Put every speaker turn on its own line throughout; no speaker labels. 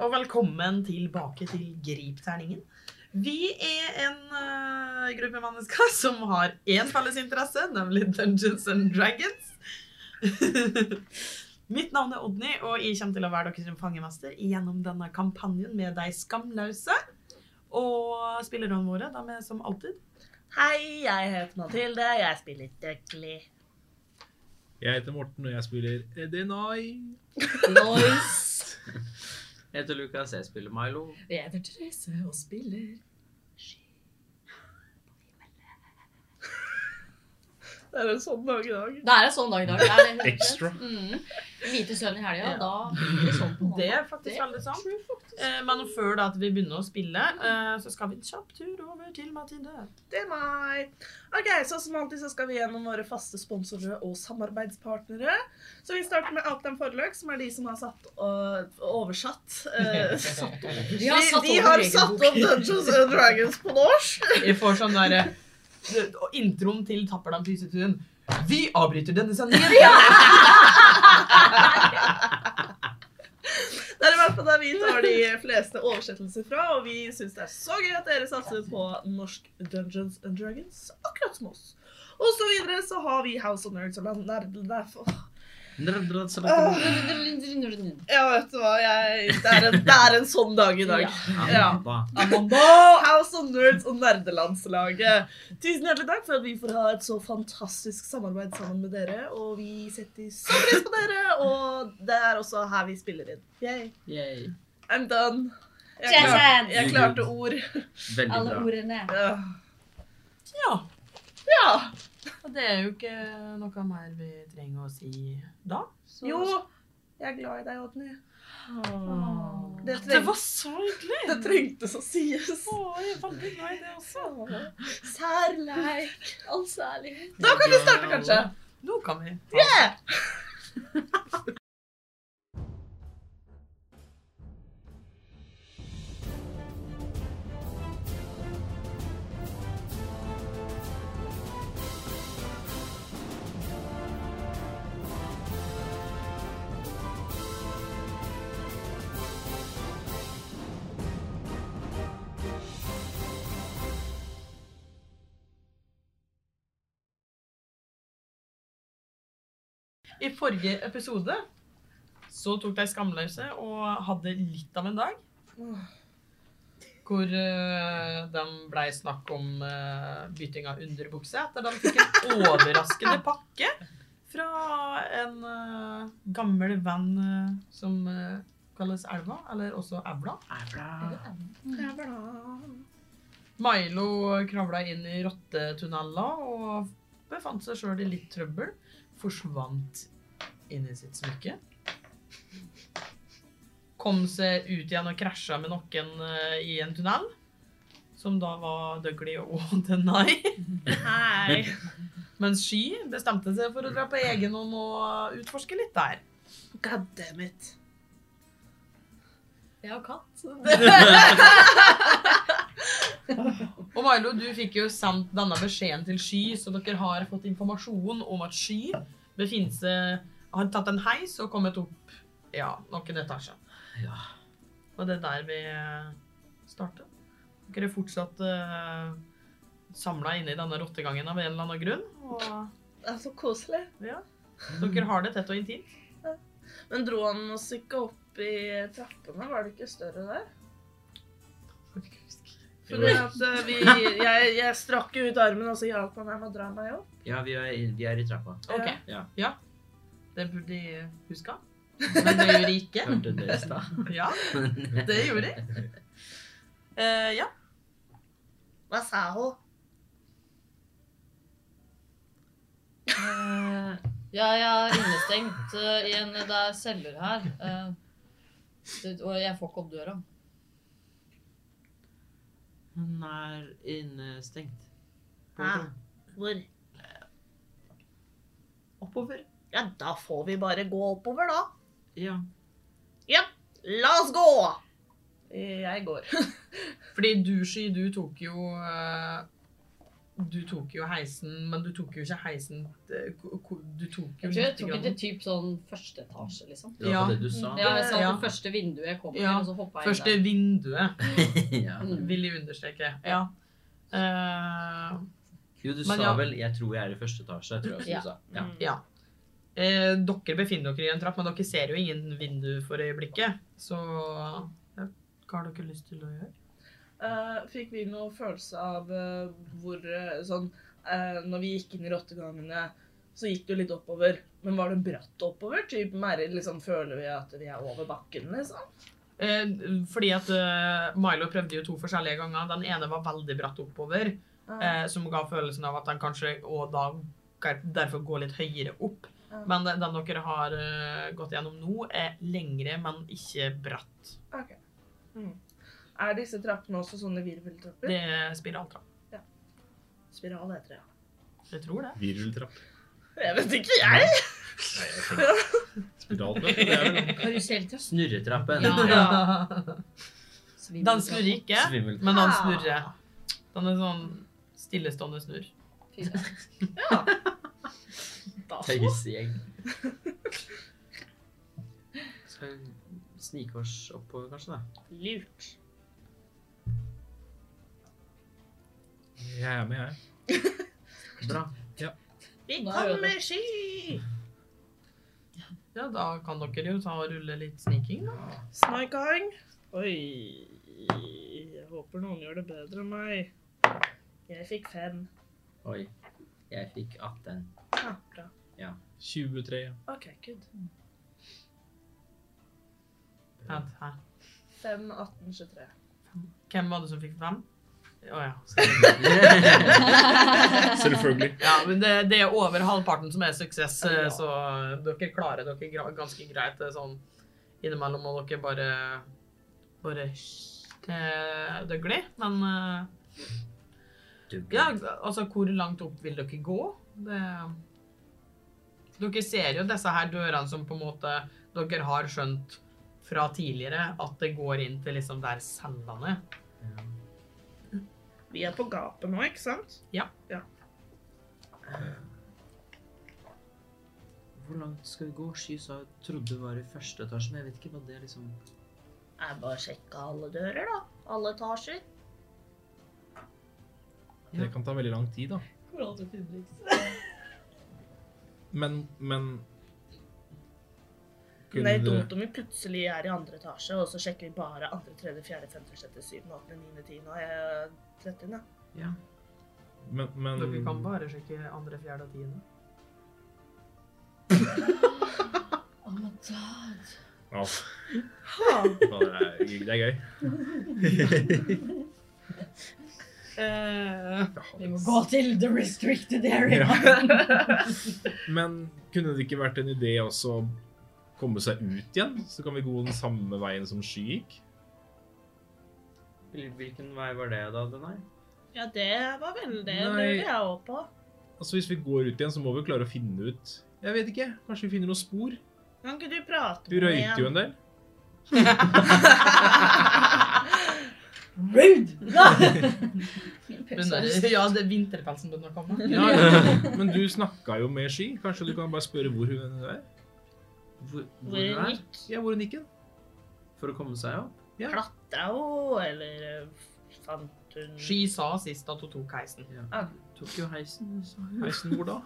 og velkommen tilbake til Gripterningen. Vi er en eh, gruppe mennesker som har én felles interesse, nemlig Dungeons and Dragons. Mitt navn er Odny, og jeg kommer til å være deres fangemester gjennom denne kampanjen med de skamløse. Og spillerne våre, de er som alltid
Hei, jeg heter Mathilde. Jeg spiller Duckley.
Jeg heter Morten, og jeg spiller Denai.
Nice!
Jeg heter Lukas, jeg spiller Milo.
Jeg heter Therese og spiller
Det er en sånn dag i dag.
Det er en sånn dag i dag. det er det, rett og slett.
Extra.
Mm. Lite søvn i helga,
Ja.
da blir det sånn på
Det
mandag.
er faktisk veldig sant. Eh, men før da at vi begynner å spille, eh, så skal vi en kjapp tur over til Mathilde.
Det er meg. Ok, så Som alltid så skal vi gjennom våre faste sponsorer og samarbeidspartnere. Så Vi starter med Outland Forlag, som er de som har satt og oversatt. eh, satt,
Vi
de,
har satt
de
over
har
egen
satt
bok.
opp Dungeons and Dragons på norsk.
Vi får sånn derre Introen til Tapperdam Pysetun. Vi avbryter denne sendingen.
Det er i hvert fall der vi tar de fleste oversettelser fra, og vi syns det er så gøy at dere satser på norsk Dungeons and Dragons, akkurat som oss. Og så videre så har vi House of Nerds og Land- Nerd... Nerd- åh. Åh, Ja, vet du hva, jeg Det er en, det er en sånn dag i dag. Ja. Åh, House of Nerds og nerdelandslaget. Tusen hjertelig takk for at vi får ha et så fantastisk samarbeid sammen med dere. Og vi setter så pris på dere, og det er også her vi spiller inn. Yay.
Yay.
I'm done. Jeg,
Jason!
klarte- jeg klarte ord.
Veldig
Alle
bra.
ordene.
Ja.
Ja,
ja.
og det er jo ikke noe mer vi trenger å si da. Så-
Jo, jeg er glad i deg, Odny.
Åh.
Det,
Det
treng,
var så hyggelig.
det trengtes å sies.
Åh, jeg er veldig glad i det altså. også.
Særleik. All særlighet.
Da
kan vi starte, kanskje.
Nå kan vi.
Yeah!
I forrige episode så tok de skamløse og hadde litt av en dag. Hvor eh, de blei snakk om eh, bytting av underbukse etter de fikk en overraskende pakke fra en eh, gammel venn eh, som eh, kalles Elva, eller også Evla.
Jeg er glad.
Milo kravla inn i rottetunneler og befant seg sjøl i litt trøbbel. Forsvant inn i sitt smykke. Kom seg ut igjen og krasja med noen eh, i en tunnel. Som da var Dougley og Denai.
Hei.
Mens Sky bestemte seg for å dra på egen hånd og utforske litt der.
God damn it.
Jeg har katt.
Og Milo, du fikk jo sendt denne beskjeden til Sky, så dere har fått informasjon om at Sky befinner seg Har tatt en heis og kommet opp ja, noen etasjer.
Ja.
Og det er der vi eh, starter. Dere er fortsatt uh, samla inne i denne rottegangen av en eller annen grunn. Og
Det er så koselig.
ja, dere har det tett og intimt.
Men dro han oss ikke opp i trappene? Var det ikke større der? For det at eh, vi, jeg, jeg strakk jo ut armen, og så hjalp han meg med å dra meg opp.
Ja, vi er, vi er i trappa.
OK.
Ja.
ja. Det burde de huska. Men det gjorde de ikke.
Hørte dere i stad?
Ja, det gjorde de. Eh, ja.
Hva sa hun?
Eh,
Ja, jeg er innestengt eh, i en Det er celler her. eh, det- og jeg får ikke opp døra.
Han er innestengt. På
Hæ?
rom.
Hvor?
Oppover.
Ja, da får vi bare gå oppover, da.
Ja.
La oss gå! Jeg går.
Fordi Dushi, du tok jo eh, Du tok jo heisen, men du tok jo ikke heisen eh, ko- ko- Du tok jo
Jeg tror jeg
litt.
tok
grann.
det typ sånn første etasje, liksom.
Det var
Ja.
det du sa.
Ja, jeg sa
Ja.
det første vinduet jeg kom til,
Ja.
og så hoppa jeg
Første
inn der.
vinduet,
ja.
Mm.
vil jeg understreke. Ja. Eh,
Jo,
Men
du sa
ja.
vel 'jeg tror jeg er i første etasje'. Tror jeg også
Ja.
du sa. Ja.
Mm.
eh, dere befinner dere i en trapp, men dere ser jo ingen vindu for øyeblikket. Så ja, hva har dere lyst til å gjøre?
Eh, fikk vi noen følelse av eh, hvor eh, sånn eh, Når vi gikk inn i rottegangene, så gikk det jo litt oppover. Men var det bratt oppover? Typ, mer, liksom, føler vi at vi er over bakken, liksom?
Eh, fordi at eh, Milo prøvde jo to forskjellige ganger. Den ene var veldig bratt oppover,
Eh,
eh, som ga følelsen av at han kanskje og da kan- derfor går litt høyere opp.
Ja.
Men den den dere har eh, gått gjennom nå, er lengre, men ikke bratt.
ok. Mm. Er disse trappene også sånn sånne virveltrapper?
Det er spiraltrapp.
Spiral heter det, ja.
Jeg tror det.
Virveltrapp.
Jeg vet ikke, jeg!
Nei, jeg tenker Spiraltrapp? Det er vel
Karuseltrapp.
Snurretrappen.
Ja.
Den snurrer ikke,
Svimmel.
men den snurrer. Den er sånn stillestående snurr.
Da så.
Tøysegjeng. Skal vi snike oss oppover, kanskje? da?
Lurt.
Jeg er med, jeg.
Bra.
Vi
Da gjør vi
kommer ski!
Ja, da kan dere jo ta og rulle litt sniking, da.
Snarkang. Oi. Jeg håper noen gjør det bedre enn meg. Jeg fikk fem.
Oi. Jeg fikk 18.
Ja, bra.
23.
OK, good.
Vent her.
5, 18, 23.
Hvem var det som fikk fem? Å ja.
Selvfølgelig.
ja men det, det er over halvparten som er suksess, eh,
Ja.
så dere klarer dere gra- ganske greit eh, sånn innimellom, og dere bare bare til døglig. Men eh,
Dugg.
Ja, altså hvor langt opp vil dere gå? Det... Dere ser jo disse her dørene som på en måte dere har skjønt fra tidligere at det går inn til liksom der cellene.
Ja.
Vi er på gapet nå, ikke sant?
Hvor langt skal vi gå? Sky sa jeg trodde vi var i første etasje, men jeg vet ikke hva det er liksom
Jeg bare sjekka alle dører, da. Alle etasjer.
Ja.
Det kan ta veldig lang tid, da.
Kommer alltid til Ulriks.
Men, men
Men det er
Kunne
litt
du-
dumt om vi plutselig er i andre etasje, og så sjekker vi bare andre, tredje, fjerde, femte, sjette, syvende, åttende, niende, tiende og eh, trettende.
Ja.
Men, men
Dere kan bare sjekke andre, fjerde og tiende.
Oh my god.
Ja,
Ha.
faen, det, er, det er gøy.
Eh,
Vi må gå til the restricted area.
Men kunne det ikke vært en idé også å komme seg ut igjen? Så kan vi gå den samme veien som Sky gikk.
Hvil- Hvilken vei var det da, Denai?
Ja, det var vel det
Nei.
lurer jeg òg på.
Altså Hvis vi går ut igjen, så må vi klare å finne ut Jeg vet ikke. Kanskje vi finner noen spor?
Kan ikke du prate
Du røyker jo en del.
Rude! Min
Men,
pølse er
eh, ja, det er vinterpelsen begynner å komme.
Ja, ja. Men du snakka jo med Sky. Kanskje du kan bare spørre hvor hun er?
Hvor, hvor
Hvor
er
hun
det?
gikk.
Ja, hvor hun gikk hen?
For å komme seg opp?
Klatta hun, eller eh, fant hun
Sky sa sist at hun tok heisen.
Ja.
Ah.
Tok jo heisen, sa hun.
Heisen hvor da?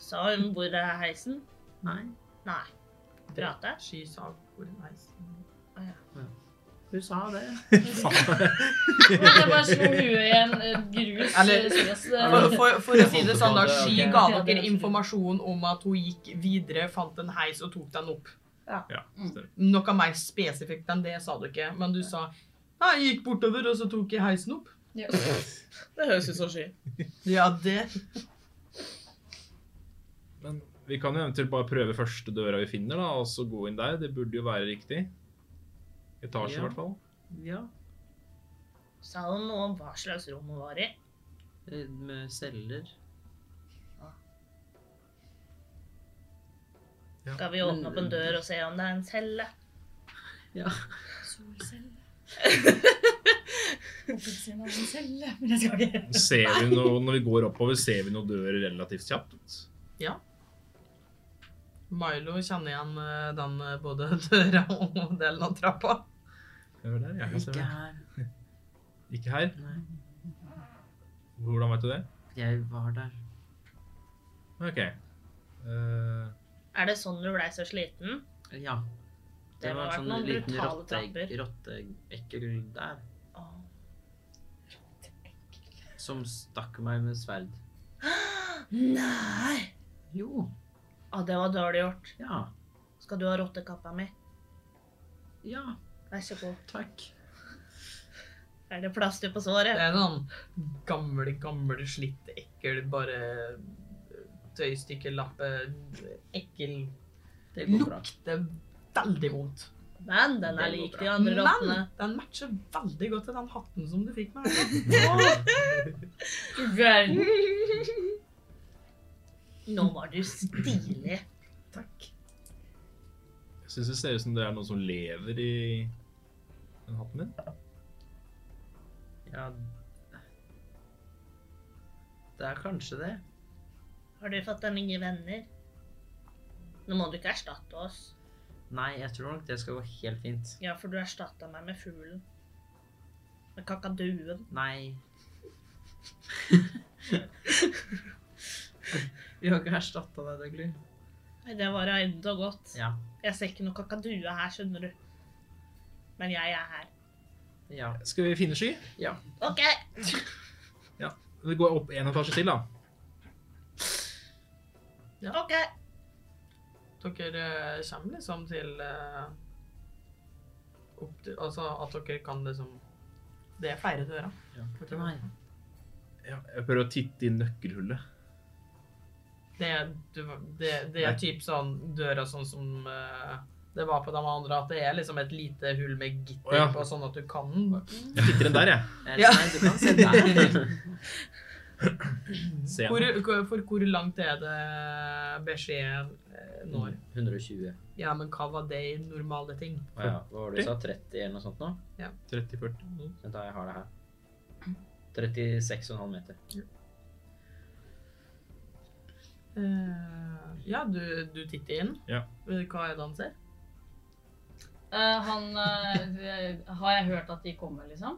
Sa hun hvor er heisen?
Nei.
Nei. Prate?
Sky sa hvor er heisen.
Hun sa det.
Jeg bare slo huet i en eh, grus.
Eller-
eh, sånn, så det-
For, for, for å si det sånn, da, Sky ga
Ja, det er
dere
det.
informasjon om at hun gikk videre, fant en heis og tok den opp. Mm.
Ja, stemmer.
Noe mer spesifikt enn det sa du ikke, men du sa «Nei, jeg gikk bortover, og så tok jeg heisen opp.
Ja.
Det høres ut som sky.
Ja, det.
Men vi kan jo eventuelt bare prøve første døra vi finner, da, og så gå inn der. Det burde jo være riktig. Etasje, i
Ja.
hvert fall.
Ja.
Sa hun noe om hva slags rom hun var i?
eh, Med celler.
Skal vi åpne opp en dør og se om det er en celle?
Ja.
Solcelle. kanskje en annen celle, men jeg skal ikke.
Ser vi noe, når vi går oppover, ser vi noen dører relativt kjapt?
Milo kjenner igjen eh, den eh, både døra og delen av trappa.
Det var der, jeg kan se
Ikke
det.
her.
Ikke her?
Nei.
Hvordan vet du det?
Jeg var der.
Ok. Eh,
Er det sånn du blei så sliten?
Ja. Det,
Det må ha vært
var en sånn
noen
liten
brutale
rotte-
trapper.
rotteekkel der.
Åh.
Som stakk meg med sverd.
Nei!
Jo.
Å, det var dårlig gjort.
Ja.
Skal du ha rottekappa mi?
Ja.
Vær så god.
Takk.
Er det plaster på
Det
såret?
er noen gamle, gamle, slitt, ekkel, bare tøystykkelappe, ekkel. Det
går bra.
lukter veldig vondt.
Men den er
Det går
lik
bra.
de andre
Men
rottene.
den matcher veldig godt til den hatten som du fikk med.
Du verden.
Nå var du stilig.
Takk.
Jeg syns det ser ut som det er noen som lever i den hatten din.
Ja. Det er kanskje det.
Har du fått deg nye venner? Nå må du ikke erstatte oss.
Nei, jeg tror nok det skal gå helt fint.
Ja, for du erstatta meg med fuglen. Med kakaduen.
Nei. Vi har ikke erstatta deg, Dougley.
Nei, Det var enda godt.
Ja.
Jeg ser ikke noe kakadue her, skjønner du. Men jeg er her.
Ja.
Skal vi finne sky?
OK!
Vi går opp en etasje til, da.
ok.
Dere eh, kommer liksom til eh, opp til, Altså at dere kan liksom Det er flere dører.
ja. Nei.
Ja, jeg prøver å titte i nøkkelhullet.
Det, er- du- det, det
Nei.
er typ sånn døra sånn som eh, det var på de andre, at det er liksom et lite hull med gitter
Å, ja.
på, sånn at du kan
Jeg titter inn der, jeg.
Eh,
Ja.
Nei, du kan se der.
Se
hvor,
igjen.
hvor- For hvor langt er det beskjed eh, når?
120.
Ja, men hva var det i normale ting?
Å, ja.
Hva var det du sa? 30 eller noe sånt nå?
30-40.
Vent da, jeg har det her. 36,5 meter.
Eh, ja, du, du titter inn.
Ja.
Eh, Hva er det han ser?
Eh, han eh, Har jeg hørt at de kommer, liksom?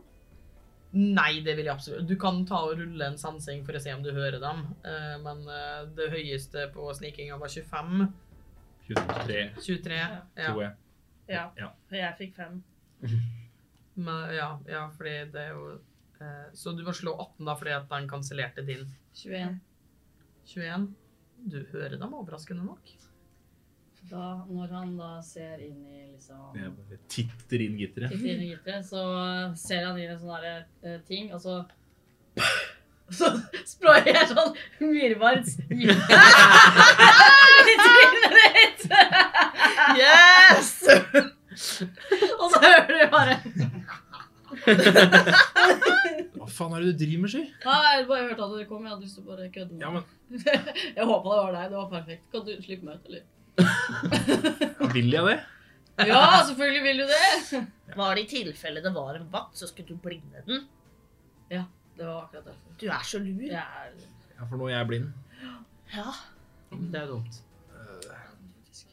Nei, det vil jeg absolutt. Du kan ta og rulle en sansing for å se om du hører dem. Eh, men eh, det høyeste på snikinga var 25.
23,
23. Ja.
tror jeg.
Ja.
Ja.
For jeg fikk fem.
Men, ja, ja, fordi det er jo eh, Så du må slå 18, da, fordi at den kansellerte din.
21.
21. Du hører dem overraskende nok.
Da, når han da ser inn i liksom
Jeg bare titter inn gitteret.
Titter inn i gitteret, så eh, ser han inn i en sånn derre eh, ting, og så
Så sprayer jeg sånn myrvards gitter. Litt trynet ditt.
Yes!
Og så hører du bare
Hva faen er det du driver med, Sky?
Nei, jeg bare hørte at dere kom, jeg hadde lyst til å bare kødde med
Ja, men
Jeg håpa det var deg, det var perfekt. Kan du slippe meg ut, eller?
vil jeg det?
Ja, selvfølgelig vil du det!
Var det i tilfelle det var en vatt, så skulle du blinde den?
Det var akkurat derfor.
Du er så lur.
Jeg er
Ja, for nå er jeg blind.
Ja.
Det er dumt.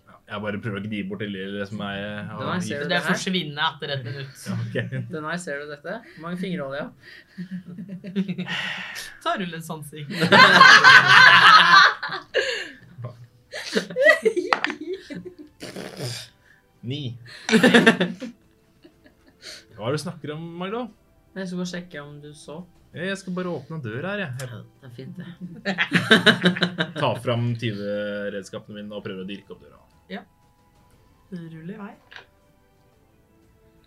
Ja, jeg bare prøver å gni bort det lille som er eh, av
Nei, ser
Det,
gitteret.
du det her?
forsvinner etter et minutt.
Ja, ok.
Den her, ser du dette? Hvor mange fingre holder jeg?
Ta rull en sansing.
Ni. Hva er det du snakker om, Magda?
Jeg skal bare sjekke om du så.
Jeg skal bare åpne døra her, jeg.
Det er fint, det.
Jeg tar fram tyveredskapene mine og prøver å dirke opp døra.
Rull i vei.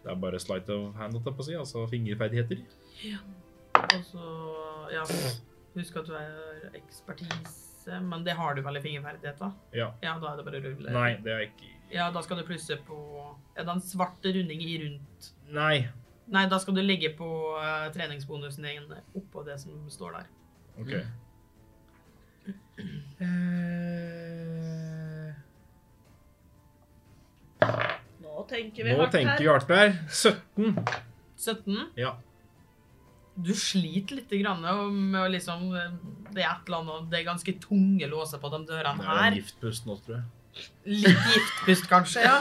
Det er bare slight of hand, holdt jeg på å si, altså fingerferdigheter.
Og så, ja, husk at du er ekspertise, men det har du vel i fingerferdighet da?
Ja.
Ja, da er det bare å rulle.
Nei, det er ikke
Ja, da skal du plusse på, er det en svart runding i rundt?
Nei.
Nei, da skal du legge på eh, treningsbonusen din oppå det som står der.
OK. Mm. Eh,
Nå tenker vi
Nå
hardt
tenker
her.
vi hardt her. 17.
17?
Ja.
du sliter litt grann med å liksom Det er et eller annet Det er ganske tunge låser på de dørene
Det er
her.
en giftpust nå, tror jeg.
Litt giftpust, kanskje. ja.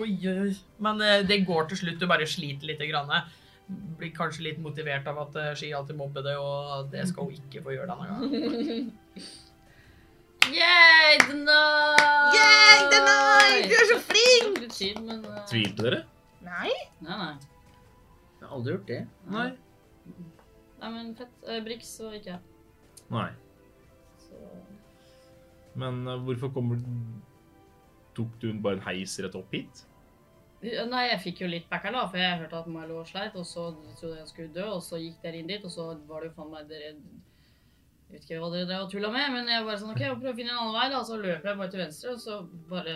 Oi, oi, oi. Men eh, det går til slutt. Du bare sliter litt. Grann. Blir kanskje litt motivert av at eh, Ski alltid mobber det, og det skal hun ikke få gjøre denne gangen.
Yay, Denai!
Yay, Denai! Du er så
flink! Litt tid, men eh,
Tvilte dere?
Nei.
Nei, nei.
Jeg har aldri gjort det.
Nei. Nei, men fett. Eh, Brix og ikke jeg.
Nei.
Så
Men eh, hvorfor kommer Tok du bare en heis rett opp hit?
Ja, Nei, jeg fikk jo litt backer'n, da, for jeg hørte at Milo sleit, og så trodde jeg han skulle dø, og så gikk dere inn dit, og så var det jo faen meg dere Jeg vet ikke hva dere drev og tulla med, men jeg bare sånn OK, jeg prøver å finne en annen vei, da, og så løper jeg bare til venstre, og så bare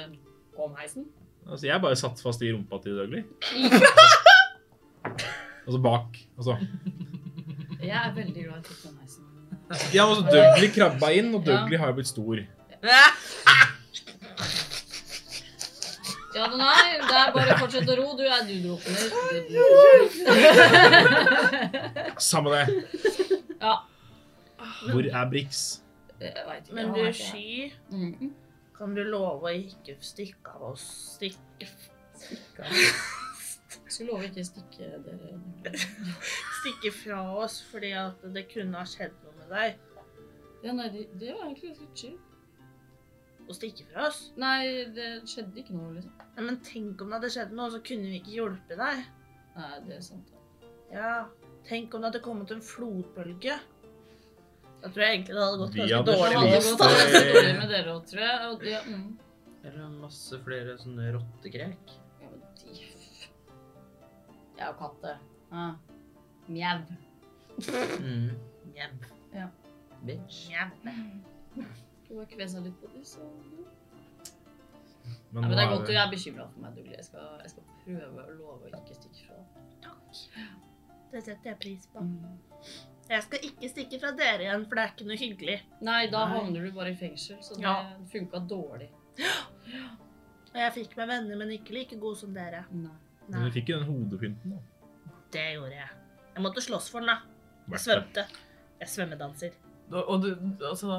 kom heisen.
Altså, jeg bare satt fast i rumpa til Dougley. Altså bak. Altså.
Jeg er veldig glad i å titte den heisen.
Ja, altså Dougley krabba inn, og Dougley har jo blitt stor.
Ja, nei, det er bare å fortsette å ro. Du er du drukner. Du- du-
Samme det.
Ja.
Hvor er Brix?
Jeg vet ikke.
Men
han
du,
er ikke her.
Sky,
Mm.
kan du love å ikke stikke av oss? Stikke Stikke,
Skulle love ikke stikke dere
stikke fra oss fordi at det kunne ha skjedd noe med deg.
Ja, nei, det, det var egentlig ganske chill.
Å stikke fra oss?
Nei, det skjedde ikke noe, liksom.
Nei, men tenk om det hadde skjedd noe, så kunne vi ikke hjulpet deg.
Nei, det er sant. da.
Ja, tenk om det hadde kommet en flodbølge. Da tror jeg egentlig det hadde gått
Vi
ganske
hadde
Det
dårlig med
hadde
oss.
gått
da.
Lite-
ganske dårlig med dere også, tror jeg. Og, ja, mm.
Eller masse flere sånne rottegrek.
ja, men de... Jeg og katte. Ja. Mjau.
Mm.
Njem,
Bitch.
njem.
Skulle bare kvesa litt på dem, så
Men
Nei, men
nå
det er
er
godt du
det-
er bekymra for meg, Dougley. Jeg, skal- jeg skal prøve å love å ikke stikke fra.
Det setter jeg pris på.
Mm.
Jeg skal ikke stikke fra dere igjen, for det er ikke noe hyggelig.
Nei, da
Nei.
havner du bare i fengsel, så det
Ja.
funka dårlig.
Og jeg fikk meg venner, men ikke like gode som dere.
Nei.
Men
Nei,
du fikk jo den hodepynten. da.
det gjorde jeg. Jeg måtte slåss for den, da. Jeg
Verdt det.
svømte. Jeg svømmedanser.
Da- Og du, altså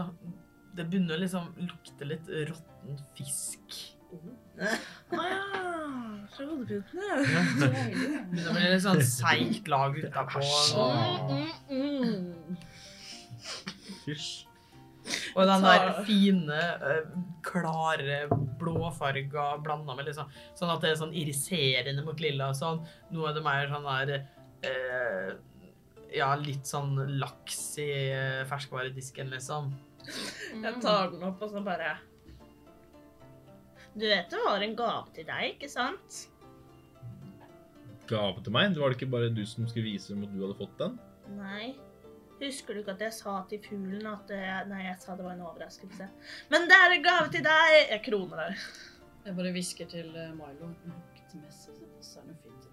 Det begynner liksom å lukte litt råtten fisk.
Å ja. Fra hodeputen, ja.
Mm.
Det blir litt sånn seigt lag utapå.
Mm,
Æsj. Fysj.
Og den der fine, eh, klare blåfarga blanda med liksom Sånn at det er sånn irriserende mot lilla og sånn. Nå er det mer sånn der eh, Ja, litt sånn laks i eh, ferskvaredisken, liksom.
Jeg tar den opp og så bare Du vet det var en gave til deg, ikke sant?
Gave til meg? Det var det ikke bare du som skulle vise om at du hadde fått den?
Nei. Husker du ikke at jeg sa til fuglen at det, Nei, jeg sa det var en overraskelse. Men det er en gave til deg! Jeg kroner der.
Jeg bare hvisker til eh, Milo. Luktmessig så er det fint.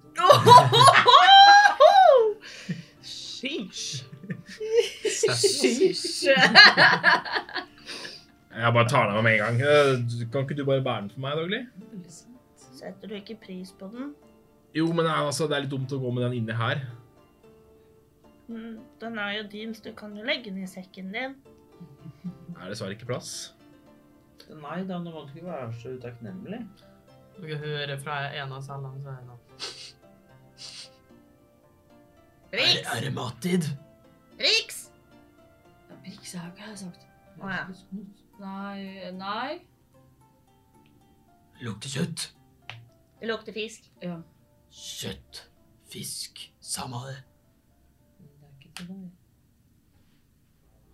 Sheesh.
Jeg bare tar den av med en gang. Eh, Kan ikke du bare bære den for meg, Daglig?
Veldig sant.
Setter du ikke pris på den?
Jo, men eh, altså, det er litt dumt å gå med den inni her.
Mm, Den er jo din, så du kan jo legge den i sekken din.
Det er dessverre ikke plass.
Nei da, nå må du ikke være så utakknemlig.
Dere hører fra en av cellene, så er det noe. Er, det- er det mattid?
Riks!
Ja, Brix er jo ikke her, sagt.
Å ja.
Nei, nei.
Lukter kjøtt.
Det lukter fisk.
Ja.
Kjøtt. Fisk. Samme det.
Det er ikke til deg.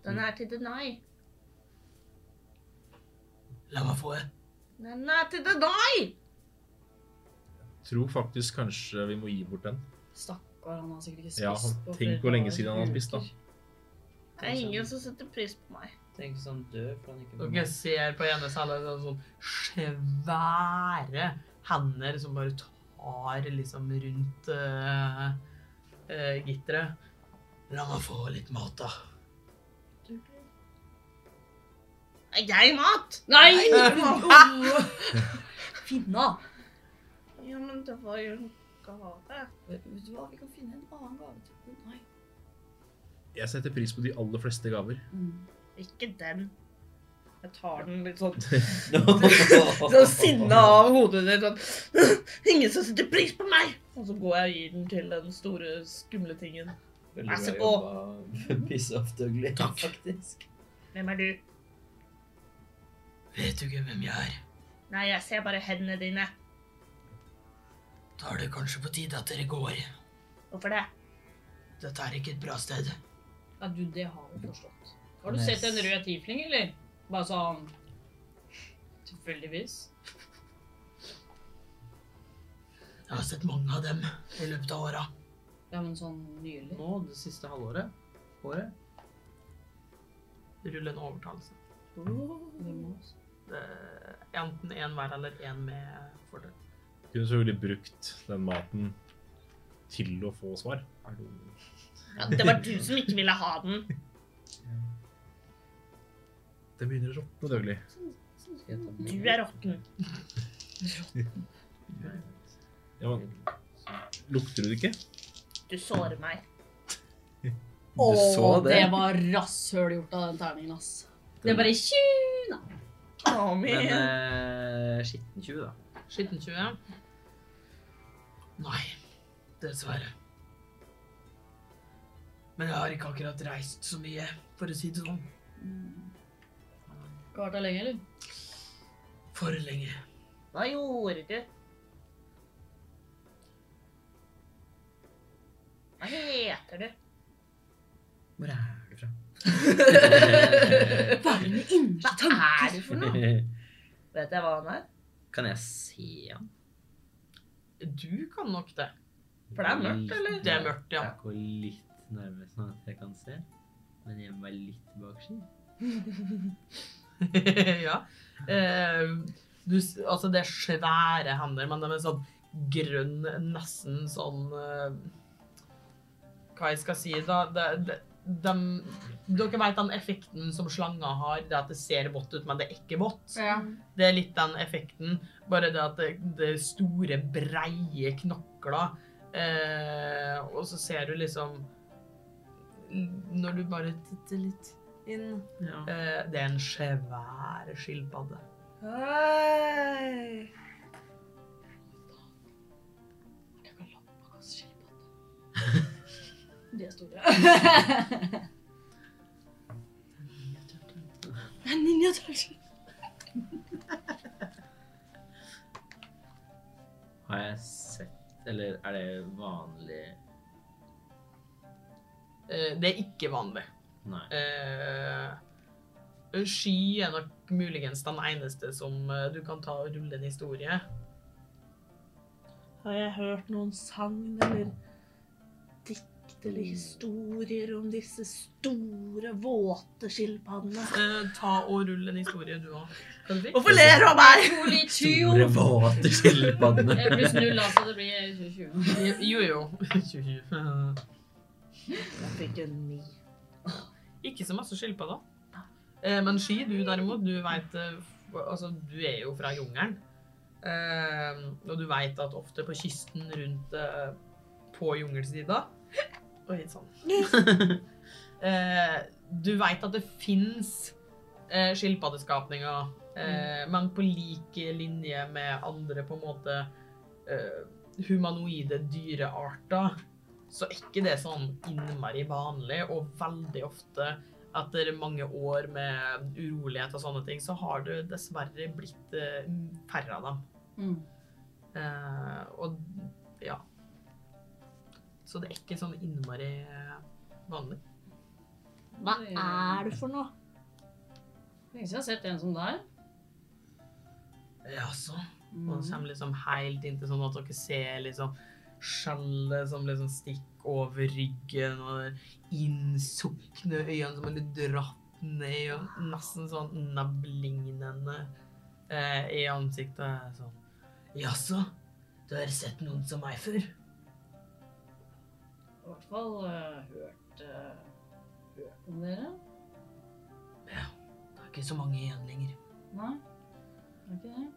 Den er til Denai.
La meg få det.
Den er til Denai!
Tror faktisk kanskje vi må gi bort den.
Stakkar, han har sikkert ikke spist
Ja, han-
på
tenk
flere
hvor lenge
dager,
siden han har spist, da.
uker.
Det er ingen som setter pris på meg.
Tenk hvis han dør for han ikke
Dere ser på ene cella sånn, sånn svære hender som bare tar liksom rundt uh, gitteret. La meg få litt mat, da.
Er jeg mat?
Nei!
Nei!
Finna!
Ja, men det var jo en gave.
Vet du hva, vi kan finne en annen gave til Nei.
Jeg setter pris på de aller fleste gaver.
Ikke den. Jeg tar den litt sånn
Så sånn sinna av hodet ditt sånn Ingen som setter pris på meg! Og så går jeg og gir den til den store, skumle tingen.
Vær så
Piss off Dougley,
Takk.
faktisk.
Hvem er du?
Vet du ikke hvem jeg er?
Nei, jeg ser bare hendene dine.
Da er det kanskje på tide at dere går.
Hvorfor det?
Dette er ikke et bra sted.
Ja, du, det har vi forstått. Har du
Nice.
sett en rød tiefling, eller? Bare sånn Tilfeldigvis.
Jeg har sett mange av dem i løpet av åra.
Ja, men sånn nylig.
Nå, det siste halvåret? Året?
Rull en overtalelse.
Det må også.
Det er enten én hver eller én med fordel.
Kunne selvfølgelig brukt den maten til å få svar. Er det
Ja, det var du som ikke ville ha den.
Det begynner å råtne, Dougley.
Du er råtten.
Ja, men, lukter du det ikke?
Du sårer meg.
Du så
Å, det var rasshøl gjort av den terningen, ass. Det er bare tjuna!
Oh,
Men eh, skitten 20, da.
Skitten 20. Nei, dessverre. Men jeg har ikke akkurat reist så mye, for å si det sånn.
Ikke vært der lenge, eller?
For lenge.
Hva gjorde du? Hva heter du?
Hvor er du fra?
Hva er du for noe? Vet jeg hva han er?
kan jeg se han?
Du kan nok det.
For det er mørkt, eller?
Det er mørkt, ja.
Jeg går litt nærmere sånn at jeg kan se. Men jeg må være litt baksiden.
ja. Eh, du, s- altså, det er svære hender, men de er sånn grønn, nesten sånn eh, Hva jeg skal si, da? De, de, dem- dere vet den effekten som slanger har? Det at det ser vått ut, men det er ikke vått? Det er litt den effekten. Bare det at det, det er store, breie knokler. Eh, og så ser du liksom Når du bare titter litt inn
Ja.
eh, Det er en svær skilpadde.
Hei.
De er store. Det er Ninja Turtle.
Har jeg sett Eller er det vanlig
Eh, det er ikke vanlig.
Nei.
Eh, sky er nok muligens den eneste som eh, du kan ta og rulle en historie.
Har jeg hørt noen sagn eller dikt eller historier om disse store, våte skilpaddene?
Eh, ta og rull en historie, du òg. Kan du si?
Hvorfor ler du av meg?
Holy two.
Store, våte skilpadder.
Eh, Pluss null, altså. Det blir 2020.
Jo, jo.
Jeg fikk en ni.
Ikke så masse skilpadder. Eh, men Ski, du derimot, du vet eh, f- Altså, du er jo fra jungelen. Eh, og du vet at ofte på kysten rundt eh, På jungelsida Oi, sånn. eh, du vet at det fins eh, skilpaddeskapninger, eh, men på lik linje med andre på en måte eh, humanoide dyrearter, så er ikke det sånn innmari vanlig, og veldig ofte etter mange år med urolighet og sånne ting, så har du dessverre blitt eh, færre av dem.
Mm.
Eh, og ja. Så det er ikke sånn innmari eh, vanlig.
Hva er du for noe?
Lenge siden jeg har sett en som der.
Jaså?
Mm.
Og så kommer liksom helt inntil sånn at dere ser liksom skjellet som liksom stikker over ryggen, og de innsukne øynene som er litt dratt ned, og nesten sånn nabblignende eh, i ansiktet. Sånn. Jaså? Du har sett noen som meg før?
I hvert fall eh, hørt, eh, hørt om dere.
Det er ikke så mange igjen lenger.
Nei, det er ikke det.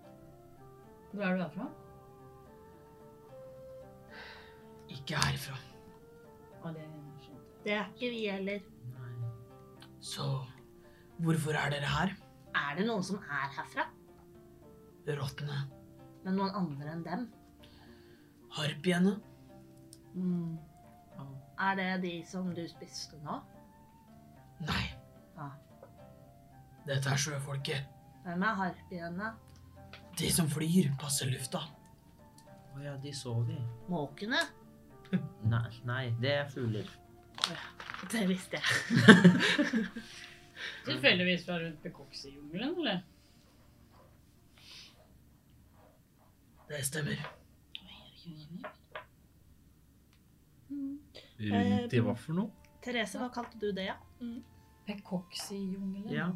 Hvor er du herfra?
Ikke herfra.
Ja, det skjønte jeg.
Det er ikke vi heller.
Nei.
Så hvorfor er dere her?
Er det noen som er herfra?
Rottene.
Men noen andre enn dem?
Harpiene.
Mm.
Er det de som du spiste nå?
Nei.
Ah.
Dette er sjøfolket.
Hvem er harpiene?
De som flyr, passer lufta.
Å ja, de sov i.
Måkene?
Nei, nei, det er fugler.
Det visste jeg.
Tilfeldigvis fra rundt Bekoksejungelen, eller?
Det stemmer.
Rundt i hva for noe?
Therese, hva kalte du det? Ja?
Bekoksejungelen?
Ja.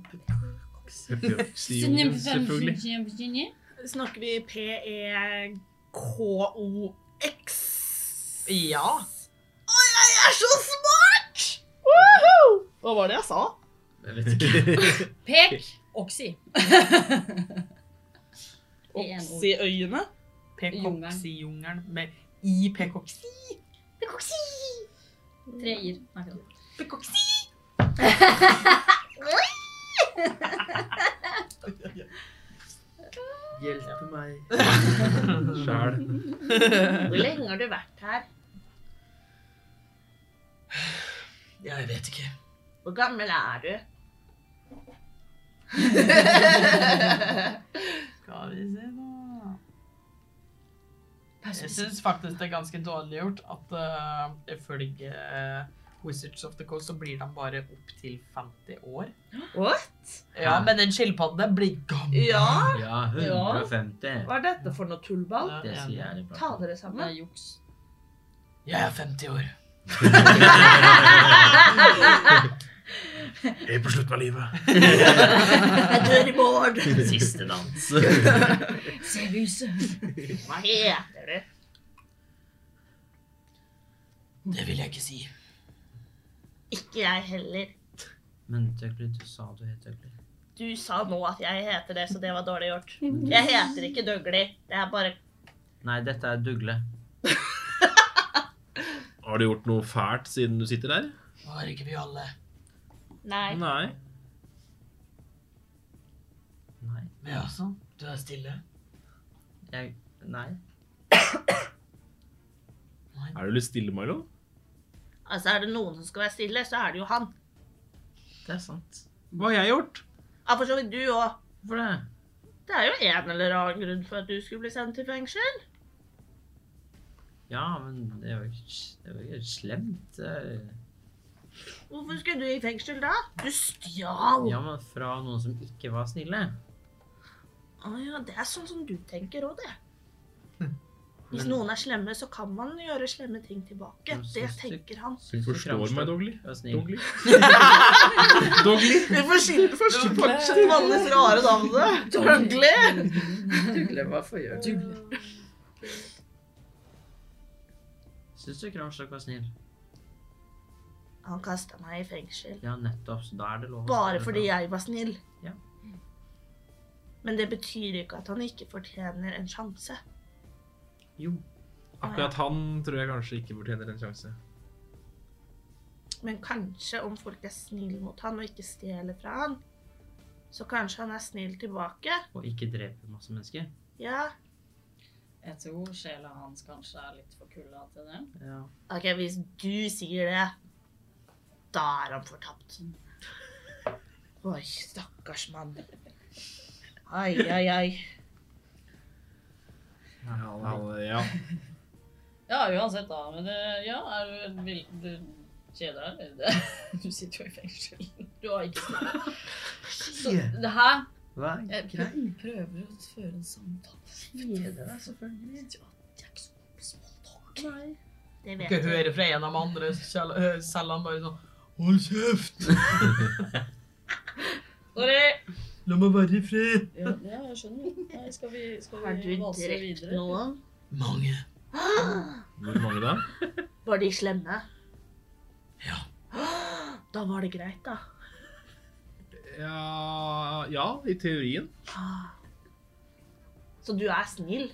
Epioxyjungelen, selvfølgelig.
Snakker vi
E
P-E-K-O-X?
Ja.
Jeg er så smart! Woohoo! Hva var det jeg sa?
Jeg vet ikke.
Pek. Oksi.
Oksi øyene?
Pekoksijungelen med i pekoksi.
Tre i-er. akkurat.
Hjelp meg.
Sjæl.
Hvor lenge har du vært her?
Jeg vet ikke.
Hvor gammel er du?
Skal vi se, da. Jeg syns faktisk det er ganske dårlig gjort at uh, ifølge eh, Wizards of the Coast så blir de bare opptil 50 år.
What?
Ja, men den skilpadden blir gammel.
Ja?
Ja, 150.
Hva er dette for noe tullball?
Ja,
Det
ja.
sier jeg.
Ta dere
Det er
sammen.
juks.
Jeg er 50 år.
Jeg er på slutten av livet.
Jeg dør i morgen.
Siste dans.
Se lyset.
Hva heter du?
Det vil jeg ikke si.
Ikke jeg heller.
Men Tøkli, du sa du het Tøkli.
Du sa nå at jeg heter det, så det var dårlig gjort. Jeg heter ikke Dougley. Det er bare
Nei, dette er Dugle.
Har du gjort noe fælt siden du sitter der?
Var ikke vi alle?
Nei.
Nei.
Nei.
Men altså, du er stille.
Jeg Nei.
Er du litt stille, Milo?
Altså, er det noen som skal være stille, så er det jo han.
Det er sant.
Hva har jeg gjort?
Ja, for så vidt du òg.
Hvorfor det?
Det er jo en eller annen grunn for at du skulle bli sendt til fengsel.
Ja, men det var ikke, det var ikke slemt. eh.
Hvorfor skulle du i fengsel da? Du stjal.
Ja, men fra noen som ikke var snille.
Å ja, det er sånn som du tenker òg, det.
Hm.
Hvis
Men-
noen er slemme, så kan man gjøre slemme ting tilbake.
Men så
Det
sykt.
tenker han.
Du forstår meg, Dogli.
Vær snill.
Dogli. Dogli.
Vi får skille først fortsette med alles rare navn. Dougley!
Dugle, hva får gjøre? Dugle. Syns du Kramstok var snill?
Han kasta meg i fengsel.
Ja, nettopp. Så da er det lov. å
Bare
spørre
fordi
fra.
jeg var snill.
Ja.
Men det betyr ikke at han ikke fortjener en sjanse.
Jo.
Akkurat han tror jeg kanskje ikke fortjener en sjanse.
Men kanskje om folk er snille mot han og ikke stjeler fra han, så kanskje han er snill tilbake.
Og ikke drepe masse mennesker.
Ja.
Jeg tror sjela hans kanskje er litt for kulda til det.
Ja.
Ok, hvis du sier det, da er han fortapt. Oi, stakkars mann. Ai, ai, ai.
Han, ja.
Ja, uansett da. Men det, ja, er du, vil, du kjeder deg? eller? Du sitter jo i fengsel. Du har ikke snakket. Så det her
Hva?
Jeg prøver, prøver å føre en samtale. Kjeder deg selvfølgelig. Ja, jeg er ikke så god på smalltalk.
Det
Ikke
vet du.
høre fra en av de andre, selv øh, selv han bare sånn Hold kjeft!
Sorry!
La meg være i fred!
Ja, ja, jeg skjønner. Nei, skal vi, skal
Har du
vi valse
drept
videre?
noen?
Mange.
Hvor mange da?
Var de slemme?
Ja.
Da var det greit, da.
Ja, ja i teorien.
Så du er snill?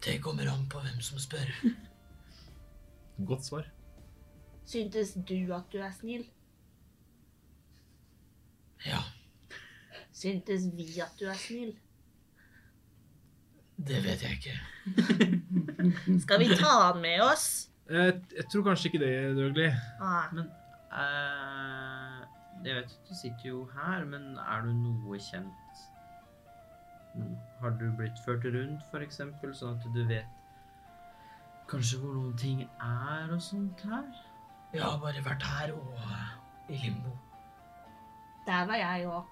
Det kommer an på hvem som spør.
Godt svar.
Syntes du at du er snill?
Ja,
Syntes vi at du er snill?
det vet jeg ikke.
Skal vi ta han med oss?
Jeg, Eh, jeg tror kanskje ikke det, Dougley.
Ah,
Eh, jeg vet at du sitter jo her, men er du noe kjent? Mm, Har du blitt ført rundt, for eksempel, sånn at du vet kanskje hvor noen ting er og sånt her?
Jeg har bare vært her og eh, i limbo.
der var jeg òg.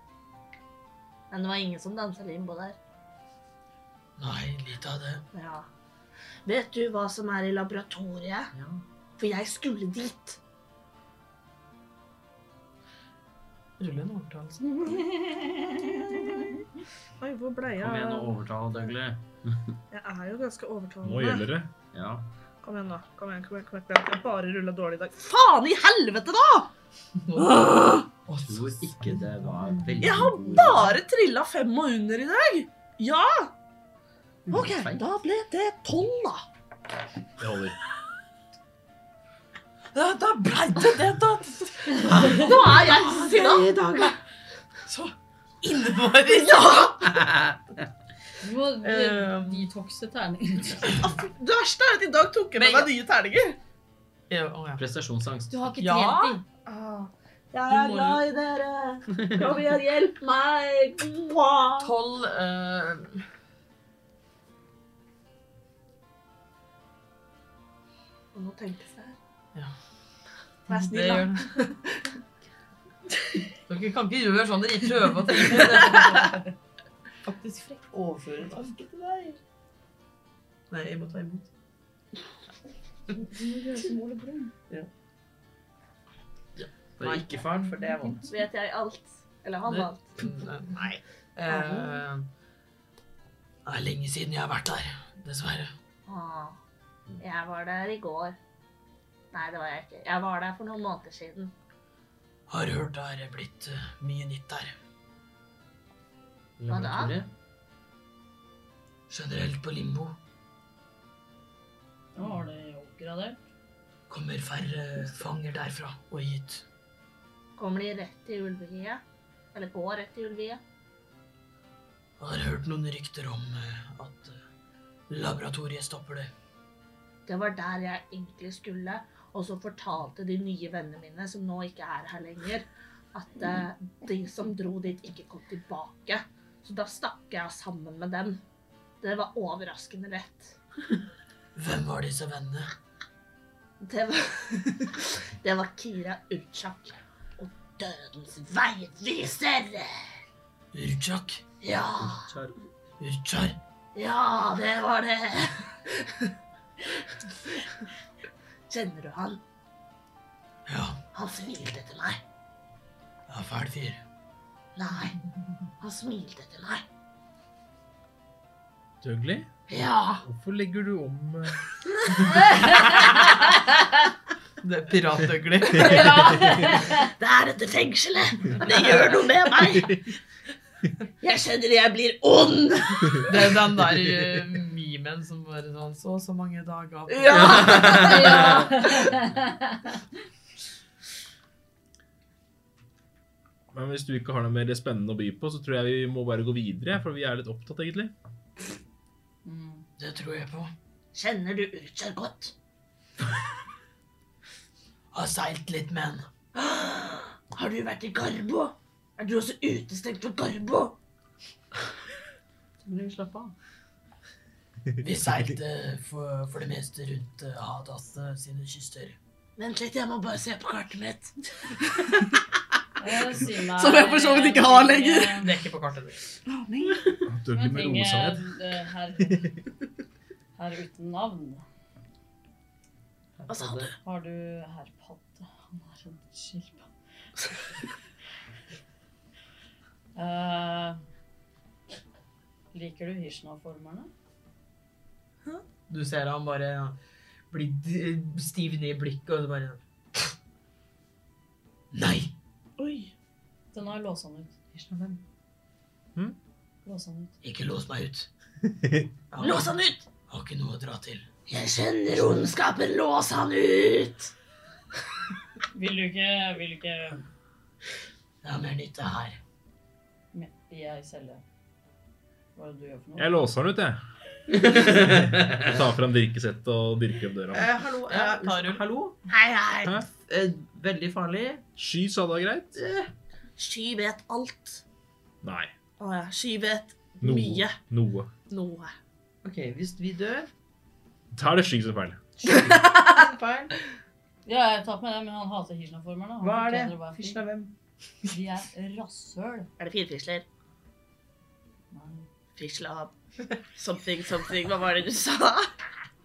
Men det var ingen som dansa limbo der.
Nei, lite av det.
Ja. Vet du hva som er i laboratoriet?
Ja.
For jeg skulle dit.
Rulle en overtalelse.
Oi, hvor ble jeg?
Kom igjen og overtal, Dougley.
Jeg er jo ganske
Nå
overtalende.
gjelder det.
Ja.
Kom igjen, da. Kom igjen, kom igjen, kom igjen. kom igjen. Jeg bare rulla dårlig i dag.
Faen i helvete, da!
Å,
Jeg tror ikke det var veldig
Jeg har bare trilla fem og under i dag! Ja!
Mm,
OK, da ble det tolv, da.
Det holder.
Da, da blei det det, da!
Nå er jeg sinna.
Så innmari
Du må Um.
Ehm.
detoxe terningene.
Det verste er at i dag tok jeg med meg nye terninger.
Ja, å, ja.
Prestasjonsangst.
Du har ikke
Ja.
trent dem.
Ah,
Jeg er
Du må jo-
glad i dere. Kom igjen, hjelp meg. Mwah.
Tolv eh,
Og nå tenkes det her.
Ja.
Vær
Det
snill, da.
gjør det. Dere kan ikke gjøre sånn dere prøver å tenke det. Faktisk frekk. Overføre en tanke til deg. Nei, jeg må ta imot.
Det er ikke faren, for det er vondt.
Så vet jeg alt. Eller han
Det-
alt.
Nei. Eh, det er lenge siden jeg har vært der, dessverre.
Åh, jeg var der i går. Nei, det var jeg ikke. Jeg var der for noen måneder siden.
Har hørt det er blitt eh, mye nytt der.
Hva da?
Laboratoriet.
Generelt på limbo
Nå har det oppgradert.
kommer færre fanger derfra og hit.
Kommer de rett til Ulvehiet? Eller går rett til Ulvehiet?
Jeg har hørt noen rykter om eh, at eh, laboratoriet stopper det.
Det var der jeg egentlig skulle. Og så fortalte de nye vennene mine, som nå ikke er her lenger, at eh, de som dro dit, ikke kom tilbake. Så da stakk jeg sammen med dem. Det var overraskende lett.
Hvem var disse vennene?
Det var, det var Kira Urchak og Dødens veiviser!
Urchak?
Ja!
Kjær-
Urchar?
Ja, det var det. Kjenner du han?
Ja,
Han smilte til meg.
ja fæl fyr.
Nei, han smilte til meg.
Dougley,
Ja.
hvorfor legger du om eh,
Det er piratøgler.
Det er dette fengselet. Det gjør noe med meg. Jeg kjenner jeg blir ond.
Det er den der eh, memen som bare sånn så så mange dager på-
Ja.
Men hvis du ikke har noe mer spennende å by på, så tror jeg vi må bare gå videre, for vi er litt opptatt, egentlig.
Mm.
Det tror jeg på.
Kjenner du Urchak godt?
Har seilt litt med en.
Har du vært i Garbo? Er du også utestengt fra Garbo?
Slapp av.
Vi seilte for, for det meste rundt eh, Hadas eh, sine kyster.
Vent litt, jeg må bare se på kartet mitt.
Som jeg for så vidt ikke har lenger.
Det er ikke på kartet ditt.
Dougley med rosenhet.
eh, her, her uten navn
Hva sa du?
har du herr Padde. Han er en skilpa. Eh, liker du Hishna-formerne?
Du ser han bare blir d- stiv ned i blikket og så bare Nei!
Oi.
Den har jeg låst han ut. Hishna hvem?
Hm?
Låst han ut.
Ikke lås meg ut. Jeg har-
Lås han ut!
Har ikke noe å dra til.
Jeg kjenner ondskapen, lås han ut!
Vil du ikke Vil du ikke
Det er mer nytte her.
Men jeg selge? Hva er det du gjør for noe?
Jeg låser den ut, jeg. Tar fram dirkesettet og dirker opp døra.
Eh, hallo, eh,
Ja, tar du.
hallo?
Hei, hei.
Hæ?
Eh, veldig farlig.
Sky sa det var greit?
Sky vet alt.
Nei.
Å ja, Sky vet
Noe.
Mye.
Noe.
noe.
Ok, hvis vi dør
Da er det Sky som er feil.
Feil.
Ja, jeg tar på meg det, men han hater Hirschland-formelen.
Hva er det? Fysj av hvem?
De er rasshøl.
Er det firfisler?
Nei.
Fisla Something, something. Hva var det du sa?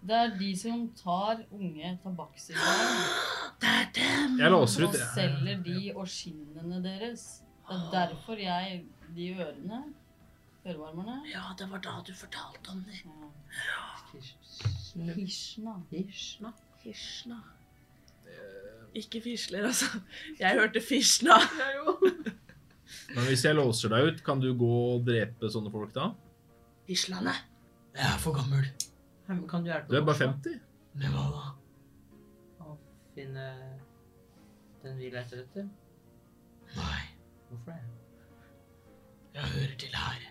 Det er de som tar unge tabakksignaler
Det er dem.
Jeg låser
og
ut, jeg.
selger de og skinnene deres. Det er derfor jeg De ørene Ørevarmerne.
Ja, det var da du fortalte om det.
Ja.
Fysj.
Hirschna.
Fysj.
Fisla.
Eh,
Ikke fisler, altså. Jeg hørte fisla.
Men hvis jeg låser deg ut, kan du gå og drepe sånne folk da?
Fislane.
Jeg er for gammel.
Hem- Kan du hjelpe
Du er bare
oss da?
50.
Men hva da?
Å finne den vi leter etter?
Nei,
Hvorfor det?
jeg hører til her.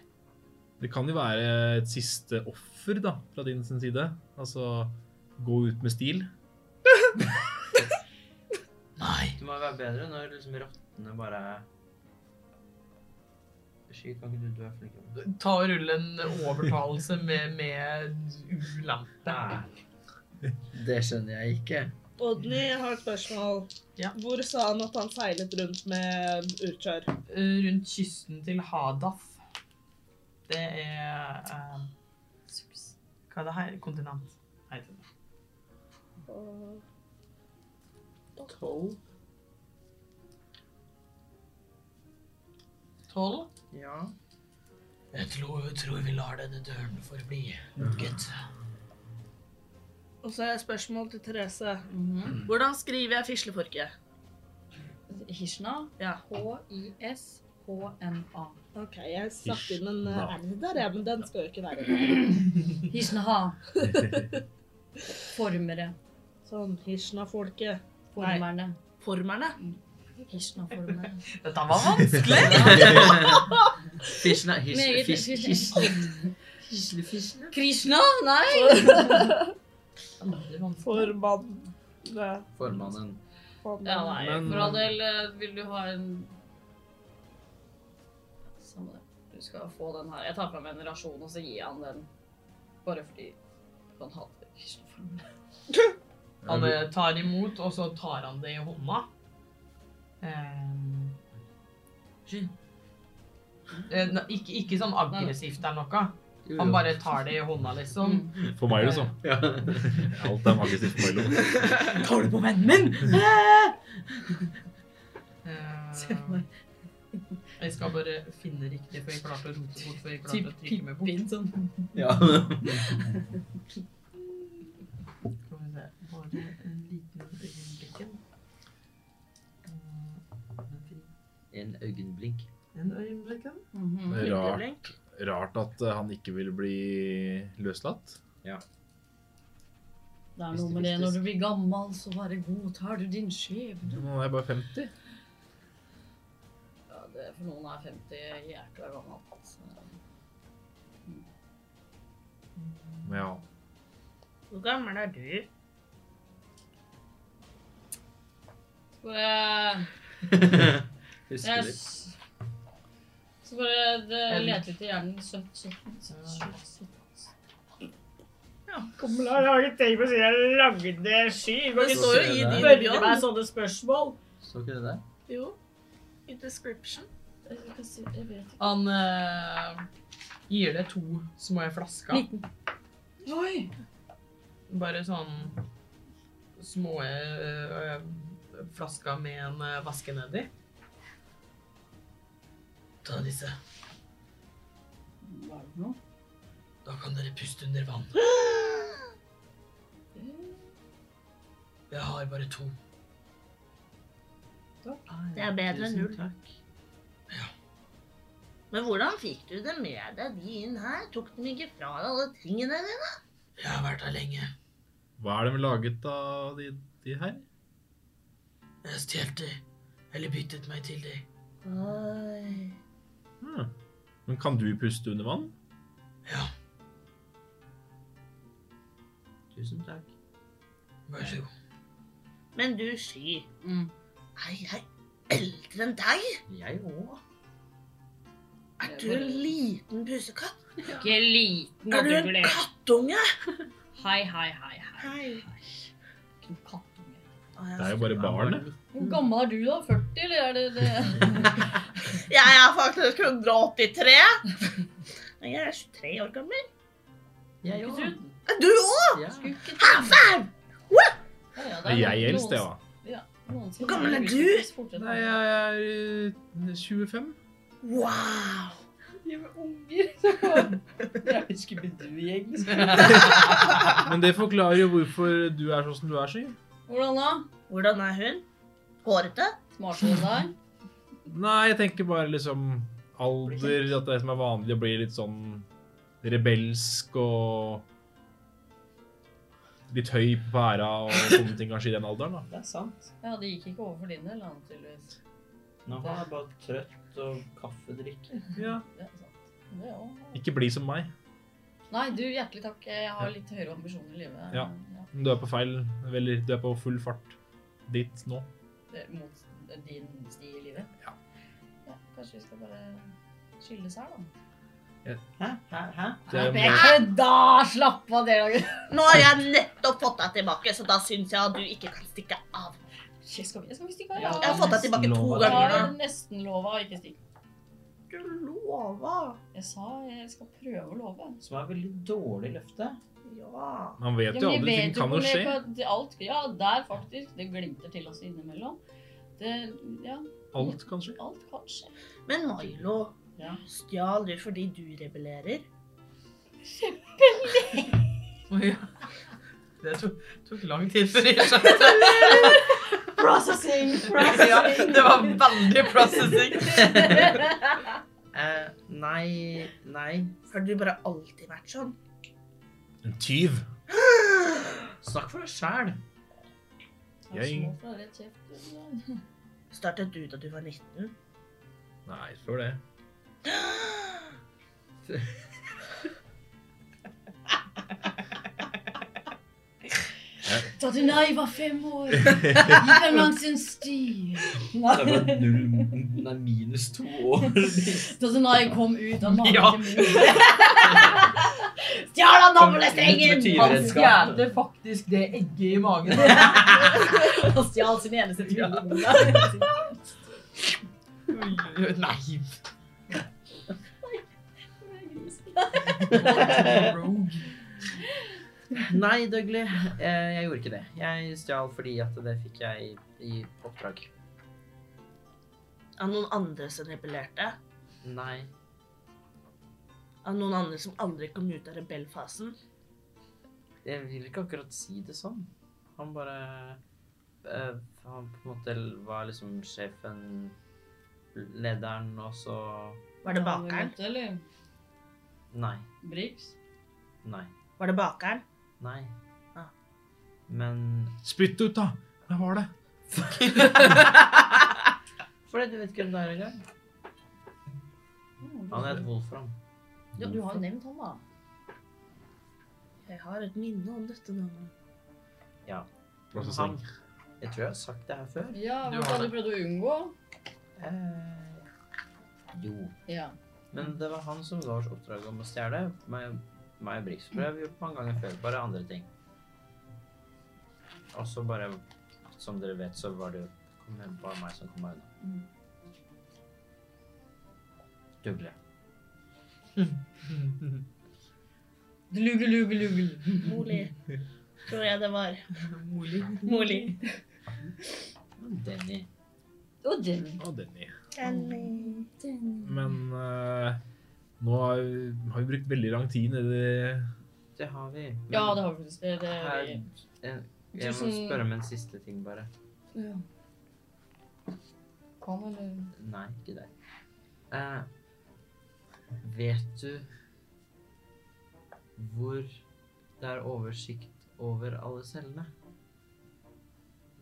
Det kan jo være et siste offer da, fra din sin side. Altså, gå ut med stil.
Nei.
Det må være bedre når liksom rottene bare Sky, kan ikke du du er flink?
Ta og rulle en overtalelse med, med ulempe.
Det skjønner jeg ikke.
Odny har et spørsmål.
Ja.
Hvor sa han at han seilet rundt med Urchar?
Rundt kysten til Hadaf. Det er eh, Hva er det her? Kontinent. Heter det.
Tolv?
Tolv.
Ja.
Jeg tror, tror vi lar denne døren forbli, gutt.
Og så er spørsmål til Therese.
Mhm.
Hvordan skriver jeg fisleforke?
Hirschna.
Ja.
H-i-s-h-n-a.
Ok, jeg slapp inn en eh,
Hysj.
R der, jeg, men den skal jo ikke være der.
Hirschna. Formere.
Sånn, Hishna-folket.
Formerne.
Formerne.
Hirschna-formerne.
Dette var vanskelig!
Fisjene
Meget
Fisjene Fisjene
Krishna? Nei!
Forbanne.
Formannen.
Ja, nei.
Men-
For all del, eh, vil du ha en Samme det. Du skal få den her. Jeg tar på meg en rasjon, og så gir jeg han den. Bare fordi han hater
Mm.
Krishna-formelen.
Han eh, tar imot, og så tar han det i hånda. Ehm.
Sky.
Eh, ne- ikke, ikke sånn aggressivt eller noe. Han bare tar det i hånda,
Sånn,
liksom.
Mm.
For Milo, så.
Ja.
Alt er magisk for liksom. Milo.
Tar du på vennen min?
Mm.
Eh, jeg skal bare finne riktig, for jeg klarte å rote bort. For jeg klarte å trykke meg bort.
Pippin sånn.
Ja.
Skal vi se. Bare en liten øyeblikk.
En øyenblink.
Eh, En øyeblikk.
Mhm.
Rart, rart at eh, han ikke vil bli løslatt.
Det er noe med det når du blir gammel, så bare godtar du din skjebne.
Nå er jeg bare 50.
Ja, det, for noen er altså. 50 jækla gammelt. så-
Men ja,
Hvor gammel er du?
Så bare
Husker
Jeg
du?
s- Så bare det
Eller-
leter litt i hjernen. 17, 17, 17, 17.
Kamla har ikke tenkt på siden jeg lagde sky. Kan
Det
ikke
står jo i
Så
din
spørre
bjørn.
meg sånne spørsmål?
Så ikke det der?
Jo. I description.
Jeg kan si- jeg vet ikke.
Han eh, gir det to små flasker.
Oi!
Bare sånn små eh, eh, flasker med en eh, væske nedi. Ta disse.
Hva er det for noe?
Da kan dere puste under vann. Jeg har bare to.
Det er bedre enn
Ah, Tusen
null.
Takk.
Men hvordan fikk du det med deg, de inn her? Tok de ikke fra deg alle tingene dine?
Jeg har vært her lenge.
Hva er de laget av, de, de her?
Jeg stjal det. Eller byttet meg til det.
Oi.
Hmm. Men kan du puste under vann?
Ja,
Tusen takk.
vær så god.
Men du, Sky,
Mm.
er jeg eldre enn deg?
Jeg òg.
Er du en liten pusekatt?
Ikke liten
Er
og
du en
dugle.
kattunge?
Hei, hei, hei. hei.
Hei.
Ikke noe kattunge.
Å, jeg
Det er jo bare barn, det.
Hvor gammel er du, da? 40, eller er det det?
Jeg er faktisk 183. Og Jeg er 23 år gammel.
Jeg
Ikke
òg.
trodd.
Er du òg?
Ja.
Skulle ikke Ja, ja, det
Er jeg
noen-
eldst, jeg, da?
noen som-
Hvor gammel er
noen
du?
som fortere-
Nei, jeg er eh, 25.
Wow.
De er unger. så- Jeg er Scooby-Doo-gjeng.
Men det forklarer jo hvorfor du er sånn som du er, Sky.
Hvordan da?
Hvordan er hun? Hårete?
Smartere enn deg?
Nei, jeg tenker bare liksom alder, at det er som er vanlig å bli litt sånn rebelsk og litt høy på pæra og sånne ting kanskje i den alderen, da.
Det er sant.
Ja, det gikk ikke over for din del, da, tydeligvis.
Nå er jeg bare trøtt og kaffedrikke.
Ja.
Det er sant. Det er også-
Ikke bli som meg.
Nei, du, hjertelig takk. Jeg har litt høyere ambisjoner i livet.
Ja. Du er på feil, eller du er på full fart dit nå.
Det er Mot din sti i livet.
Ja.
Ja, Kanskje vi skal bare skilles her, da.
Hæ? Hæ? Hæ?
Det er jo
Jeg
mer-
kødda! Slapp av, dere.
Nå har jeg nettopp fått deg tilbake, så da syns jeg at du ikke kan stikke av.
Shit, Skal vi, skal vi stikke av?
Ja,
Jeg har fått deg tilbake to
Jeg
ganger
har
nå.
nesten lova å ikke stikke.
Du lova.
Jeg sa jeg skal prøve å love.
Som er veldig dårlig løfte.
Ja.
Man vet jo
Ja, men vi
aldri, ting
vet jo
kan jo
hvor det-
skje.
på- det- Alt, ja, der faktisk. Det glimter til oss innimellom. Det, ja,
Alt kan skje.
alt kan skje.
Men Milo,
Ja.
stjal du fordi du rebellerer?
Oi, ja. Det tok, tok lang tid før jeg skjønte det.
Processing!
Ja, det var veldig processing.
Eh, nei, nei.
Har du bare alltid vært sånn?
En tyv.
Snakk for deg sjæl.
Jeg-
Små fra rett kjeft.
Startet du da du var 19?
Nei, før det.
Da du nei var fem år, gikk han langs en sti.
Det er bare null Nei, minus to år.
Da du nei kom ut av magen
Ja.
til mor. Stjal han navlestrengen!
Han
tyveredskap.
stjal faktisk det egget i magen.
Han stjal sin eneste tvilling.
Oi, oi, oi, Nei. Rogue.
Nei, Dougley. Eh, jeg gjorde ikke det. Jeg stjal fordi at det fikk jeg i oppdrag.
Av noen andre som rebellerte?
Nei.
Av noen andre som aldri kom ut av rebellfasen?
Jeg vil ikke akkurat si det sånn. Han bare eh, Han på en måte var liksom sjefen, lederen, og så
Var det bakeren?
Eller
Nei.
Brix.
Nei.
Var det bakeren?
Nei.
Ah.
Men
Spytt ut, da! Hva var det?
Fordi du vet ikke hvem det er engang. Han het Wolfram.
Ja, du har jo nevnt han, da.
Jeg har et minne om dette navnet.
Prosessing.
Jeg tror jeg har sagt det her før.
Ja,
Du
hva
har
hadde
det.
du prøvd å unngå?
Eh, jo.
Ja. Mm.
Men det var han som ga oss oppdraget om å stjele. Meg meg og Brix tror jeg vi har gjort mange ganger før. Bare andre ting. Og så bare Som dere vet, så var det kom- bare meg som kom meg unna.
Mm.
Dugle.
Glugel, glugel, glugel.
Moli, tror jeg det var.
Moli.
Moli.
Mm.
Denny.
Og Jenny.
Og Denny. Men eh, nå har vi- har vi brukt veldig lang tid nedi
Det har vi. Men
Ja, det har vi faktisk. Det, det,
her,
det.
jeg, jeg må
Tusen-
spørre om en siste ting, bare.
Ja. Kan eller
Nei, ikke deg. Eh, vet du hvor det er oversikt over alle cellene.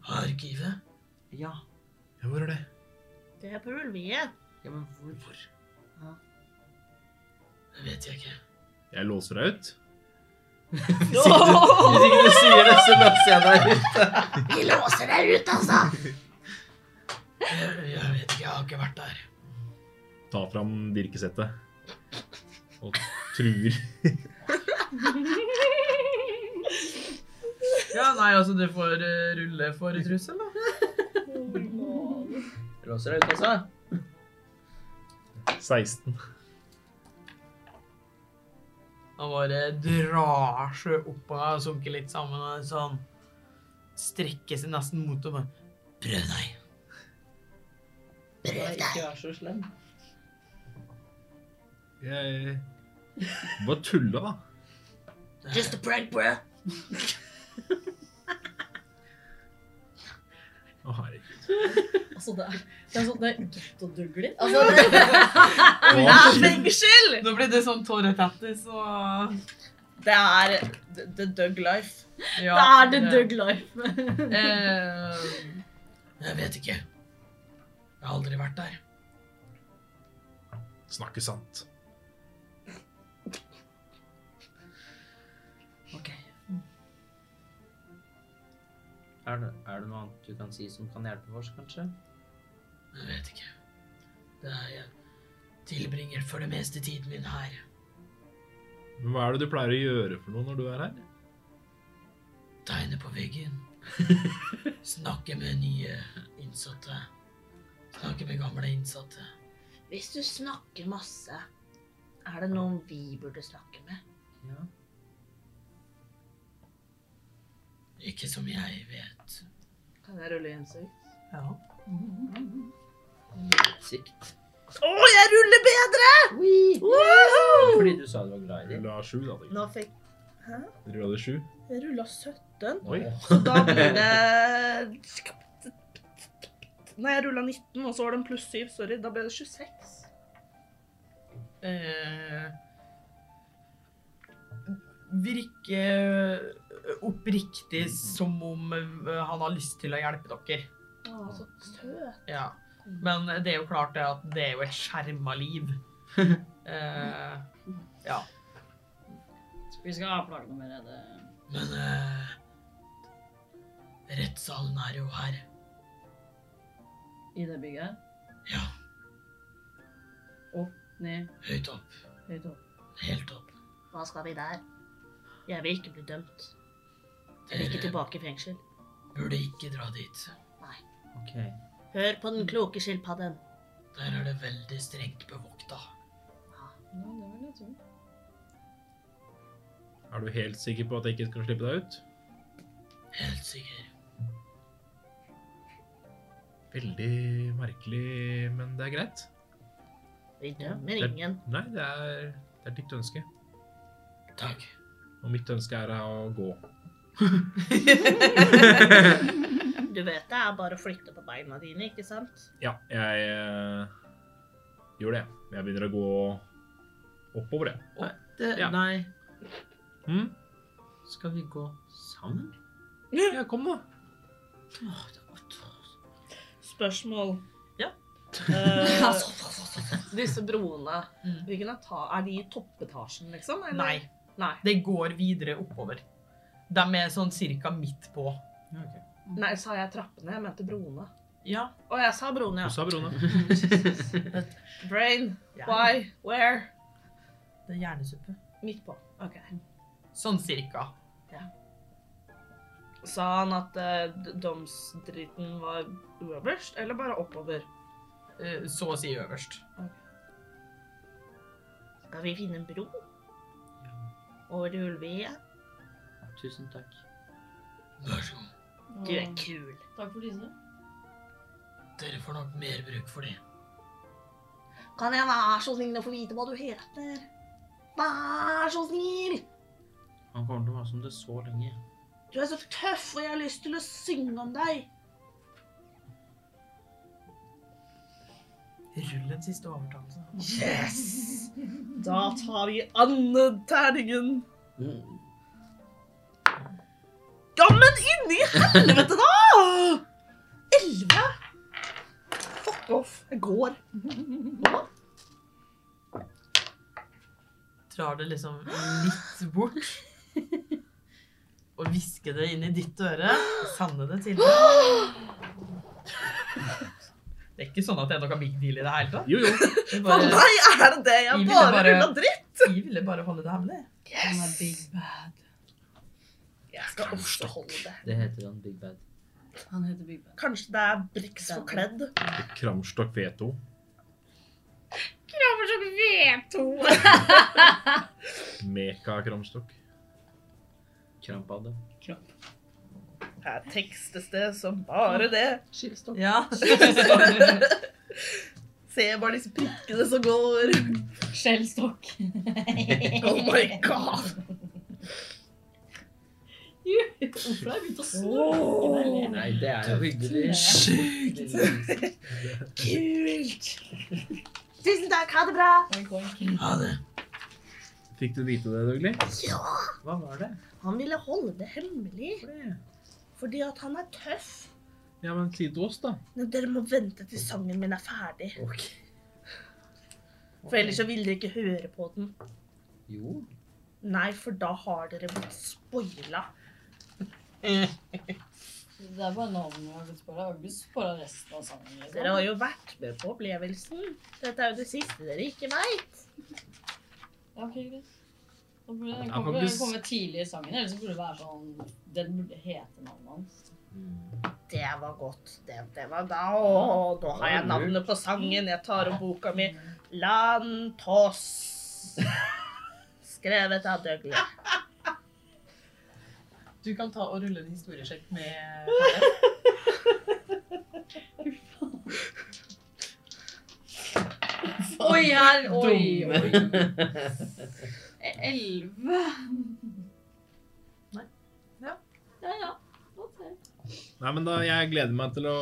Arkivet?
Ja.
Ja, hvor er det?
Det burde vi.
Ja, men hvor?
Det vet jeg ikke.
Jeg låser deg ut.
Hvis ikke du, hvis ikke du sier det, så løser jeg deg ut.
Vi låser deg ut, altså!
Jeg, jeg vet ikke, jeg har ikke vært der.
Ta fram dirkesettet. Og truer.
Ja, nei, altså, du får eh, rulle for trussel, da.
Låser deg ut, altså.
16.
Han bare drar seg opp av og sunker litt sammen, og sånn strekker seg nesten mot og bare Prøv deg.
Bare ikke vær så slem.
Jeg bare tulla, da.
Just a prank, bruh.
Å, herregud.
Altså, det er, det er sånn det er gettodugler. Altså, det,
Å, shit.
Fengsel!
Nå blir det sånn Tore Tattis og
Det er the, the Doug life.
ja,
det er the Doug life.
Eh, jeg vet ikke. Jeg har aldri vært der.
Snakke sant.
Ok. Er det, er det noe annet du kan si som kan hjelpe oss, kanskje?
Jeg vet ikke. Det er jeg tilbringer for det meste tiden min her.
Men hva er det du pleier å gjøre for noe når du er her?
Tegne på veggen. Snakke med nye innsatte. Snakke med gamle innsatte.
Hvis du snakker masse, er det noen vi burde snakke med?
Ja.
Ikke som jeg vet.
Kan jeg rulle innsikt?
Ja.
Sikt.
Å, jeg ruller bedre! Woohoo!
Fordi du sa du var glad i det.
Rulla sju, da. tenker
Nå fikk
jeg. Rulla det sju?
jeg rulla 17.
Oi.
Så da blir det Nei, jeg rulla 19, og så var det en pluss 7. Sorry. Da ble det 26.
eh, virker oppriktig som om eh, han har lyst til å hjelpe dere.
Å, så
Altså-
søt.
Ja. Men det er jo klart det at det er jo et skjerma liv. eh, ja.
Vi skal plage noe mer. Det.
Men eh, rettssalen er jo her.
I det bygget her.
Ja,
Opp, ned,
høyt opp.
høyt opp.
Helt opp.
Hva skal vi der? Jeg vil ikke bli dømt. Jeg vil ikke tilbake i fengsel.
Burde ikke dra dit.
Ok.
Hør på den kloke skilpadden.
Der er det veldig strengt bevokta.
Ja, det vil jeg tro.
Er du helt sikker på at jeg ikke skal slippe deg ut?
Helt sikker.
Veldig merkelig, men det er greit.
Vi dømmer
Det er-
ingen.
Nei, det er, det er ditt ønske.
Takk.
Og mitt ønske er å gå.
Du vet det er bare å flytte på beina dine, ikke sant?
Ja, jeg eh, gjør det. Jeg begynner å gå oppover, jeg.
Det,
Ja.
Nei,
Mm?
skal vi gå sammen?
Ja, kom da.
Spørsmål.
Ja.
Eh,
Disse broene,
Mm.
hvilken eta er de i toppetasjen, liksom? eller?
Nei.
Nei.
Det går videre oppover. De er sånn cirka midt på.
Ja, ok.
Nei, sa jeg trappene? Jeg mente broene.
Ja.
Å, jeg sa broene,
Du
ja.
sa Brone.
Brain,
Ja.
why, where?
Det er hjernesuppe.
Midt på. Ok.
Sånn cirka.
Sa han at eh, d- domsdriten var øverst, eller bare oppover?
Eh, Så å si øverst.
Skal vi finne en bro? Over til Ulvia?
Tusen takk.
Vær så god.
Du
Mm.
er kul.
Takk for disse.
Dere får nok mer bruk for det.
Kan jeg være så snill å få vite hva du heter? Vær så snill!
Han kommer til å være som det så lenge.
Du er så tøff, og jeg har lyst til å synge om deg.
Rull en siste overtalelse.
Yes! Da tar vi andeterningen. Ja, men inni helvete, da! Elleve? Fuck off. Jeg går.
Drar det liksom litt bort. Og hvisker det inn i ditt øre. Sende det til deg. Det er ikke sånn at det er noe big deal i det hele tatt.
Jo, jo.
Vi
For
bare,
meg er det det. Jeg
Vi
har
ville
bare,
bare-
rullet dritt.
vi ville bare holde det hemmelig.
Han er big bad.
Jeg skal også holde det.
Det heter han Big Bad.
Han heter Big Bad.
Kanskje det er Brix forkledd.
Kramstokk V2.
Krammer som V2.
Meka-kramstokk.
Krampade.
Her tekstes det som bare det.
Ja.
Se bare liksom disse prikkene som går.
Skjellstokk.
Oh my god.
Hvorfor har jeg begynt å snurre?
Nei, det er jo hyggelig. Sjukt!
Kult.
Tusen takk, ha det bra!
Fikk du vite det, Dougley?
Hva var det?
Han ville holde det hemmelig
For det?
fordi at han er tøff.
Ja, men si det til oss, da.
Men dere må vente til sangen min er ferdig.
Ok.
For ellers så vil dere ikke høre på den.
Jo.
Nei, for da har dere blitt spoila.
Det er bare navnet jeg har blitt spora. Jeg har ikke spora resten av sangen.
Dere
Liksom.
har jo vært med på opplevelsen. Dette er jo det siste dere ikke veit.
Ja, ok, greit. Da burde
Jeg
den
kan
komme,
ikke
den
s-
komme tidlig i sangen, eller så burde det være sånn Den burde hete navnet hans.
Det var godt. Det, det var da. Å, nå har jeg navnet på sangen. Jeg tar opp boka mi. Lantos. Skrevet av Dougley.
Du kan ta og rulle en historiesjekk med
Oi her! Oi, oi. E- Elleve.
Nei. Ja.
Ja, ja. Ok.
Nei, men da, jeg gleder meg til å,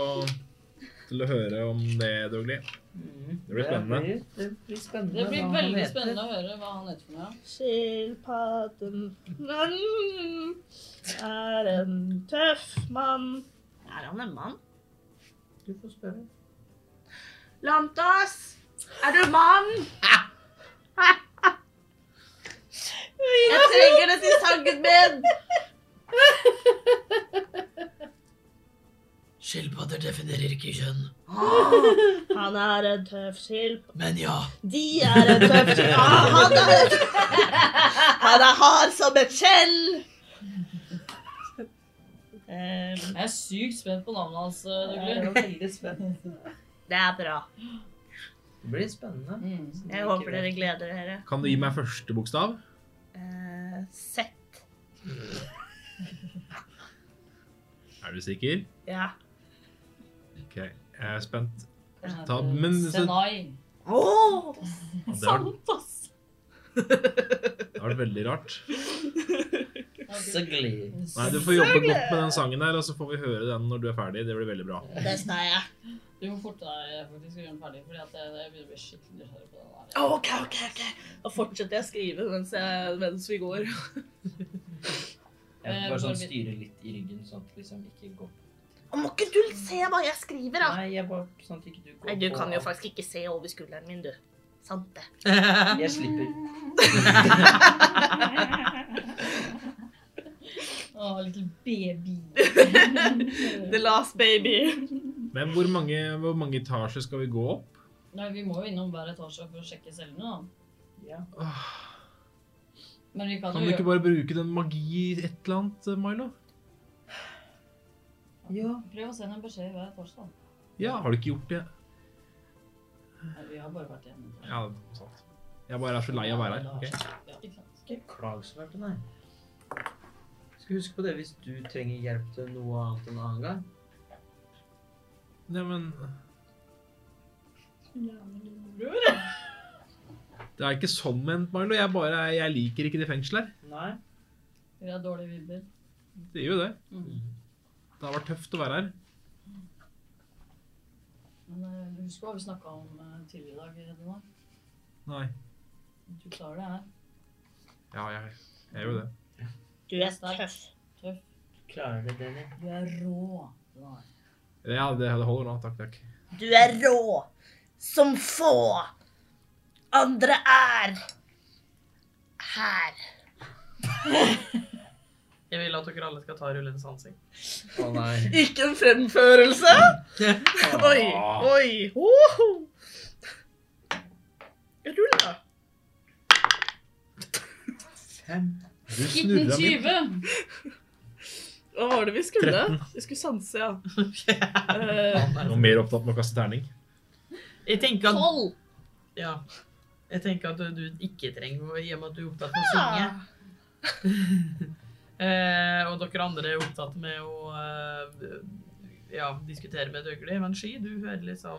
til å høre om det, Dougley. Det blir spennende.
Mm. Det blir spennende.
Det blir veldig spennende å høre hva han heter for noe.
Skilpadden mm, er en tøff mann. Er han en mann?
Du får spørre.
Lantas, er du mann? Jeg trenger det til sangen min!
Skilpadder definerer ikke kjønn.
Han er en tøff skilp.
Men ja.
De er en tøff skilp. Ah, han, er, han er hard som et skjell. Eh,
Jeg er sykt spent på navnet hans. eh,
Jeg
Douglas.
Veldig spennende.
det er bra.
Det blir spennende.
Mm.
Jeg håper dere gleder dere.
Kan du gi meg første bokstav?
Eh, sett.
Er du sikker?
Ja.
Ok, jeg er spent.
Han heter
Ta- men så-
Senai.
Åh!
Det har,
Sant, ass!
det har vært veldig rart.
Så gleder
Nei, du får jobbe godt med den sangen der, og så får vi høre den når du er ferdig. Det blir veldig bra.
Det skal jeg.
Du må forte deg eh, faktisk å gjøre den ferdig, fordi at eh, jeg, jeg begynner å bli skikkelig nysgjerrig på den der.
Ok, ok, ok. Da fortsetter jeg å skrive mens, jeg, mens vi går.
Jeg
Eh,
bare sånn
bare-
styre litt i ryggen, sånn at det liksom ikke går
Må ikke du se hva jeg skriver, da?
Nei, jeg bare sånn at ikke du går
Nei, du
på
kan jo
alt.
faktisk ikke se over skulderen min, du. Sant det.
Jeg slipper.
Å, little baby.
The last baby.
Men hvor mange, hvor mange etasjer skal vi gå opp?
Nei, vi må jo innom hver etasje for å sjekke cellene, da.
Ja.
Åh,
Men Altså, vi kan,
Kan du
jo
ikke
gjøre...
bare bruke den magi i et eller annet, eh, Milo?
ja.
Prøv å sende en beskjed i hver etasje, da.
Ja, har du ikke gjort det?
Nei, vi har bare vært igjen.
Ja, sant. Jeg bare er så lei av å være her. ok?
Ja, ikke sant.
Ikke klag så fælt til deg. Skal huske på det hvis du trenger hjelp til noe annet en annen gang.
Nei, men Det er ikke sånn ment, Milo. Jeg bare, jeg liker ikke det fengselet her.
Nei.
Vi har dårlige vibber.
Det gjør jo det.
Mm.
Det har vært tøft å være her.
Men eh, du husker hva vi snakket om eh, tidligere i dag, Edna?
Nei.
Du klarer det her.
Ja, jeg, jeg gjør jo det.
Du er tøff.
Tøff. Klarer du det? Du er rå.
Ja, det det holder nå. Takk, takk.
Du er rå. Som få. Andre er her.
Jeg vil at dere alle skal ta rullens sansing.
Å nei.
Ikke en fremførelse! Oi, oi, hoho! Rull, da.
Fem.
Du snurra min.
1920.
Hva var det vi skulle? Vi skulle sanse, ja. Eh,
Jeg var mer opptatt med å kaste terning.
Jeg tenker at,
12.
ja, jeg tenker at du ikke trenger å- i og med at du er opptatt med å synge. Eh, og dere andre er opptatt med å eh, ja, diskutere med Døgli. Men Sky, du hører liksom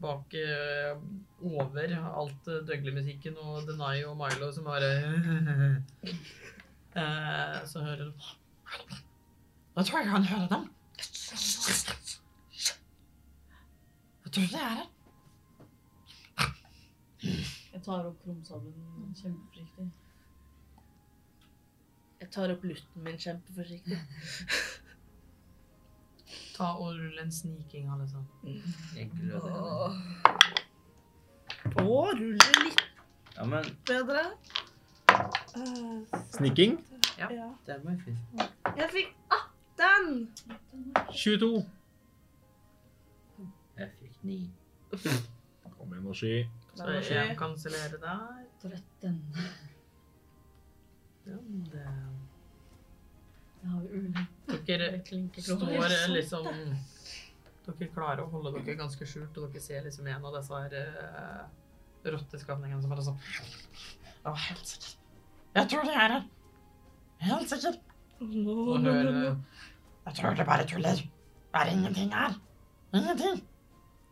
bak eh, over alt eh, Døgli-musikken og Denai og Milo som bare eh, Så hører du Da tror jeg han hører dem. Jeg tror det er her.
Jeg tar opp krumsabelen kjempeforsiktig.
Jeg tar opp lutten min kjempeforsiktig.
Ta og rull en sniking, alle sammen.
Jeg gløder.
Å, ruller litt
Ja, men
bedre. Eh,
Sniking
ja.
det var fint.
Jeg fikk 18!
22.
Jeg fikk ni.
Kom igjen, Oshi.
Så jeg kansellerer der.
13.
Den, den.
Jeg har ulykke.
Dere
Står
står liksom Dere klarer å holde dere ganske skjult, og dere ser liksom en av disse her eh, rotteskapningene som bare sånn Jeg var helt sikker. Jeg tror det er her. Helt sikker. Og hører eh, Jeg tror det bare tuller. Det er ingenting her. Ingenting.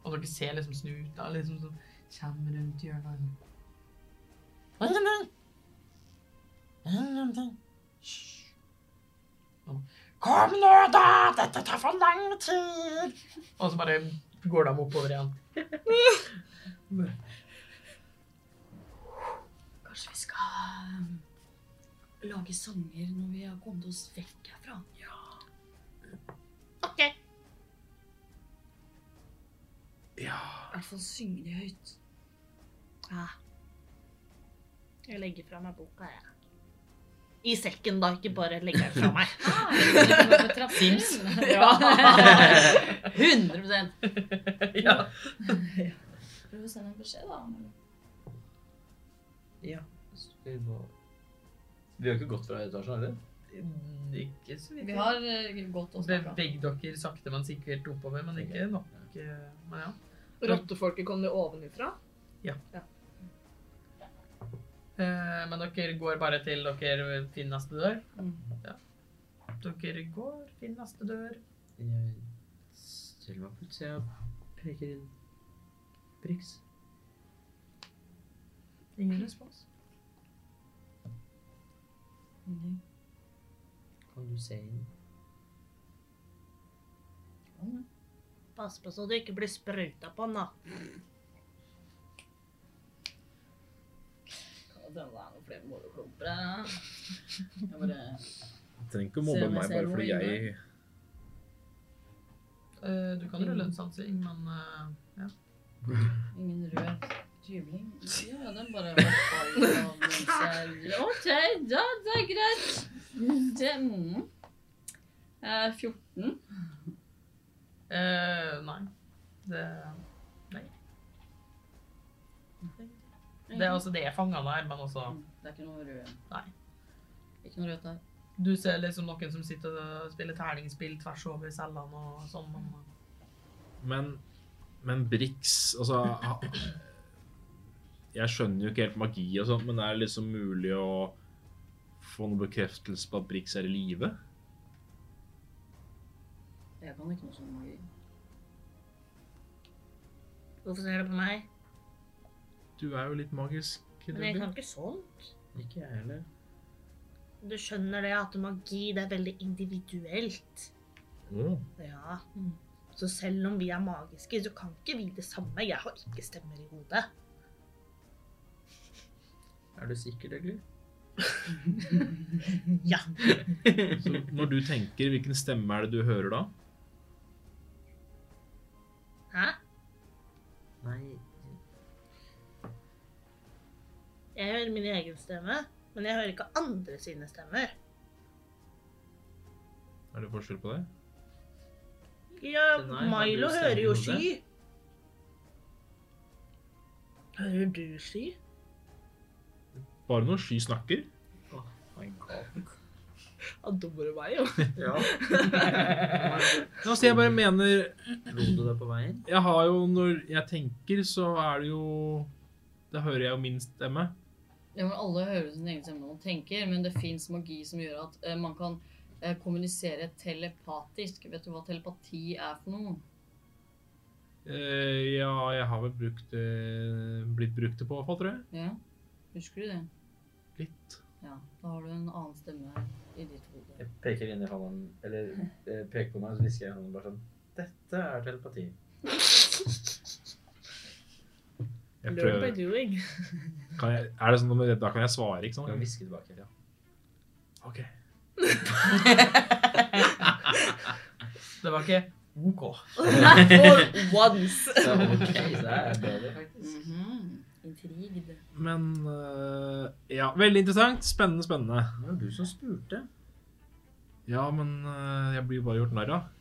Og dere ser liksom snuta liksom sånn Kjem rundt hjørnet og sånn. Ingenting. Ingenting. Hysj. Kom nå, da! Dette tar for lang tid! Og så bare går de oppover igjen.
Kanskje vi skal um, lage sanger når vi har kommet oss vekk herfra?
Ja.
I hvert fall synge de høyt.
Jeg legger fra meg boka, jeg. I sekken, da. Ikke bare legger den fra meg.
Sims. Ja.
Ja.
100
Ja.
Prøv å sende en beskjed, da.
Ja. Skal vi gå Vi har ikke gått fra etasjen, har vi?
Ikke så vidt.
Vi har eh, gått og snakka.
Beveg dere sakte, men sikkert oppover, men ikke nok. eh, Men ja.
Rottefolket kom det ovenifra.
Eh, Men dere går bare til dere finner neste dør.
Mm.
Ja. Dere går, finner neste dør.
Jeg stiller meg på utsida og peker inn Brix.
Ingen respons.
Kan du se inn?
Pass på så du ikke blir sprøyta på den, da.
Kan det hende det er noen flere måleklumper her? Jeg bare
Trenger ikke å
Se
mobbe
om jeg
meg
ser
bare
noe
fordi jeg
Eh, Du kan
Mm.
rulle en sansing, men eh, ja.
Ingen rød tyvling? Ja, den bare faller av mens jeg OK, da, det er greit. Det mm. Eh, 14.
Eh, Nei. Det Nei. Det
Mm.
er altså det er fanga der, men også
Det er ikke noe rød.
Nei.
Ikke noe rødt der.
Du ser liksom noen som sitter og spiller terningspill tvers over cellene og sånn. men
Men, men Brix Altså ha- Jeg skjønner jo ikke helt magi og sånt, men er det liksom mulig å få noen bekreftelse på at Brix er i live?
Jeg kan ikke noe sånn magi.
Hvorfor ser du på meg?
Du er jo litt magisk.
Men jeg
Dudley.
kan ikke sånn.
Ikke jeg heller.
Du skjønner det at magi, det er veldig individuelt.
Å,
Ja. Så selv om vi er magiske, så kan ikke vi det samme. Jeg har ikke stemmer i hodet.
Er du sikker, egentlig?
Ja.
Så når du tenker, hvilken stemme er det du hører da?
Hæ?
Nei,
Jeg hører min egen stemme, men jeg hører ikke andre sine stemmer.
Er det forskjell på det?
Ja,
Men nei, har
Milo
du stemme
hører
i
jo
hodet?
sky. Hører du sky?
Bare når sky snakker?
Han dummer meg, jo.
Ja.
Ja, altså, jeg bare mener
Lo du deg på veien?
Jeg har jo Når jeg tenker, så er det jo Da hører jeg jo min stemme.
Ja, men alle hører sin egen stemme når man tenker, men det fins magi som gjør at eh, man kan eh, kommunisere telepatisk. Vet du hva telepati er for noe?
Eh, ja, jeg har vel brukt det Blitt brukt det på, i hvert fall, tror jeg.
Ja, Husker du det?
Litt.
Ja. Da har du en annen stemme i ditt hode.
Jeg peker inn i hånden, eller eh, peker på meg, så hvisker jeg i hånden bare sånn Dette er telepati.
Jeg
Learn by
prøver.
doing.
Kan jeg, er det sånn at Da kan jeg svare, ikke
Og
sant?
hvisker tilbake. Ja.
Ok.
Det var ikke OK.
For once.
Så, ok, så det er bedre, faktisk.
Mhm. Intrigd.
Men eh, Ja, veldig interessant. Spennende, spennende.
Det var du som spurte.
Ja, men eh, jeg blir jo bare gjort narr av.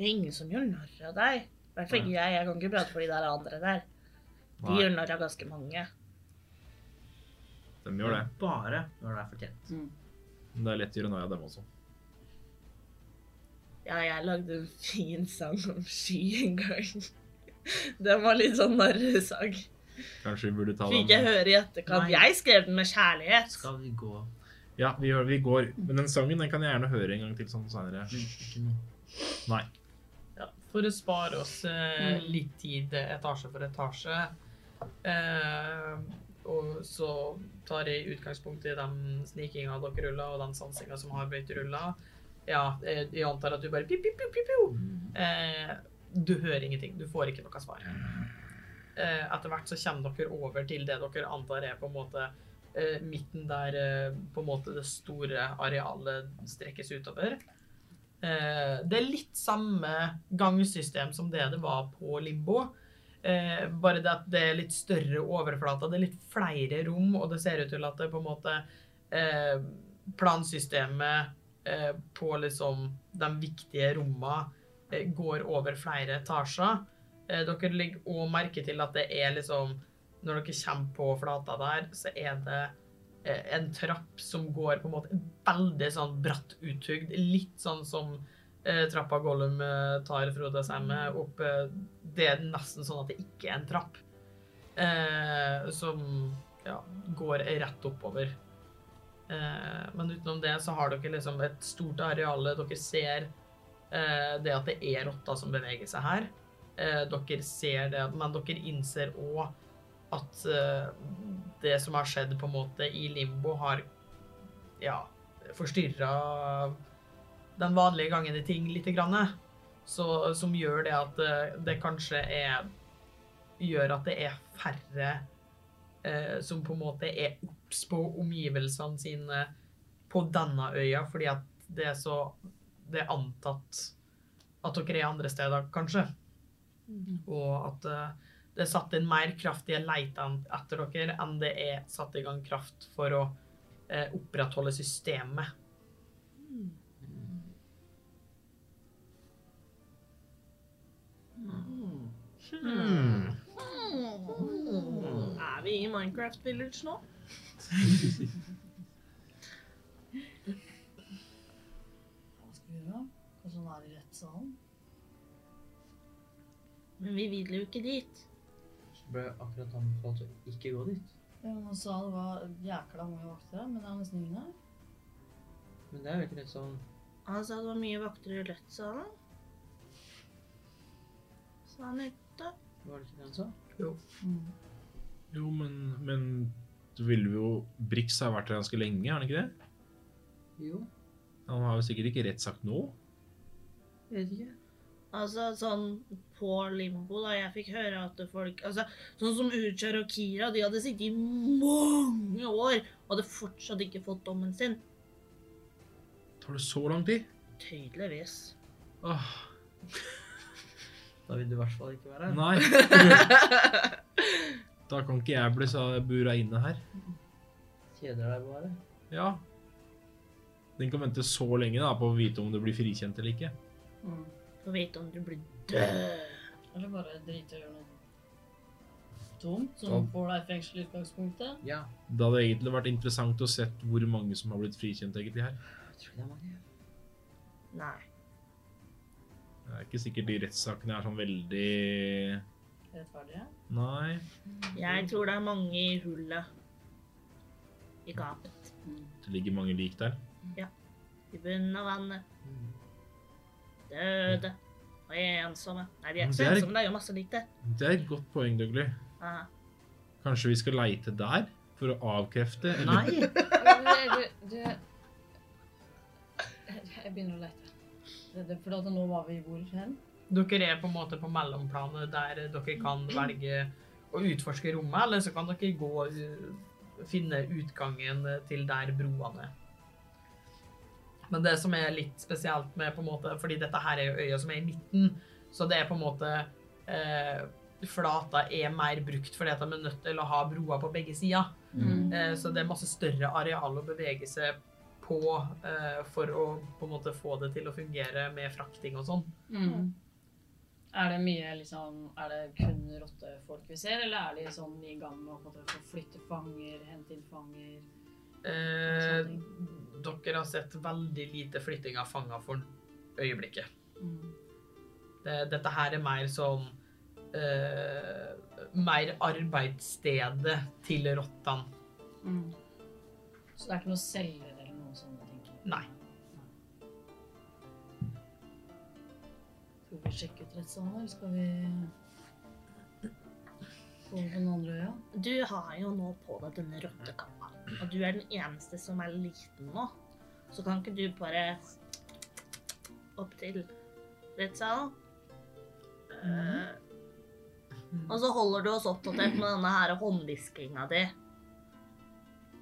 Det er ingen som gjør narr av deg. I hvert fall ikke jeg. Jeg kan ikke prate for de der andre der. De
Nei,
gjør narr av ganske mange.
de gjør det.
Bare når det er fortjent.
Men det er lett å gjøre narr av dem også.
Ja, jeg lagde en fin sang om sky en gang. Den var litt sånn narresang.
Kanskje vi burde ta
Fikk jeg
dem
høre i etterkant.
Nei.
Jeg skrev den med kjærlighet.
Skal vi gå
Ja, vi, gjør- vi går. Men den sangen den kan jeg gjerne høre en gang til sånn seinere.
Men ikke nå.
Ja, for å spare oss eh, litt tid eh, etasje for etasje. Eh, og så tar jeg utgangspunkt i den snikinga dere ruller, og den sansinga som har blitt rulla. Ja, eh, jeg antar at du bare pip, pip, pip, pip, pip. Eh, Du hører ingenting. Du får ikke noe svar. Eh, etter hvert så kommer dere over til det dere antar er på en måte eh, midten der eh, på en måte det store arealet strekkes utover. Eh, det er litt samme gangsystem som det det var på Limbo. Eh, bare det at det er litt større overflater, det er litt flere rom, og det ser ut til at det på en måte eh, Plansystemet eh, på liksom de viktige rommene eh, går over flere etasjer. Eh, dere legger òg merke til at det er liksom Når dere kommer på flata der, så er det eh, en trapp som går på en måte veldig sånn bratt uttugd. Litt sånn som eh, trappa Gollum eh, tar Frode seg med opp. Eh, det er nesten sånn at det ikke er en trapp. Eh, som ja, går rett oppover. Eh, men utenom det så har dere liksom et stort areale. Dere ser eh, det at det er rotter som beveger seg her. Eh, dere ser det, men dere innser òg at eh, det som har skjedd på en måte i limbo, har ja, forstyrra den vanlige gangen i ting litt. Grann, så, som gjør det at eh, det kanskje er Gjør at det er færre eh, som på en måte er obs på omgivelsene sine på denne øya, fordi at det er så Det er antatt at dere er andre steder, kanskje. Og at eh, det er satt inn mer kraftige leitene etter dere enn det er satt i gang kraft for å eh, opprettholde systemet.
Hmm.
Hmm.
Mm.
Er vi i Minecraft Village nå?
Hva skal vi gjøre? Kanskje han er i rettssalen?
Men vi vil jo ikke dit.
Så ble jeg akkurat anbefalt å ikke gå dit.
Ja, men Han sa det var jækla mange vakter, men det er nesten ingen her.
Men det er jo ikke rett sånn
Han
Altså,
sa det var mye vakter i rettssalen. Sa han ute.
Var det ikke det han sa?
Mm.
Jo, men, men du ville jo Brix har vært her ganske lenge, har han ikke det?
Jo.
Han har jo sikkert ikke rett sagt nå.
Jeg vet ikke.
Altså sånn
på limbo da jeg fikk høre at folk altså, Sånn som Uchar og Kira, de hadde sittet i mange år og hadde fortsatt ikke fått dommen sin.
Tar det så lang tid?
Tydeligvis.
Åh,
Da vil du i hvert fall ikke være her.
nei. Da kan ikke jeg bli sa- bura inne her.
Kjeder deg bare.
Ja. Den kan vente så lenge da, på å vite om du blir frikjent eller ikke.
Mm.
Få vite om du blir død.
Eller bare drite i å gjøre noe dumt som
Ja.
får deg i fengsel i utgangspunktet.
Ja.
Det hadde egentlig vært interessant å sett hvor mange som har blitt frikjent egentlig her.
Jeg tror det er mange.
Nei.
Det er ikke sikkert de rettssakene er sånn veldig...
Rettferdige.
Nei.
Jeg tror det er mange i hullet. I gapet.
Det ligger mange lik der.
I bunnen av vannet.
Mm.
Døde. Og ensomme. Nei, de er
Men det
ikke så
er-
ensomme, det er jo masse likt der.
Det er et godt poeng, Dougley.
Aha.
Kanskje vi skal leite der for å avkrefte? eller-
Nei!
Du, du, du Jeg begynner å lete. Det, det, for at nå var vi hvor hen?
Dere er på en måte på mellomplanet der dere kan velge å utforske rommet, eller så kan dere gå og uh, finne utgangen til der broene er. Men det som er litt spesielt med på en måte, fordi dette her er jo øya som er i midten, så det er på en måte eh, flata er mer brukt fordi at de er nødt til å ha broer på begge sider. Eh, så det er masse større areal å bevege seg på eh, for å på en måte få det til å fungere med frakting og sånn.
Mm. Er det mye liksom Er det kun rottefolk vi ser, eller er de sånn i gang med å på en måte forflytte fanger, hente inn fanger?
Eh, dere har sett veldig lite flytting av fanger for øyeblikket.
Mm.
Det, dette her er mer sånn eh, Mer arbeidsstedet til rottene.
Mm. Så det er ikke noe selger eller noe sånt? jeg tenker.
Nei.
Skal vi sjekke ut rettssalen, eller skal vi gå på den andre øya?
Du har jo nå på deg denne rottekamma, og du er den eneste som er liten nå. Så kan ikke du bare opp til rettssalen? Eh, Og så holder du oss oppdatert med denne her håndviskinga di.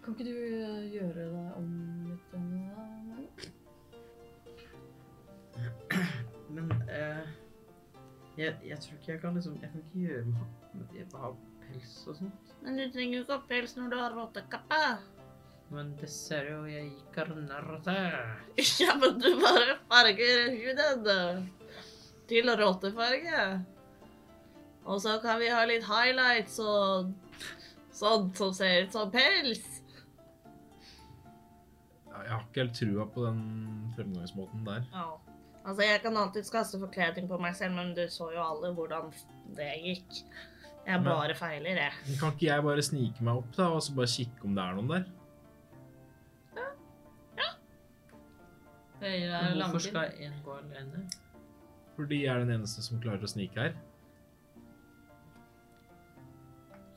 Kan ikke du eh, gjøre deg om litt? Anna?
Men eh, jeg, jeg tror ikke jeg kan liksom Jeg kan ikke gjøre meg Jeg har pels og sånn. sånt.
Men du trenger jo ikke ha pels når du har rottekappe.
Men det ser jo jeg ikke har nærmere.
Ja, men du bare farger huden til rottefarge. Og så kan vi ha litt highlights og sånt som ser ut som pels.
Jeg har ikke helt trua på den fremgangsmåten der.
Ja. Altså, jeg kan alltids kaste forkledning på meg selv, men du så jo alle hvordan det gikk. Jeg
Men-
bare feiler, jeg.
Men Kan ikke jeg bare snike meg opp da, og så bare kikke om det er noen der?
Det gir deg
Men
lang
Hvorfor
tid.
skal en gå alene?
Fordi jeg er den eneste som klarer å snike her.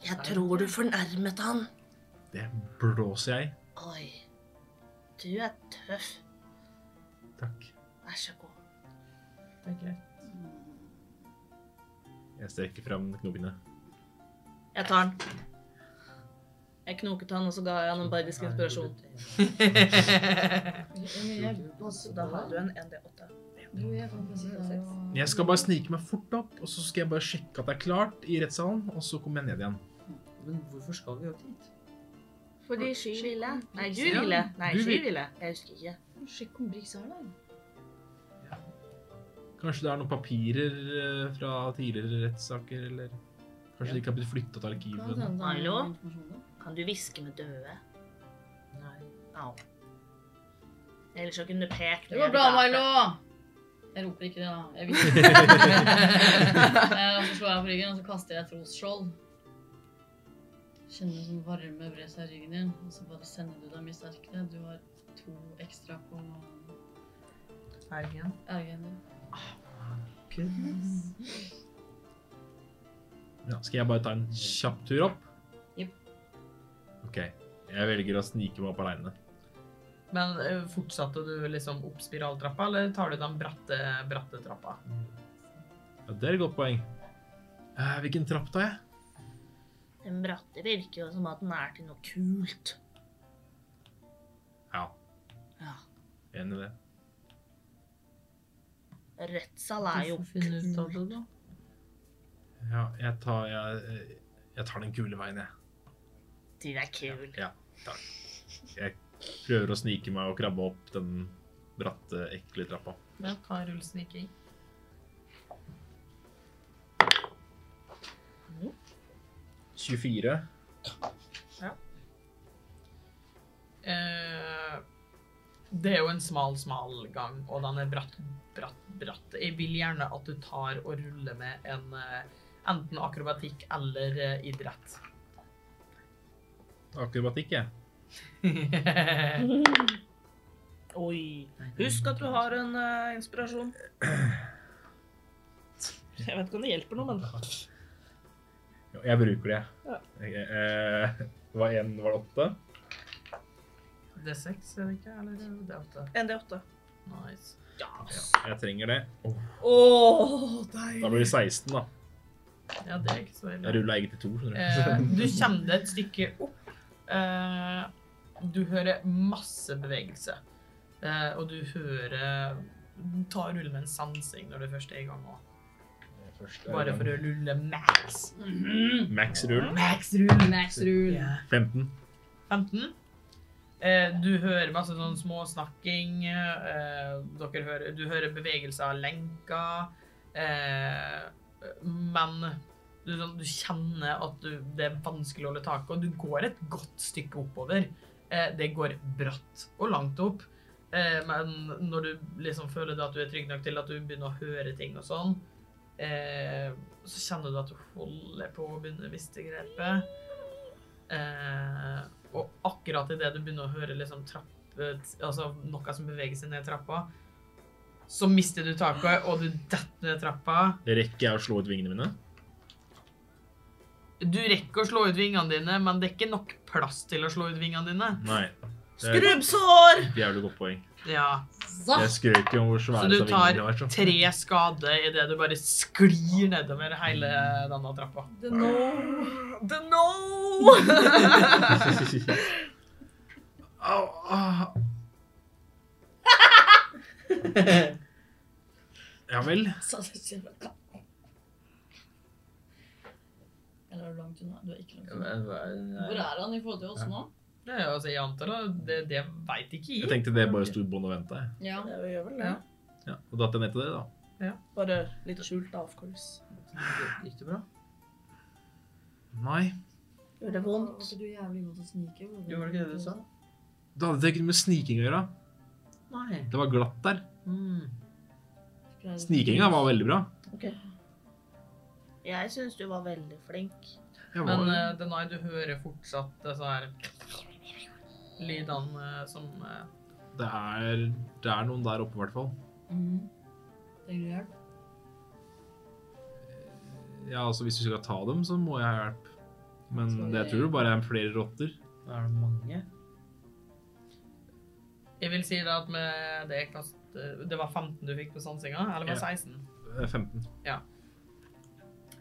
Jeg tror du fornærmet han.
Det blåser jeg.
Oi. Du er tøff.
Takk.
Vær så god.
Det er greit.
Jeg strekker frem knobbene.
Jeg tar den. Jeg knoket han, og så ga jeg han en bardisk inspirasjon.
Jeg altså,
Da har du en 1D8.
Jeg skal bare snike meg fort opp, og så skal jeg bare sjekke at det er klart i rettssalen, og så kommer jeg ned igjen.
Men hvorfor skal vi opp dit?
Fordi sky ville. Nei, du
Ja,
ville. Nei,
du
sky
vil.
ville. Jeg husker ikke.
Sjekk om Brix er der.
Kanskje det er noen papirer eh, fra tidligere rettssaker, eller Kanskje de ikke har blitt flyttet til
Kan
arkivet.
hende det er
Hallo?
noe informasjon der.
Kan du hviske med døde?
Nei.
Au. Ellers så kunne du pekt.
Det går bra, Milo! Jeg roper ikke det, da. Jeg visste det. Eh, og så slår jeg på ryggen, og så kaster jeg et trosskjold. Kjenner som varme brer seg i ryggen din, og så bare sender du deg mye sterkere. Du har to ekstra på
Elgen.
ergen din.
Ja, skal jeg bare ta en kjapp tur opp?
Jep.
OK. Jeg velger å snike meg opp aleine.
Men eh, fortsatte du liksom opp spiraltrappa, eller tar du den bratte, bratte trappa?
Ja, det er et godt poeng. Eh, hvilken trapp tar jeg?
Den bratte virker jo som at den er til noe kult.
Ja.
Ja.
Enig i det.
Rettssal er jo
finne ut av det, da.
Ja, jeg tar, jeg, eh, jeg tar den kule veien, jeg.
Den er kul.
Jeg prøver å snike meg og krabbe opp den bratte, ekle trappa.
Men ta rullsniking.
Mm.
24.
Eh, det er jo en smal, smal gang, og den er bratt, bratt, bratt. Jeg vil gjerne at du tar og ruller med en eh, enten akrobatikk eller eh, idrett.
Akrobatikk, jeg.
Oi. Husk at du har en eh, inspirasjon. Jeg vet ikke om det hjelper noe, men
Jo, Jeg bruker det.
Ja.
Jeg, eh, det var en, var det åtte?
Det er seks, er det ikke? Eller er det åtte?
ND8.
Nice.
Jeg trenger det.
Å,
Da
deilig.
blir det 16, da.
Ja, det er ikke så ille.
Jeg rulla eget til to. skjønner
Eh,
du.
du kommer deg et stykke opp. Eh, du hører masse bevegelse. Eh, og du hører Ta og rull med en sansing når du først er i gang òg.
Først er
Eh, Bare
det
for å rulle max.
Max-rullen.
Max rull!
Mm-hmm. Max rule.
15.
15. Eh, du hører masse sånn småsnakking. Eh, dere hører, du hører bevegelser av lenker. Eh, men du, sånn, du kjenner at du, det er vanskelig å holde tak på. Du går et godt stykke oppover. Eh, det går bratt og langt opp. Eh, men når du liksom føler at du er trygg nok til at du begynner å høre ting og sånn, eh, så kjenner du at du holder på å begynne å miste grepet. Eh, og akkurat i det du begynner å høre liksom trapp- altså noe som beveger seg ned trappa, så mister du taket, og du detter ned trappa.
Rekker jeg å slå ut vingene mine?
Du rekker å slå ut vingene dine, men det er ikke nok plass til å slå ut vingene dine.
Nei. Det er
Skrubbsår!
et jævlig godt poeng.
Ja,
Så,
Jeg skrøt jo om hvor
Så
svære
du
disse
tar
vingene var. Så.
Tre skader idet du bare sklir nedover hele denne trappa.
the no.
The no!
Au, au. Ja vel.
Så det ser bra ut. Eller er du langt unna? Du er ikke langt
eh,
unna. Hvor
Hvor
er han i forhold til oss nå?
Det er jo altså, jeg antar da, det, det veit ikke
Jeg
jeg.
tenkte det bare sto i bånn og venta.
Ja.
Ja, vi gjør vel det.
Ja, og datt jeg ned til det, da.
Bare litt skjult, da, of course.
Gikk det bra?
Nei.
Gjør det vondt?
Var ikke du jævlig god til å snike?
Jo, var det ikke det du sa?
Det hadde det ikke noe med sniking å gjøre.
Nei.
Det var glatt der.
Mm.
Snikinga var veldig bra.
Jeg syns du var veldig flink.
Jeg var,
Men uh, Denai, du hører fortsatt disse her lydene eh, som eh,
det, er, det er noen der oppe, i hvert fall.
Mhm. Trenger du hjelp?
Ja, altså Hvis du skal ta dem, så må jeg ha hjelp. Men det jeg tror jeg bare er flere rotter.
Da er det mange.
Jeg vil si da at med det kast, eh, Det var 15 du fikk på sansinga, eller var
Ja.
det 16?
Eh, 15.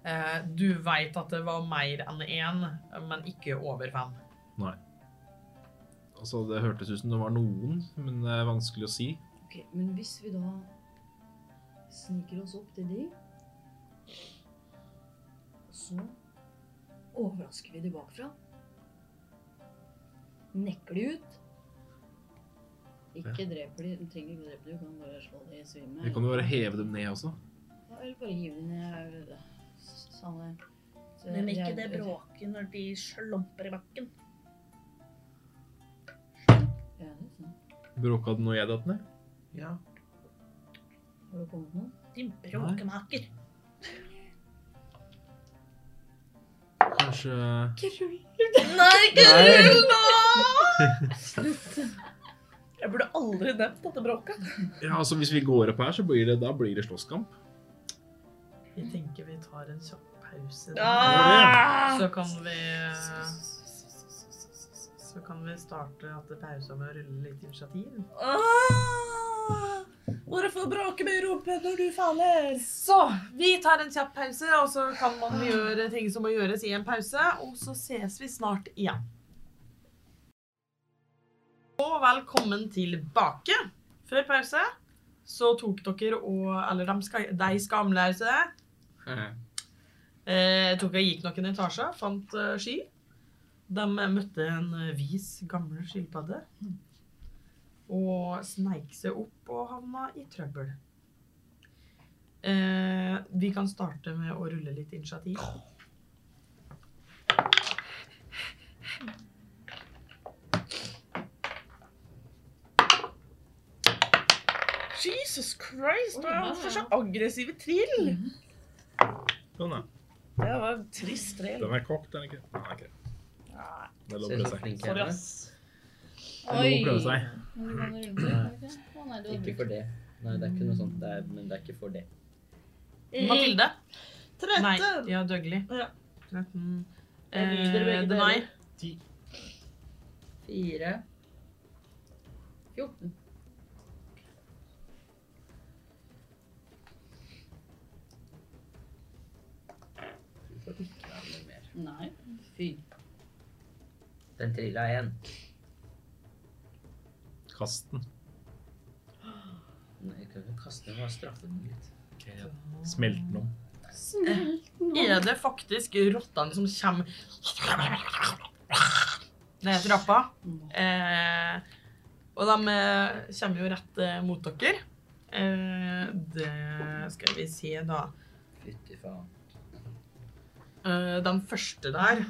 Eh, du veit at det var mer enn én, men ikke over fem.
Altså, Det hørtes ut som det var noen, men det er vanskelig å si.
Ok, men hvis vi da sniker oss opp til de, så overrasker vi de bakfra. Nekker de ut. Ikke dreper de, du trenger ikke å drepe de, du kan bare slå de i svime.
Vi kan jo bare heve dem ned også.
Ja, eller bare hive de ned, samme. Så
Men
Eh,
jeg-
ikke det
jeg-
bråket når de slumper i bakken.
Ja, det er sant.
Bråka det når jeg datt ned?
Ja.
Har du kommet noe?
De bråkemaker.
Kanskje
Nei, ikke
Nei.
rull nå! Jeg burde aldri nevnt dette bråket.
Ja, altså Hvis vi går opp her, så blir det, da blir det slåsskamp.
Jeg tenker vi tar en kjapp pause.
Ah!
Så kan vi eh, Så kan vi starte etter pausen med å rulle litt initiativ.
Ah! Hvorfor bråke med rumpen når du faller?
Så vi tar en kjapp pause, og så kan man gjøre ting som må gjøres i en pause. Og så ses vi snart igjen. Og velkommen tilbake. Før pause så tok dere og Eller de, ska, de skamløse eh, tok og gikk noen etasjer, fant eh, ski. De møtte en eh, vis, gammel skilpadde. Og sneik seg opp og havna i trøbbel. Eh, vi kan starte med å rulle litt initiativ.
Jesus Christ, hva er det for så aggressive trill?
Sånn, ja.
Det var en trist trill.
Den er kokk, den er ikke Nei, den er ikke det. Det er lov å
Ser
prøve
så
seg.
flink jeg er.
Det er lov å prøve seg.
Men du kan rulle, kan du ikke? Å, nei, du har
Ikke
brukt-
for det. Nei, det er ikke noe sånt. Det er, men det er ikke for det.
Mm.
Mathilde? Nei,
Tretten.
ja, Døgli.
Ja.
13.
Jeg liker begge
Eh, Denai?
Fire.
14.
Du får ikke være med mer.
Nei. Fy.
Den trilla én.
Kast den.
Nei, jeg kan ikke kaste den, bare straffe den litt.
Smelt den om.
Er det faktisk rottene som kommer ned trappa? Eh, og de eh, kommer jo rett eh, mot dere. Eh, det skal vi se, da.
Fytti faen.
Eh, den første der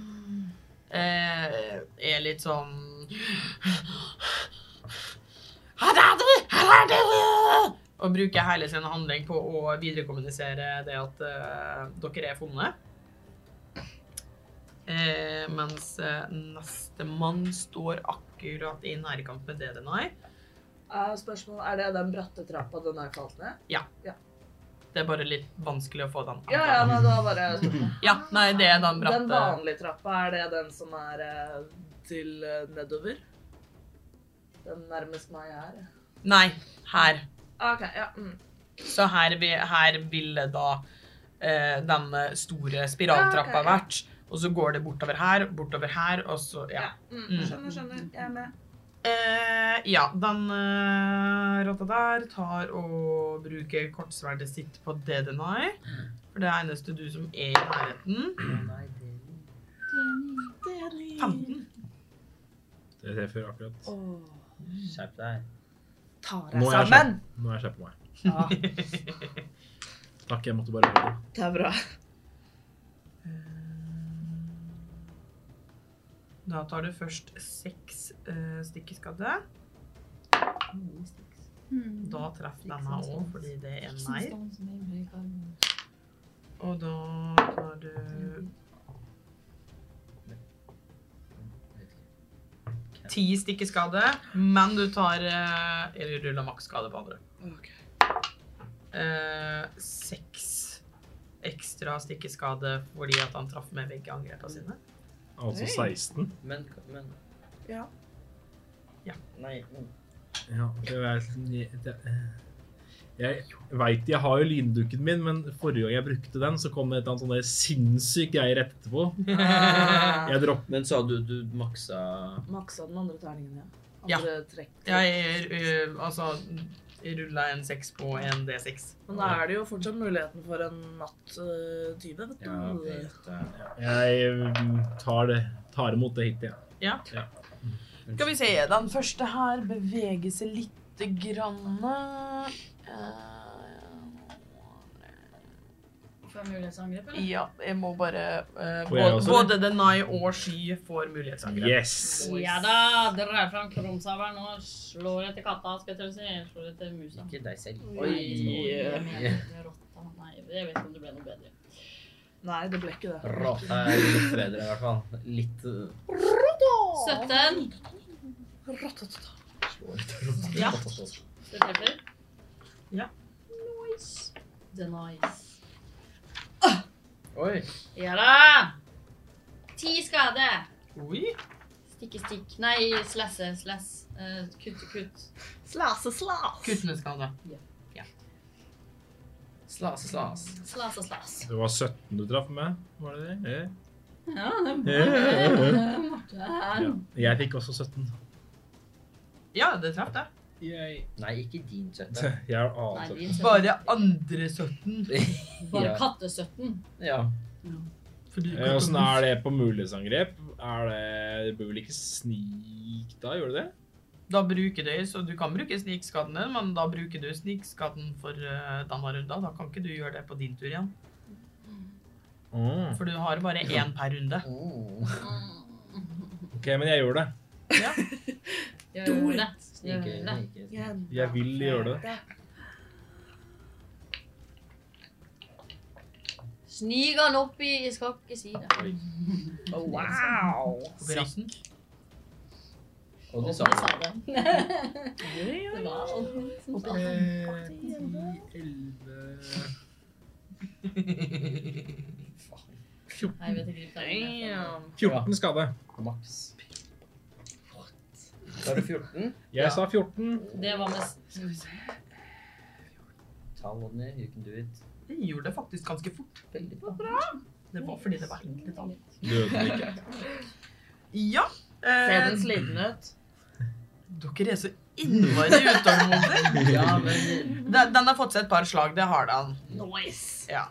eh, er litt sånn Her er dere! Her er dere! Og bruker hele sin handling på å viderekommunisere det at eh, dere er funnet. Eh, mens eh, nestemann står akkurat i nærkamp med det den er.
Eh, spørsmålet er det den bratte trappa den er falt ned?
Det er bare litt vanskelig å få den.
Ja, ja, nei, da bare
Ja, nei, det er den
Den
bratte.
vanlige trappa, er det den som er eh, til eh, nedover? Den nærmest meg her.
Nei, her.
OK, ja. Mm.
Så her, vi- her ville da eh, den store
Ja, ok,
spiraltrappa
ja.
vært. Og så går det bortover her, bortover her, og så Ja.
ja. Mm. Skjønner, skjønner. Jeg er
Mm.
med.
Eh, ja, den eh, rotta der tar og bruker kortsverdet sitt på DDNI.
Mm.
For det er eneste du som er i nærheten.
Å nei, det
Det treffer akkurat.
Skjerp deg.
Tar
Nå
deg
er jeg
sammen!
Nå har jeg skjerpet meg.
Ja,
Takk, jeg måtte bare høre.
det er bra.
Da tar du først seks eh, stikkeskadde. Da treffer den meg òg, fordi det er en nei. Og da tar du ti stikkeskade, men du tar eh, Eller ruller maksskade på andre. Eh, seks ekstra stikkeskade fordi at han traff med begge angrepene sine.
Altså 16.
Men, men
Ja.
Ja.
Nei. men-
Ja, det er, sånn det, jeg veit jeg har jo lindukken min, men forrige gang jeg brukte den, så kom det et eller annet sånn der sinnssykt greie rett etterpå. Jeg dropp,
Men sa du du maksa
Maksa den andre terningen, ja.
Ja.
Andre trekk.
Jeg eh, altså rulla en seks på en D6.
Men da er det jo fortsatt muligheten for en natt-tyve, vet
Ja,
du.
vet jeg.
jeg mm, tar, det, tar imot det hit, jeg.
Skal vi se, den første her beveger seg lite grann. Eh,
Får jeg mulighetsangrep, eller?
ja, jeg må bare eh,
Får jeg
både,
også
både Denai og Sky får mulighetsangrep.
Yes!
Ja da, drar fram krumsaveren og slår etter katta, skal jeg til å si. Slår etter musa.
Ikke deg selv.
Nei, jeg mener ikke rotta. Nei, jeg vet ikke om det ble noe bedre.
Nei, det ble ikke det.
Råte er litt bedre, i hvert fall. Litt uh,
17.
slår ut av rotta.
Ja.
Det treffer.
Ja.
Nice. The nice.
Oi.
Ja da! Ti skade.
Oi.
Stikke stikk. Nei, slasse slass. Eh, kutt kutt.
Slas og slas!
Kutt med skade.
Ja.
Slase, slas.
Slas og slas.
Det var 17 du traff med, var det det? Eh.
Ja, det er
Ja, ja, ja.
Marte. Marte er
eh. Ja. Jeg fikk også 17.
Ja, det traff det.
Nei, ikke din søtte.
Jeg har
Nei,
annet.
din sønn.
Bare andre 17.
Bare
Ja.
kattesøtten.
Ja.
Fordi
Eh, Åssen er det på mulighetsangrep? Er det Det bør vel ikke snik da, gjør det det?
Da bruker du, så du kan bruke snikskaden din, men da bruker du snikskaden for uh, denne runden. Da kan ikke du gjøre det på din tur igjen.
Mm.
For du har bare én per runde.
Oh.
OK, men jeg gjør det.
Gjør det. Gjør
Ikke,
det.
ikke.
Jeg vil gjøre det.
Snig han opp i Jeg skal ikke si det.
Oi.
Wow!
Oppi rassen.
Og det sa
Jeg
du.
sa det. Det var
sånn.
Nei, jeg vet ikke hva det er.
14 skade.
Maks. Da er det 14.
Jeg sa 14.
Det var med s-
Ta låten ned. You can do it.
Det gjorde det faktisk ganske fort.
Veldig bra.
Det var fordi det var enkelt. da.
Døde den ikke.
Ja.
Ser
Eh,
den sliten ut?
dere er så innmari utålmodige.
Ja, men
Den den har fått seg et par slag, det har den.
Nice!
Ja.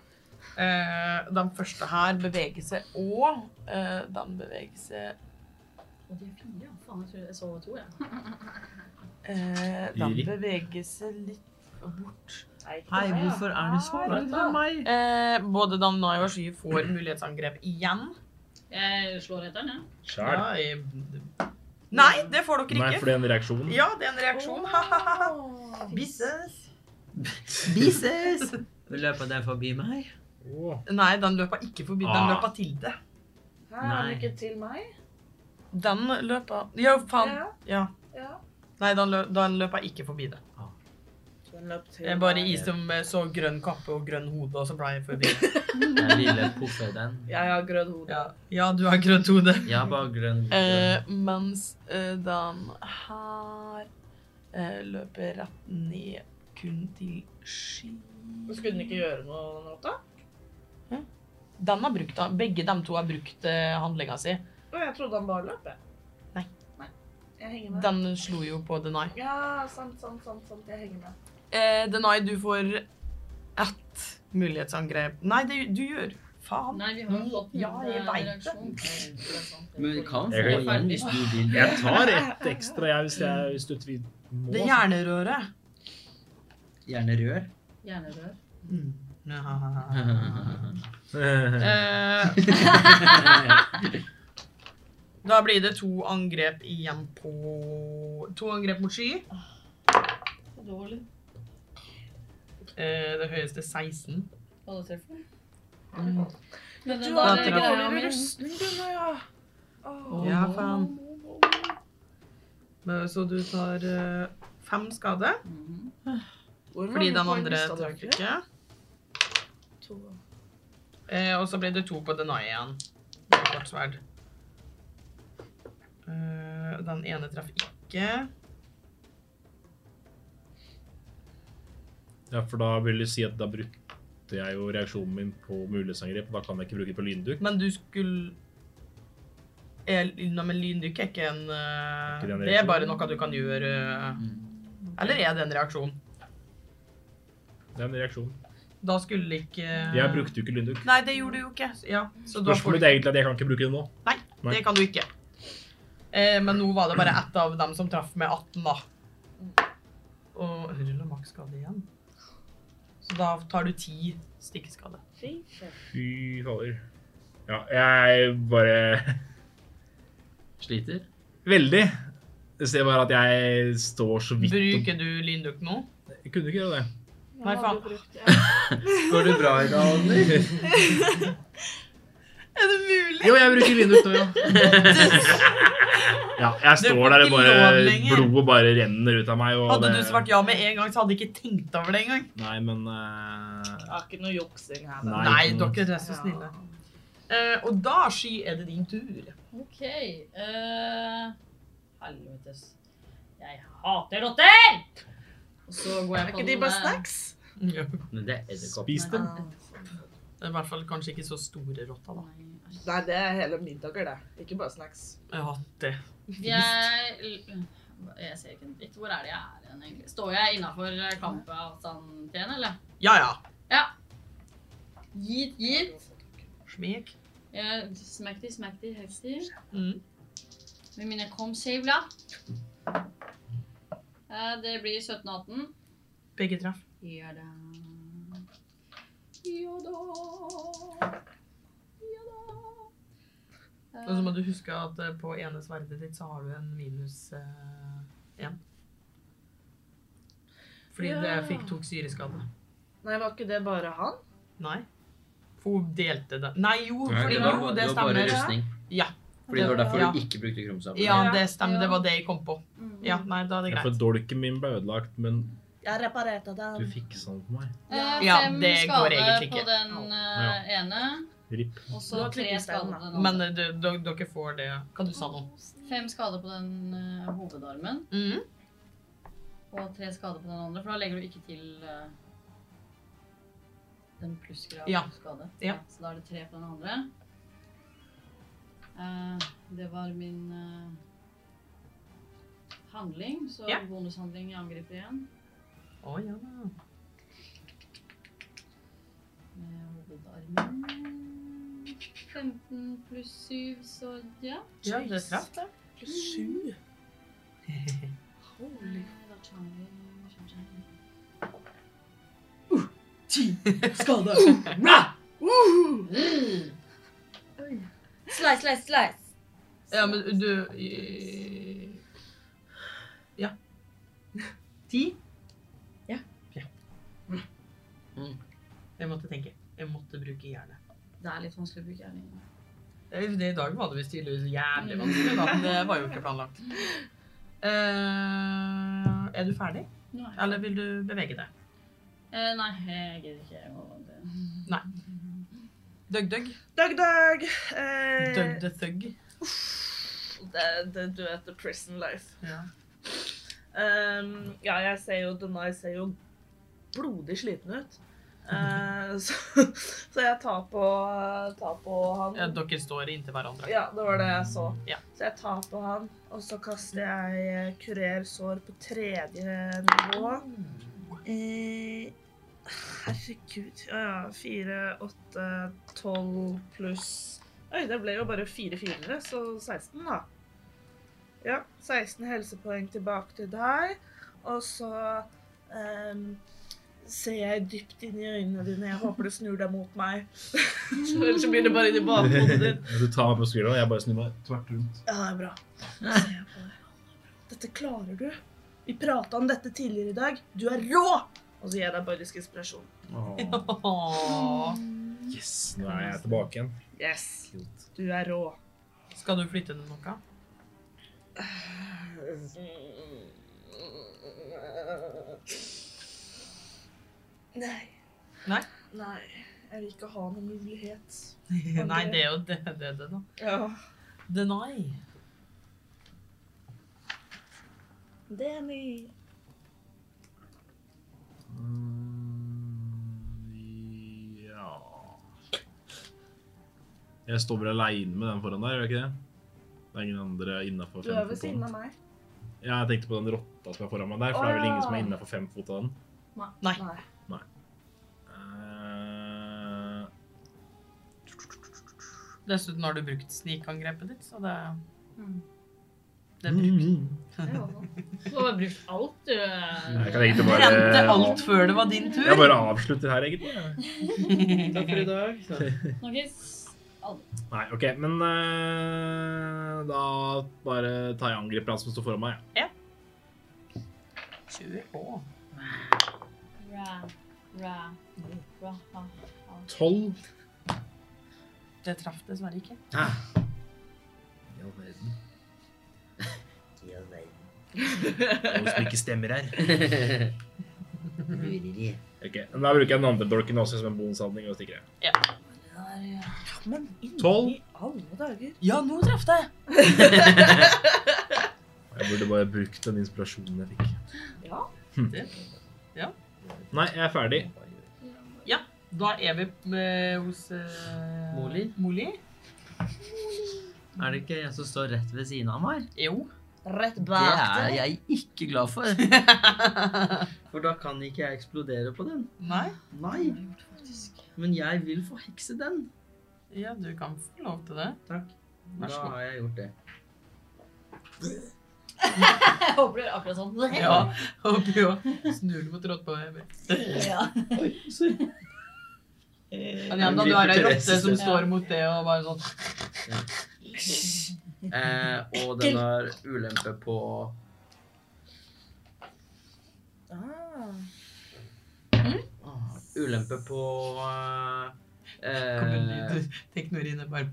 Eh, den første her beveger seg òg. Eh, den beveger seg
Og de er fire. Faen, jeg tror jeg så to, jeg.
eh, Den
Iri.
beveger seg litt bort.
Hei,
hvorfor er du så langt fra meg? Eh, både Dan Nai og Sky får mulighetsangrep igjen.
Jeg slår etter den, jeg.
Sjæl.
jeg- Nei, det får dere
Nei,
ikke.
for det er en reaksjon.
Ja, det er en reaksjon. Ha-ha-ha. Bises. Bises.
Løper den forbi meg?
Åh.
Nei, den løpa ikke forbi. Den
Ah.
løpa til det.
Her er
Nei.
den ikke til meg.
Den løpa Ja, faen. Ja.
Ja.
Nei, den, lø den løpa ikke forbi det.
Den løp til
Det er bare
meg.
i som eh, så grønn kappe og grønn hode, og så ble jeg forbi. det.
Jeg ville puffe den.
Jeg har grønn hode.
Ja, ja du har grønt hode.
Ja, bare grønn.
Eh, mens eh, den her eh, løper rett ned kun til sky.
Skulle den ikke gjøre noe den natta?
Den har brukt, begge de to har brukt eh, handlinga si.
Å, jeg trodde han bare løp, jeg.
Nei.
Nei. Jeg henger med.
Den slo jo på Denai.
Ja, sant, sant, sant, sant. Jeg henger med.
Eh, Denai, du får ett mulighetsangrep. Nei, det du gjør. Faen.
Nei, vi har jo fått eh,
Ja, jeg vet det.
Men vi kan få
Jeg kan-
igjen hvis du vil.
Jeg tar ett ekstra jeg, hvis, jeg, hvis du tvil må.
Det er hjernerøret.
Gjerne rør.
Hjernerør.
Mm.
Eh,
Eh, da blir det to angrep igjen på To angrep mot sky.
Så dårlig.
Eh, det høyeste 16.
Hva det treffer jeg?
Mm.
Men den
Du
har
der
en
greia mi
rustning, Gunnar, ja. Åh.
Ja, faen. Men, så du tar eh, fem skade
Mhm.
Hvor mange
fordi den
poeng
andre
mistet dere?
traff ikke.
To.
Eh, og så blir det to på deny igjen. Med kort sverd. Eh, den ene traff ikke.
Ja, for da vil det si at da brukte jeg jo reaksjonen min på mulighetsangrep, og da kan jeg ikke bruke det på lynduk.
Men du skulle er, Nei, men lyndykk er ikke en eh,
Ikke det en
Det er
reaksjon?
bare noe du kan gjøre eh,
Mm.
Eller er det en reaksjon?
Det er en reaksjon.
Da skulle ikke
Jeg brukte jo ikke lynduk.
Nei, det gjorde du jo ikke. Ja, så Eh. da får
Spørsmålet
du
er egentlig at jeg kan ikke bruke det nå.
Nei,
Nei.
det kan du ikke. Eh, men nå var det bare ett av dem som traff med 18, da. Og ruller maksskade igjen. Så da tar du ti stikkskade.
Fy fader. Ja, jeg bare
Sliter.
Veldig. Jeg ser bare at jeg står så vidt
Bruker du lyndukk nå?
og Jeg kunne ikke gjøre det.
Nei, faen.
Går det bra i dag, Anner?
Er det mulig?
Jo, jeg bruker lynduk nå, ja. Ja, jeg
Det
står
får
der,
ikke
det
lov
bare
lenger.
blodet bare renner ut av meg. Og
Hadde
det-
du svart ja med en gang, så hadde jeg ikke tenkt over det engang.
Nei, men eh,
Jeg har ikke noe juksing her.
Nei.
da.
Nei, dere er så snille. Eh, og da, Sky, er det din tur.
OK. eh, helvetes. Jeg hater rotter! Og så går jeg
Er
på
ikke de
den eh,
bare
der-
snacks?
Mm, Ja.
Men det er edderkopp.
Spis dem.
Det er i hvert fall kanskje ikke så store rotta, da.
Nei, det er hele middager, det. Ikke bare snacks.
Jeg har hatt det.
Jeg, jeg ser ikke en dritt. Hvor er det jeg er igjen, egentlig? Står jeg innafor kampavstanden til en, eller?
Ja, ja.
Gitt, gitt.
Smek.
Jeg Smack de, smack de, heks de.
Mm.
Med mine komskjevler. Eh, Det blir 17-18.
Begge treff.
Ja da. Ja da. Ja da.
Og så må du huske at eh, på ene sverdet ditt så har du en minus én. Fordi det
Ja.
fikk tok syreskade.
Nei, var ikke det bare han?
Nei. For hun delte det. Nei, jo,
Nei,
fordi
Det
jo,
var,
det
det var bare
stemmer.
rustning.
Ja.
Fordi det var derfor
Ja.
du ikke brukte krumsapen.
Ja,
Ja.
det stemmer.
Ja.
Det var det jeg kom på.
Mm.
Ja, nei, da er det
Ja, for
greit.
dolken min ble ødelagt, men
Jeg reparerte
du
den.
fiksa den for meg.
Eh,
Ja,
fem
det går
skade
egentlig ikke.
på den eh, ene,
Ripp.
og
Du
så
har
tre skader
klikkesteinen,
på
da.
den
Men
andre.
eh, du- dere dere får det Hva du sa nå?
Fem skader på den eh, hovedarmen,
Mm.
og tre skader på den andre, for da legger du ikke til eh, den plussgraden
Ja.
på skade.
Ja.
Så da er det tre på den andre. Eh, det var min eh, handling, så
Ja.
bonushandling jeg angriper igjen.
Å ja.
Med hovedarmen. 15 pluss 7, så ja.
ja. Det traff, det.
Pluss sju. Holy
Eh, Da tar vi-
Skade.
Slice, slice, slice.
Ja, men du eh, Ja. Ti?
Ja.
ja. Mm. Jeg måtte tenke. Jeg måtte bruke hjernen.
Det er litt vanskelig å bruke hjernen.
Det, det I dag var det visst tydeligvis jævlig vanskelig, da. men Det var jo ikke planlagt. Eh, er du ferdig,
Nå er jeg-
eller vil du bevege deg?
Eh, nei, jeg gidder ikke. Jeg må det.
Døgg-døgg.
Dag, dag. Eh,
Døgg-døgg.
Det, det, du vet, the prison life.
Ja.
Um, ja, jeg ser jo Denai ser jo blodig sliten ut. Eh, så, så jeg tar på, tar på han.
Ja, dere står inntil hverandre.
Ja, det var det jeg så.
Ja.
Så jeg tar på han, og så kaster jeg eh, kurer sår på tredje nivå. Eh, herregud. Ja, ja. Fire, åtte, tolv pluss Oi, det ble jo bare fire firere, så 16, da. Ja. 16 helsepoeng tilbake til deg. Og så ehm, ser jeg dypt inn i øynene dine. Jeg håper du snur deg mot meg. Så Ellers så blir det bare inn i bakhodet ditt.
Du tar meg på skuldra, og jeg bare snur meg tvert rundt.
Ja, det er bra. Da ser jeg på deg. Dette klarer du. Vi prata om dette tidligere i dag. Du er rå! Og så gir jeg deg bardisk inspirasjon.
Åh.
Åh.
Yes, nå er jeg tilbake igjen.
Yes. Du er rå.
Skal du flytte den noe?
Nei.
Nei?
Nei. Jeg vil ikke ha noen mulighet.
Nei, det er jo det, det, det da.
Ja.
Deny.
Det er mye.
Mm, Ja Jeg står vel aleine med den foran der, gjør jeg ikke det? Det er ingen andre innafor
Du
fem
er ved
fot på
siden
den.
av meg.
Ja, jeg tenkte på den rotta som er foran meg der, for det er vel ingen som er innafor fem fot av den.
Nei.
Nei.
Eh,
Dessuten har du brukt snikangrepet ditt, så det,
Mm.
det
Mm.
er brukt.
Du har bare brukt alt, du.
Jeg kan egentlig
Du rente alt
bare
før det var din tur.
Jeg bare avslutter her, egentlig.
Takk for i dag.
Norges
Nei, OK, men eh, da bare tar jeg angriper han som står foran meg. jeg.
20 år.
ra, ra, ra, ha.
Tolv.
Det traff dessverre ikke.
Ah.
I all verden. Noe som ikke stemmer her. Ok, men Da bruker jeg den andre dolken også som en bonushandling og stikker jeg.
Men inni
Tolv.
alle dager
Ja, nå traff det!
Jeg burde bare brukt den inspirasjonen jeg fikk.
Ja.
Hm.
Det- ja.
Nei, jeg er ferdig.
Da er vi eh, hos eh,
Moli? Er det ikke en som står rett ved siden av meg?
Jo.
Rett
Det
bak
er
deg.
jeg ikke glad for. For da kan ikke jeg eksplodere på den.
Nei?
Nei. Men jeg vil forhekse den.
Ja, du kan få lov til det.
Takk.
Vær
Da
så god.
har jeg gjort det.
Jeg håper det er akkurat sånn.
Ja. Og du òg snur deg mot rått på Emil.
Ja.
Men igjen, da, du har ei rotte som står mot det og bare sånn
Eh, og den har ulempe på
Ah.
ah, Ulempe på
Kommer
eh,
lyd Tenk når inne bare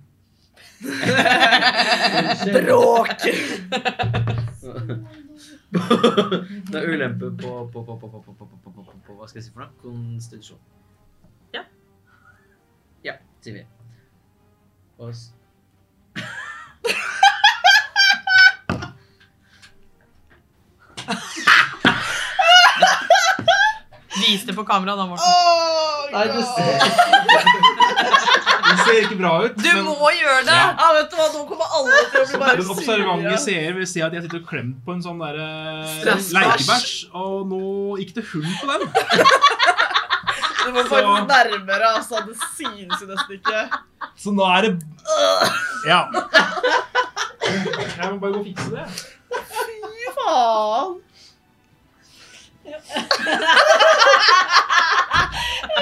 Bråk! det er ulempe på, på, på, på, på, på, på, på, på, på, på, på Hva skal jeg si for noe? Konstitusjon.
Ja.
Ja, sier vi. Og s-
Vis det på kamera, da, Morten.
Oh,
Nei, det ser,
Det ser ikke bra ut.
Du må gjøre det! Altså,
Ja.
Ja, vet du hva, nå kommer alle til å bli bare
Den observante seer vil si at jeg sitter og klemt på en sånn der eh,
Stressbæsj.
leikebæsj, og nå gikk det hull på den.
Du må få den nærmere, altså. Det synes jo nesten ikke.
Så nå er det Ja. Jeg må bare gå og fikse det.
Fy faen.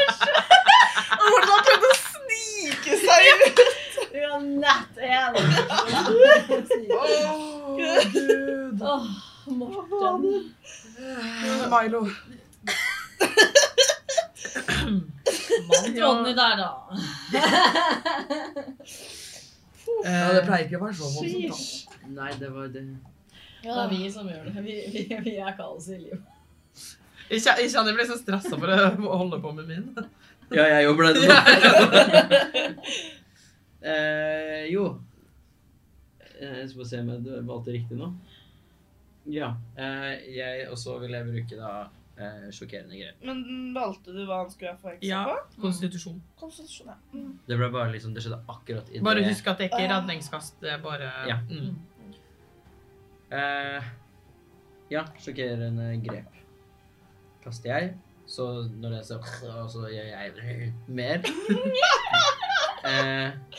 Og Hvordan har prøvd å snike seg ut?
Ja, nett igjen. Åh, Morten.
Milo.
Vant Ronny der, da.
Ja, det pleier ikke å være så voldsomt. da.
nei, det var det.
Det er vi som gjør det. Vi, vi, vi er kaoset i livet.
Jeg kjen- jeg kjenner jeg blir så stressa for å holde på med min.
Ja, jeg jobber det nå. eh, jo. Eh, Jeg skal bare se om jeg valgte riktig nå. Ja. Eh, jeg, og så vil jeg bruke da eh, sjokkerende grep.
Men valgte du hva han skulle være for
Ja.
ekstra på?
Konstitusjon.
Konstitusjon, ja. Mm.
Det ble bare liksom, det skjedde akkurat i
Bare
det.
husk at det ikke er redningskast. Det er bare
Ja.
mm.
Eh, ja, sjokkerende grep. Kaster jeg. Så når jeg ser og så gjør jeg mer. eh,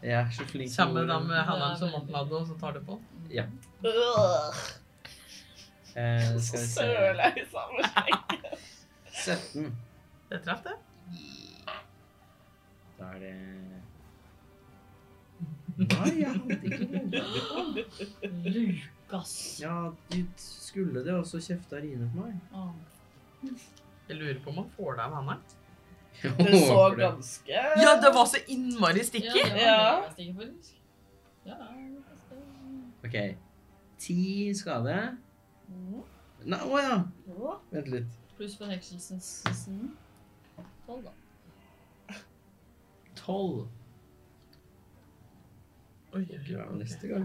jeg er så flink
Kjem med de
ord.
hendene som Morten hadde, og så tar du på.
Øh,
Eh,
Så
skal vi se.
søler jeg i samme sleng.
17.
Det traff, det.
Da er det Nei, jeg hadde ikke noe.
Lukas.
Ja, du skulle det, og så kjefta Rine på meg.
Åh.
Jeg lurer på om han får deg av hendene.
Det så ganske
Ja, det var så innmari
Ja,
stikker!
det var
Ja.
Lukas, ikke faktisk. Ja, det er Lukas, det er-
OK. Ti skade.
Mm.
Nei, å ja. Vent litt.
Pluss for hekselsens tolv, da.
Tolv.
Oi,
Hva er det neste gang?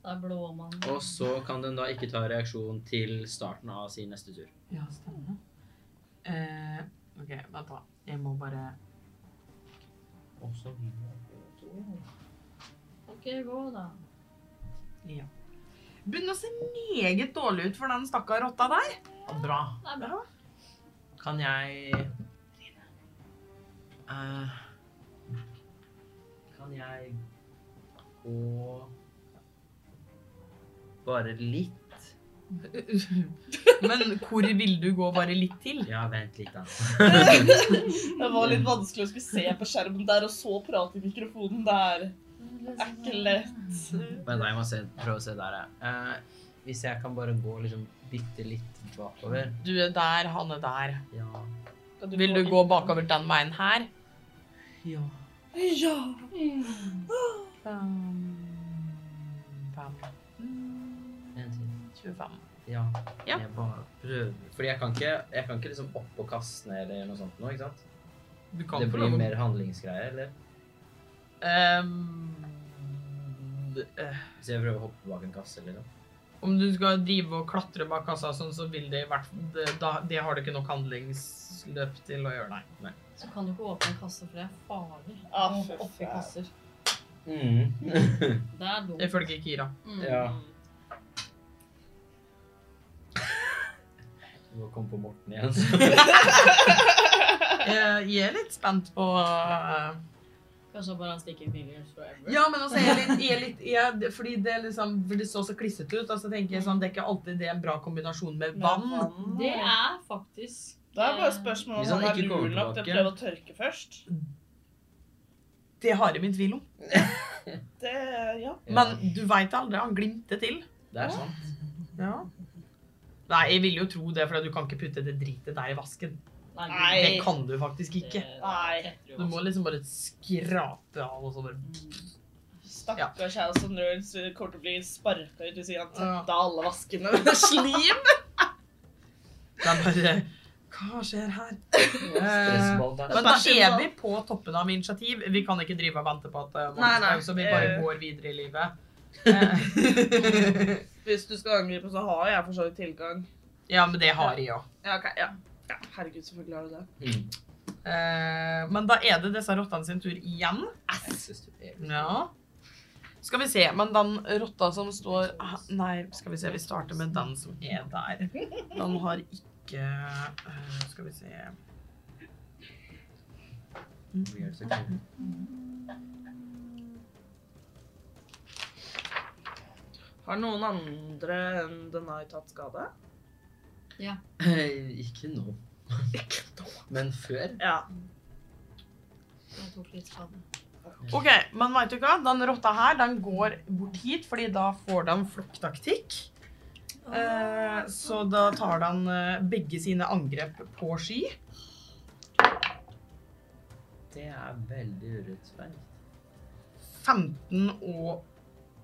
Det er blåmann.
Og så kan den da ikke ta reaksjon til starten av sin neste tur.
Ja, stemmer. Eh, OK, vent, da. Jeg må bare
Også
Ok, gå da.
Ja. Begynner å se meget dårlig ut for den stakkar rotta der.
Bra.
Det er bra.
Kan jeg eh, Kan jeg gå bare litt?
Men hvor vil du gå bare litt til?
Ja, vent litt, da.
Det var litt vanskelig å skulle se på skjermen der, og så prate i mikrofonen der. Det er ikke lett.
Mm.
Men jeg må se, prøve å se der, jeg. Eh, hvis jeg kan bare gå liksom bitte litt bakover
Du er der, han er der.
Ja.
Vil du gå bakover den veien her?
ja.
Ja.
Fem, fem, mm,
En til.
25.
Ja.
Ja.
Jeg bare prøver. Fordi jeg kan ikke, jeg kan ikke liksom opp og kaste ned eller noe sånt nå, ikke sant?
Du kan
det
få
blir
lov å-
mer handlingsgreier, eller?
Ehm, d- eh,
Hvis jeg prøver å hoppe bak en kasse, liksom.
Om du skal drive og klatre bak kassa, og sånn, så vil det i hvert det, da, det har du ikke nok handlingsløp til å gjøre, nei. nei.
Så kan du ikke åpne en kasse, for det er farlig.
Ah,
Å,
fy
Oppi
faen.
kasser.
Mm.
Det er dumt.
Ifølge Kira.
Mm.
Ja. Du må komme på Morten igjen.
Jeg, jeg er litt spent på eh,
Kanskje bare han stikker fingers forever.
Ja, men altså, jeg er litt, jeg er litt jeg, det- Fordi det er liksom For det så så klissete ut. Altså, tenker jeg sånn, Det er ikke alltid det er en bra kombinasjon med vann.
Det er faktisk
Da er det bare
eh,
spørsmålet
Hvis
om
han
han er
ikke kommer
lur nok til å
tilbake.
prøve å tørke først.
Det har jeg min tvil om.
Det, ja.
Men du veit aldri. Han glimter til.
Det er sant.
Ja. Nei, jeg vil jo tro det, for du kan ikke putte det dritet der i vasken.
Nei.
Det kan du faktisk ikke.
Nei.
Du må liksom bare skrape av og sånn. bare-
Stakkars House of Nerds eh, kommer til å bli sparka ut hvis ikke han
Ja.
tetta alle vaskene med slim.
Det er bare Hva skjer her? Eh,
Stressball der.
Men da er vi på toppen av initiativ. Vi kan ikke drive og vente på at eh,
Nei, nei.
Morten skal, så vi bare
Eh.
går videre i livet. Eh,
Hvis du skal angripe, så har jeg for så vidt tilgang.
Ja, men det har jeg òg.
Ja, ok, ja. ja. Herregud, selvfølgelig har du det.
Mm.
Eh, men da er det disse rottene sin tur igjen.
Jeg synes du er-
Ja. Skal vi se. Men den rotta som står ah, Nei, skal vi se. Vi starter med den som er der. Den har ikke eh, Skal vi se.
Vi er så
Eh,
kule.
Har noen andre enn The Night hatt skade?
Eh, Ikke nå. Men før.
Ja.
Jeg tok litt sånn- skade.
OK, men veit du hva? Den rotta her den går bort hit, fordi da får den flokktaktikk. Eh, så da tar den eh, begge sine angrep på ski.
Det er veldig urettferdig.
15 og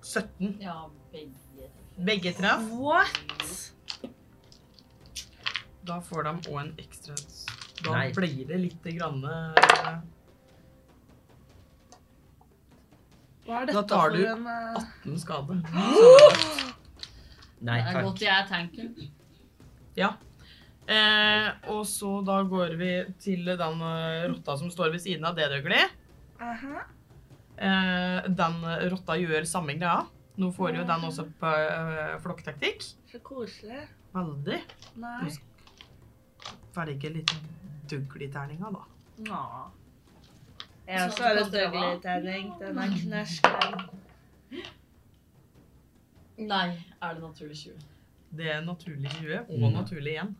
17.
Ja, begge.
Begge treff.
What?
Da får de òg en ekstra Da
Nei.
blir det litt grann, eh,
Hva er
Da
dette
tar
for
du-
en eh,
en skade.
Nei
Det er
takk.
godt jeg er tanken.
Eh, og så da går vi til den eh, rotta som står ved siden av det døgli.
aha.
Eh, den rotta gjør samme greia. Nå får jo den også på eh, flokktaktikk.
Så koselig.
Veldig.
Nei.
Velge litt dugliterninga, da.
Nå. Jeg
Så
også har
du
en
kan dra.
døgleterning. Den er knæsjklen.
Nei, er det naturlig 20.
Det er naturlig 20 og
Mm.
naturlig igjen.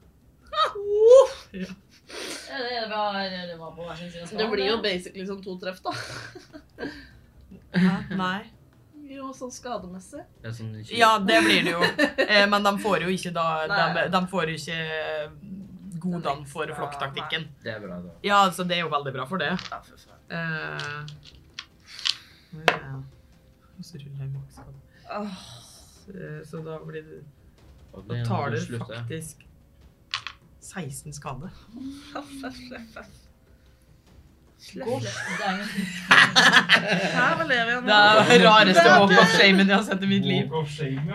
Ja, Det var, det var på hver sin side av skalaen,
Det blir jo
det.
basically som to treff, da.
Hæ? Nei.
Jo, sånn skademessig.
Det er sånn tjue-
Ja, det blir det jo. Eh, men de får jo ikke da de,
Nei.
de får jo ikke godene for flokktaktikken.
Det er bra, da.
Ja, altså det er jo veldig bra for det.
Ja, fy faen.
Eh, ja. Og så ruller jeg maksskade.
Åh,
Eh, Så da blir det
Og
Da
det må
tar
du
det
slutte.
faktisk 16 skade.
Sløff.
Det er jo-
Her lever jeg
Det er det rareste walk of shamen jeg har sett i mitt liv.
Walk of shame, ja.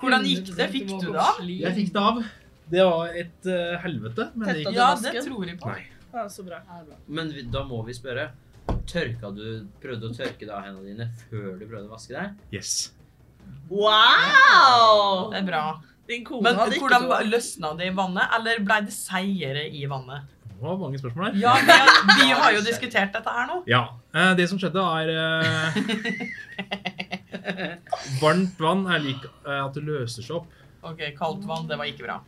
Hvordan gikk det? Fikk du det av?
Jeg fikk det av. Det var et eh, helvete, men det gikk.
Ja, det tror jeg på.
Nei.
Ja, så bra.
Ja, det er bra.
Men vi, da må vi spørre. Tørka du, prøvde å tørke deg av hendene dine før du prøvde å vaske deg?
Yes.
Wow!
Det er bra.
Din kone
Men
hadde ikke
hvordan
trodd.
løsna det i vannet, eller ble det seigere i vannet?
Det var mange spørsmål her.
Ja, vi har, vi har jo diskutert dette her nå.
Ja. eh, Det som skjedde, er eh, Varmt vann er lik eh, at det løser seg opp.
Ok, kaldt vann, det var ikke bra.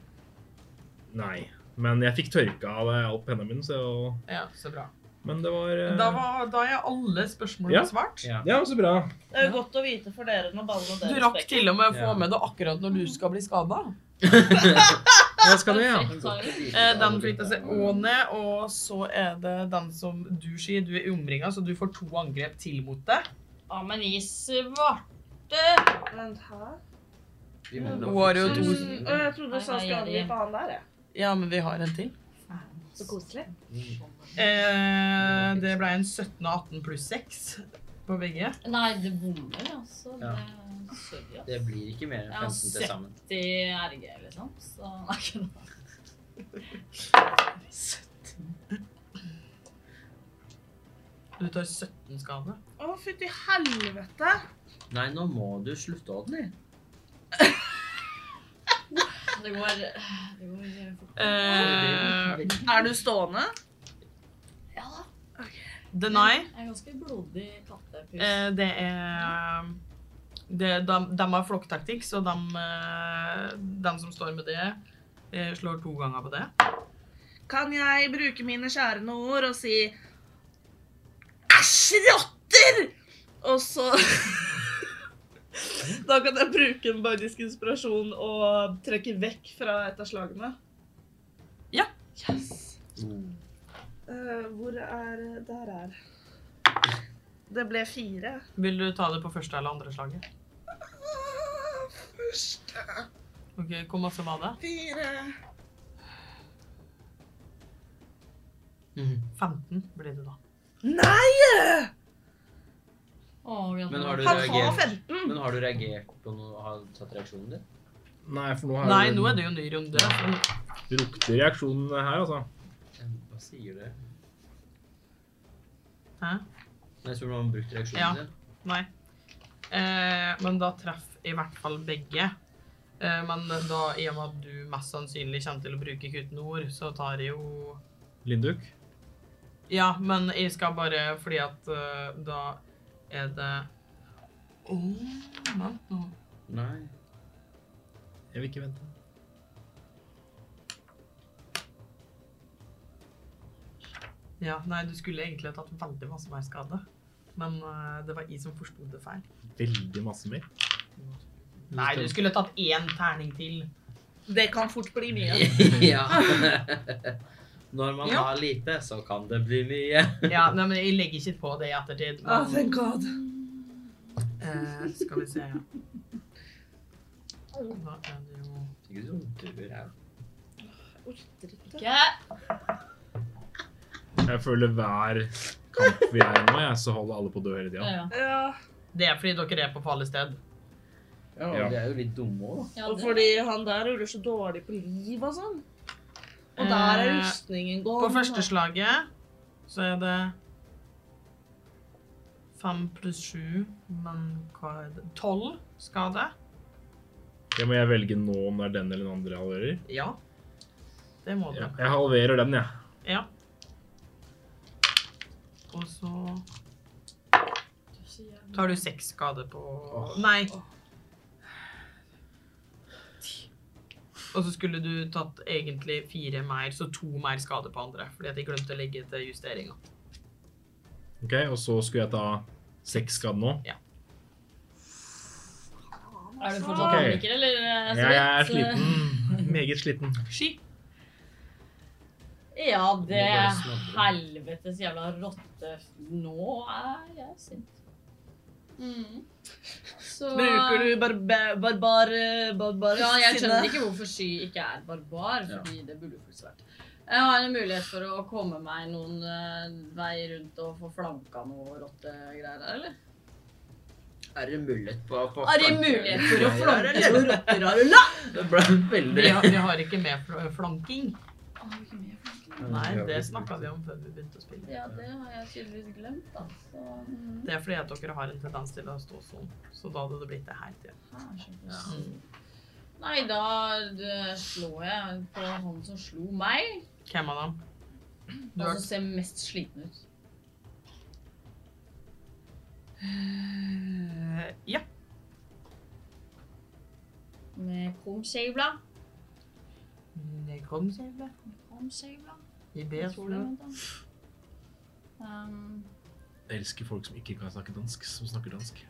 Nei. Men jeg fikk tørka av eh, opp hendene mine, så
Ja, så bra.
Men det var eh,
Da, var, da er alle spørsmål
Ja.
besvart.
Ja.
Ja, så bra.
Det er jo godt å vite for dere når ballene
Du
deres
rakk
sprekker.
til og med å få
Ja.
med det akkurat når du skal bli skada.
Jeg skal det, ja.
Perfekt timing.
Eh, Den flytter seg òg ned, og så er det den som du sier. Du er omringa, så du får to angrep til mot deg.
Ja, men i svarte
Vent her.
Vi må
Hun har jo
da-
to-
Mm, og jeg trodde
Nei,
du sa
nei,
skulle
jeg-
angripe han der, jeg.
Ja, men vi har en til.
Så koselig.
Eh, det ble en 17 og 18 pluss 6 på begge.
Nei, det bommer, altså.
Ja.
Det- Sorry, altså. ass.
Det blir ikke mer enn
Ja,
15 til sammen.
70 RG, liksom. Så nei, ikke noe.
Du tar 17 skade.
Å, fytti helvete!
Nei, nå må du slutte, Odny.
Det går Det går eh, fort.
Eh,
Er du stående?
Ja da.
deny.
Jeg er ganske blodig
Eh,
kattepus.
det er det, de, de har flokktaktikk, så de, eh, de som står med det, eh, slår to ganger på det.
Kan jeg bruke mine kjærende ord og si Æsj, rotter! Og så Da kan jeg bruke en bardisk inspirasjon og trekke vekk fra et av slagene.
Ja.
Yes. Eh, hvor er Der er Det ble fire.
Vil du ta det på første eller andre slaget?
Ah, Første
Ok, Hvor masse var det?
fire
Mm.
15 blir det da.
Nei!
Åh,
Men har du
Han har
reagert?
15.
Men har du reagert på noe? Har du tatt reaksjonen din?
Nei, for nå
Nei, nå er det jo ny runde.
det lukter reaksjonen her, altså.
Jeg bare sier det.
Hæ?
Men Jeg tror du har brukt reaksjonen
Ja.
din.
Nei. Eh, men da treffer i hvert fall begge. Eh, men da, i og med at du mest sannsynlig kommer til å bruke kutten ord, så tar jeg jo
Linduk?
Ja, men jeg skal bare fordi at eh, da er det Å, vent nå.
Nei.
Jeg vil ikke vente.
Ja, nei, du skulle egentlig ha tatt veldig masse mer skade. Men eh, det var jeg som forsto det feil.
Veldig masse mer.
Nei, du skulle tatt én terning til.
Det kan fort bli mye.
ja. Når man
Ja.
har lite, så kan det bli mye.
Ja, nei, men jeg legger ikke på det i ettertid. men-
Ah, thank god.
Eh, skal vi se Da er det jo
Ikke som dør her.
Ikke.
Jeg føler hver kamp vi er i nå, jeg, så holder alle på å dø hele
Ja,
tida.
ja.
Ja.
Det er fordi dere er på farlig sted.
Ja,
Ja.
De er jo litt dumme òg, da.
Ja,
Og
det-
fordi han der ruller så dårlig på liv og sånn. Og der er
Eh,
rustningen gått.
På første slaget så er det Fem pluss sju, men hva er det Tolv skade?
Jeg må jeg velge nå om det er den eller den andre jeg halverer?
Ja. Det må du.
Ja, jeg halverer den, jeg.
Ja. Og så tar du seks skade på Nei. Ti. Og så skulle du tatt egentlig fire mer, så to mer skade på andre. Fordi at jeg glemte å legge til justeringa.
Ok, Og så skulle jeg ta seks skader nå.
Er du fortsatt
Ok.
paniker, eller? eh, så
Jeg er
vidt?
sliten. Meget sliten.
Ski.
Ja, det
Må bare snabbe.
helvetes jævla rotte. Nå er jeg sint. Mm. Så
Bruker du barbar... barbar... barbar
Ja, jeg skjønner ikke hvorfor Sky ikke er barbar, fordi det burde jo faktisk vært. Jeg har en mulighet for å komme meg noen eh, vei rundt og få flanka noe rottegreier her, eller?
Er det mulighet på, på
Har jeg mulighet for å flanke noen rotter, har du
Det ble
Vi
veldig
har, vi har ikke med fl- flanking.
lagt?
Nei, det snakka vi om før vi begynte å spille.
Ja, det har jeg tydeligvis glemt, da. Så mm.
Det er fordi at dere har en tendens til å stå sånn. Så da hadde det blitt det her til.
her, skjønner jeg.
Mm.
Nei, da det slår jeg på han som slo meg.
Hvem av dem? Du
Han
har
som ser mest sliten ut.
Eh, Ja.
Med krumskjevla.
Det kom seg vel.
Krumskjevla.
I
Jeg
det
tror det, vent da. Um,
Jeg elsker folk som ikke kan snakke dansk, som snakker dansk.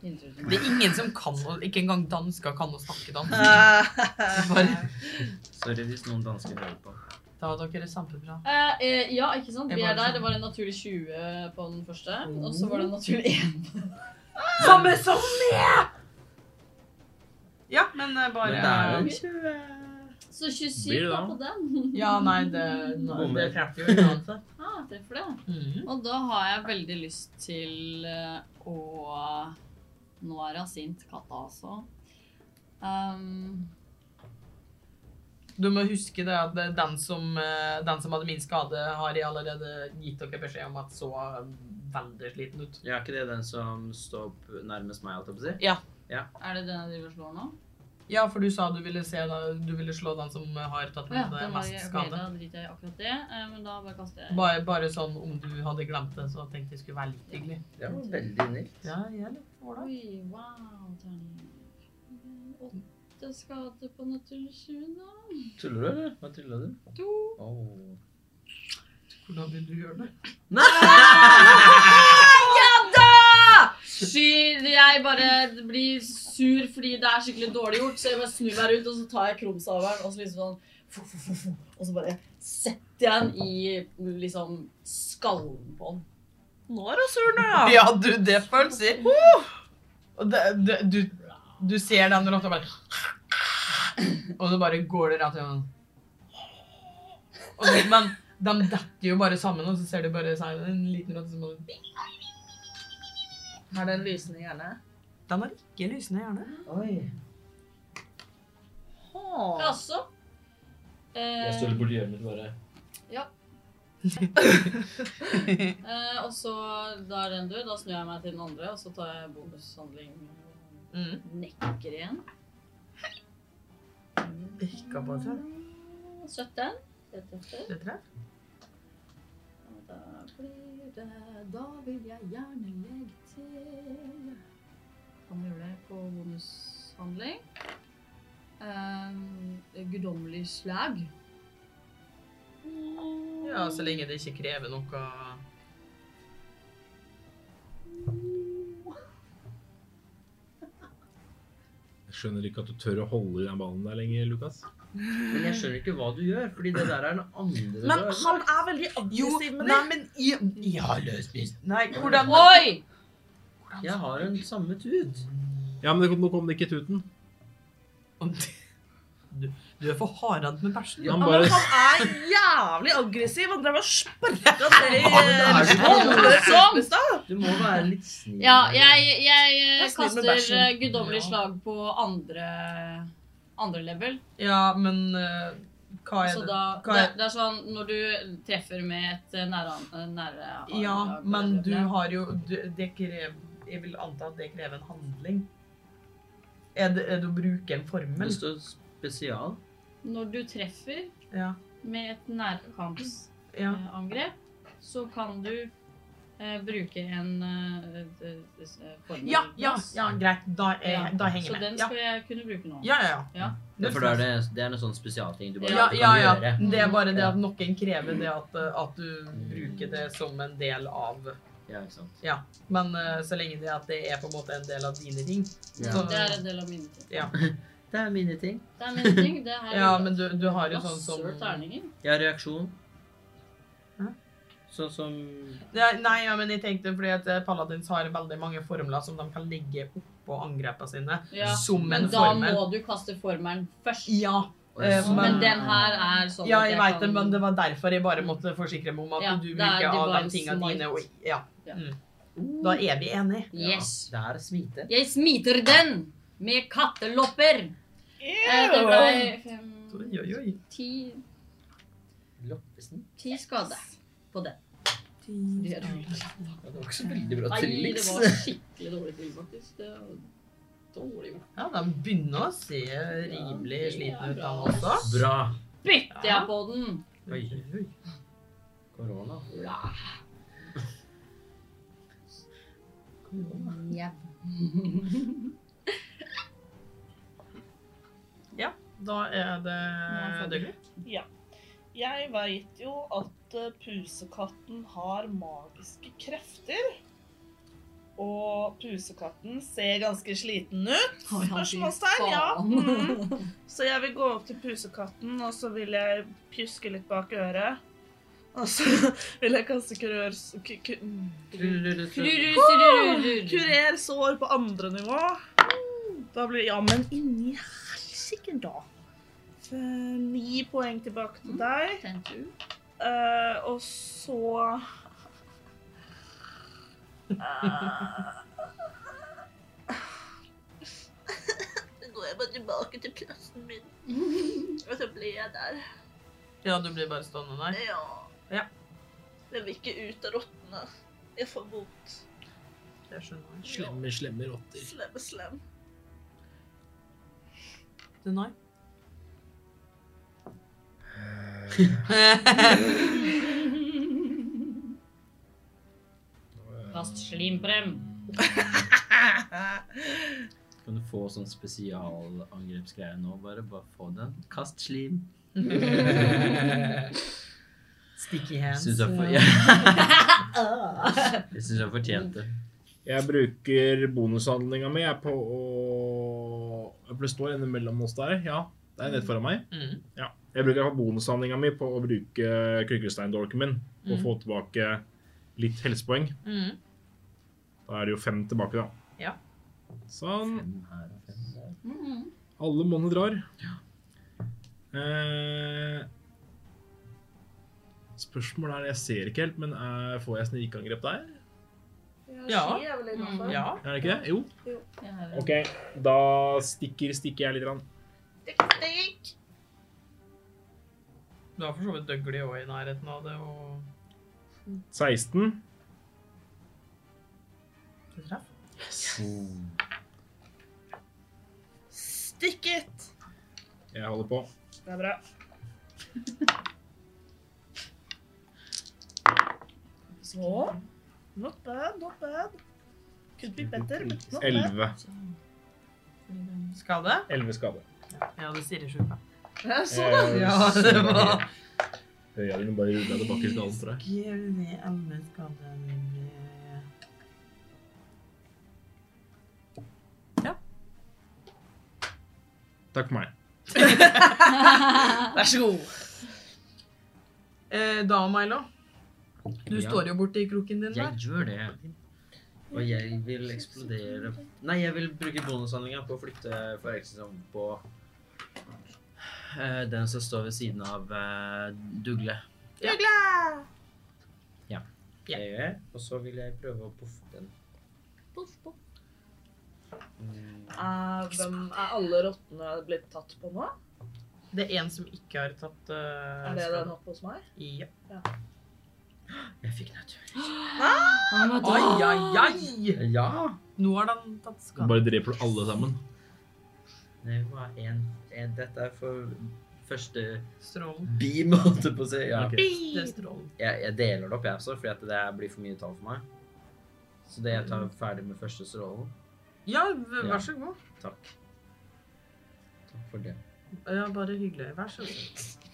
Det er ingen som kan å Ikke engang dansker kan å snakke dansk.
Eh.
Bare,
Bare.
Sorry hvis noen dansker hører på.
da har dere kjempebra.
Eh, eh, ja, ikke sant?
Jeg
Vi
bare Mm.
er der.
sånn-
Det var en naturlig 20 på den første, og så var det en naturlig 1.
Samme som meg! Ja, men eh,
Men
bare
det er jo en
Så 27
Blir det
da
da?
på den.
Ja, nei, det,
Bommer. Mm.
det treffer jo uansett.
Ah, treffer det.
Mhm.
Og da har jeg veldig lyst til eh, å Nå er hun sint, katta også. Ehm,
Du må huske det at det- den som, eh, den som hadde minst skade, har jeg allerede gitt dere beskjed om at så veldig sliten ut.
Ja, er ikke det den som står opp nærmest meg, holdt jeg på å si?
er det den jeg driver og slår nå?
Ja, for du sa du ville, se, da- du ville slå den som har tatt
Å Ja,
med
den
deg
var
mest
jeg, ok,
skade.
da driter jeg i akkurat det. eh, Men da bare kaster jeg
Bare, bare sånn om du hadde glemt det, så tenkte jeg skulle være litt hyggelig.
Det var veldig nilt.
Ja, jeg er litt ålreit.
Oi, wow, terning. Åtte skader på naturlig 20, da.
Tuller du, eller? Hva tuller du?
To.
Åh.
Hvordan vil du gjøre det?
Skyr, jeg bare blir sur fordi det er skikkelig dårlig gjort, så jeg bare snur meg rundt, og så tar jeg krumsaveren, og så liksom sånn fu, fu, fu, fu, Og så bare setter jeg den i liksom skallen på den.
Nå er hun sur, nå, ja.
Ja, du, det følelser. Og det, det, du, du ser den rotta bare Og så bare går det rett igjen. Og så, men de detter jo bare sammen, og så ser du bare seg en liten rotte som bare
Har den lysende hjerne?
Den har ikke lysende hjerne.
Oi.
Åh.
Jaså?
Jeg
Eh,
står på livet mitt bare.
eh, og så da er den død. Da snur jeg meg til den andre, og så tar jeg bonushandling.
Mm.
Nekker igjen.
Ikke på tre.
17. Det treffer.
Det tror jeg.
Og da blir det Da vil jeg gjerne legge til Kan gjøre det på bonushandling. Um, Guddommelig slag.
Ja, så lenge det ikke krever noe
Jeg skjønner ikke at du tør å holde i den ballen der lenger, Lukas.
Men jeg skjønner ikke hva du gjør, fordi det der er den andre
Men
døren.
han er veldig aggressiv med det.
men jeg, jeg har løsspist Nei, hvordan
Oi!
Jeg har en samme tut.
Ja, men det kom- nå kom det ikke tuten.
Du, du er for hardhendt med bæsjen.
Han
Ja,
bare
men han er jævlig aggressiv. Han drev og sparka til
er så
voldsomt.
Du må være litt snill.
Ja, jeg, jeg
er snill med
kaster
bæsjen.
eh, guddommelig
Ja.
slag på andre, andre level.
Ja, men eh, hva er
Så
det?
da,
Hva
det,
er-
det er sånn når du treffer med et eh, nære, eh, nære
Ja,
angrep,
men du
ja.
har jo du, det krever, Jeg vil anta at det krever en handling. Er det, er det å bruke en
Det
formel?
står spesial.
Når du treffer
Ja.
med et nærkampsangrep,
ja.
så kan du eh, bruke en eh, d- d- s- eh, formel.
Ja, ja, ja, greit. Da, er,
Ja,
da henger
Så
jeg
den
med. Ja,
skal jeg kunne bruke nå.
ja, ja. ja.
Ja.
Ja, for da er det, det er en sånn spesialting du bare
Ja,
ikke
ja,
kan
ja.
gjøre.
Det er bare det at noen krever det at, at du bruker det som en del av
Ja, ikke sant.
Men eh, så lenge det, at det er på en måte en del av dine ting så,
Det er en del av mine ting.
Det er mine ting.
Det er mine ting. Det her er
Ja, men du, du har jo sånn som
masse terninger.
Jeg har reaksjon.
Hæ?
Sånn som
Ja, Nei, ja, men jeg tenkte fordi at eh, Paladins har veldig mange formler som de kan legge oppå angrepene sine.
Ja.
Som
Men
en
da
formel.
må du kaste formelen først.
Ja,
Sånn
Eh,
Men,
men-
den her er sånn
ja,
at
jeg
jeg
veit det,
kan
men det var derfor jeg bare måtte forsikre meg om at
Ja,
du
det er
bruker av de
divine
tingene
smite.
dine. Og, ja.
Ja.
Mm. Da er vi enige.
Yes.
Ja, det er smite.
Jeg smiter den med kattelopper. Eh, det ble fem,
Oi, oi, oi.
ti,
Loppesen.
ti skade på den. Det er dårlig.
Ja, det var ikke så veldig bra
Nei, det
trillings.
var skikkelig dårlig til, faktisk. Det var dårlig gjort.
Ja, de begynner å se rimelig slitne ut, han også.
Bra.
Bytter jeg på den?
Oi,
Oi.
korona.
Ja.
Da er det døgnet.
Jeg veit jo at eh, pusekatten har magiske krefter. Og pusekatten ser ganske sliten ut.
Oi, han sier
Spørsmålstegn, ja.
faen.
Mm. Så jeg vil gå opp til pusekatten, og så vil jeg pjuske litt bak øret. Og så vil jeg kaste kurør... Ku, ku,
Krururururur.
kurer sår på andre nivå. Da blir Ja, men inni helsike, da. Eh, Ni poeng tilbake
Mm.
til deg.
Tent ut.
Eh, og så Eh,
tilbake til plassen min. Og så ble jeg der.
Ja, du blir bare stående der.
Ja.
Ja.
Jeg vil ikke ut av rottene. Jeg får vondt.
Det skjønner jeg.
Slemme, slemme rotter.
Slem, slem.
Denai?
Kast slim på dem.
Kan du få sånn spesialangrepsgreie nå? Bare, bare få den. Kast slim.
Sticky
Jeg
hands.
syns jeg, for,
ja.
ja. jeg, synes jeg fortjente det.
Jeg bruker bonushandlinga mi jeg, på å Jeg ble står inne mellom oss der. Ja, det er rett foran meg.
Mm.
Ja. Jeg bruker i hvert fall bonushandlinga mi på å bruke krykkesteindorken min og
Mm.
få tilbake litt helsepoeng.
Mm.
Da er det jo fem tilbake, da.
Ja.
Sånn.
Fem her og fem der.
Mm-hmm.
Alle måneder drar. Eh, spørsmålet er Jeg ser ikke helt, men eh, får jeg snikangrep der?
Ja.
Ski er vel innenfor.
Mm,
ja.
Er det ikke det? Jo.
Jeg har-
OK, da stikker, stikker jeg litt. Rann.
Du har for så vidt Dougley òg i nærheten av det, og
16.
Du treff.
Stick it!
Jeg holder på.
Det er bra. Så Not bad, not bad. Could be better, but not bad.
11.
Skade?
11 skade.
Ja, det sier sjuka.
Jeg så det.
Eh,
Ja, det var
Øya dine bare rulla tilbake i skallen for deg.
Skriv ned alle skadene.
Takk for meg.
Vær så god.
Eh, da, Milo. Du
Ja.
står jo borti kroken din der.
Jeg gjør det. Og jeg vil eksplodere Nei, jeg vil bruke bonushandlinga på å flytte for eksempel på eh, den som står ved siden av eh, Dugle.
Ja.
Ja.
Ja.
Det gjør jeg. Og så vil jeg prøve å poffe den. Poff,
Eh, hvem er alle rottene blitt tatt på nå?
Det er en som ikke har tatt eh,
Er det den
skade.
oppe hos meg?
Ja.
poff. Jeg fikk natur.
Ai, ai, ai!
Ja!
Nå har den tatt
Du
skade.
bare dreper du alle sammen.
Det var en, en Dette er for første
Strålen.
beam, holdt jeg på å si. Ja.
Ok.
Det er strålen.
jeg, jeg deler det opp, jeg også, fordi at det blir for mye tall for meg. Så det jeg tar ferdig med første strålen.
Ja, v-
Ja.
vær så god.
Takk. Takk for det.
Ja, bare hyggelig. Vær så god.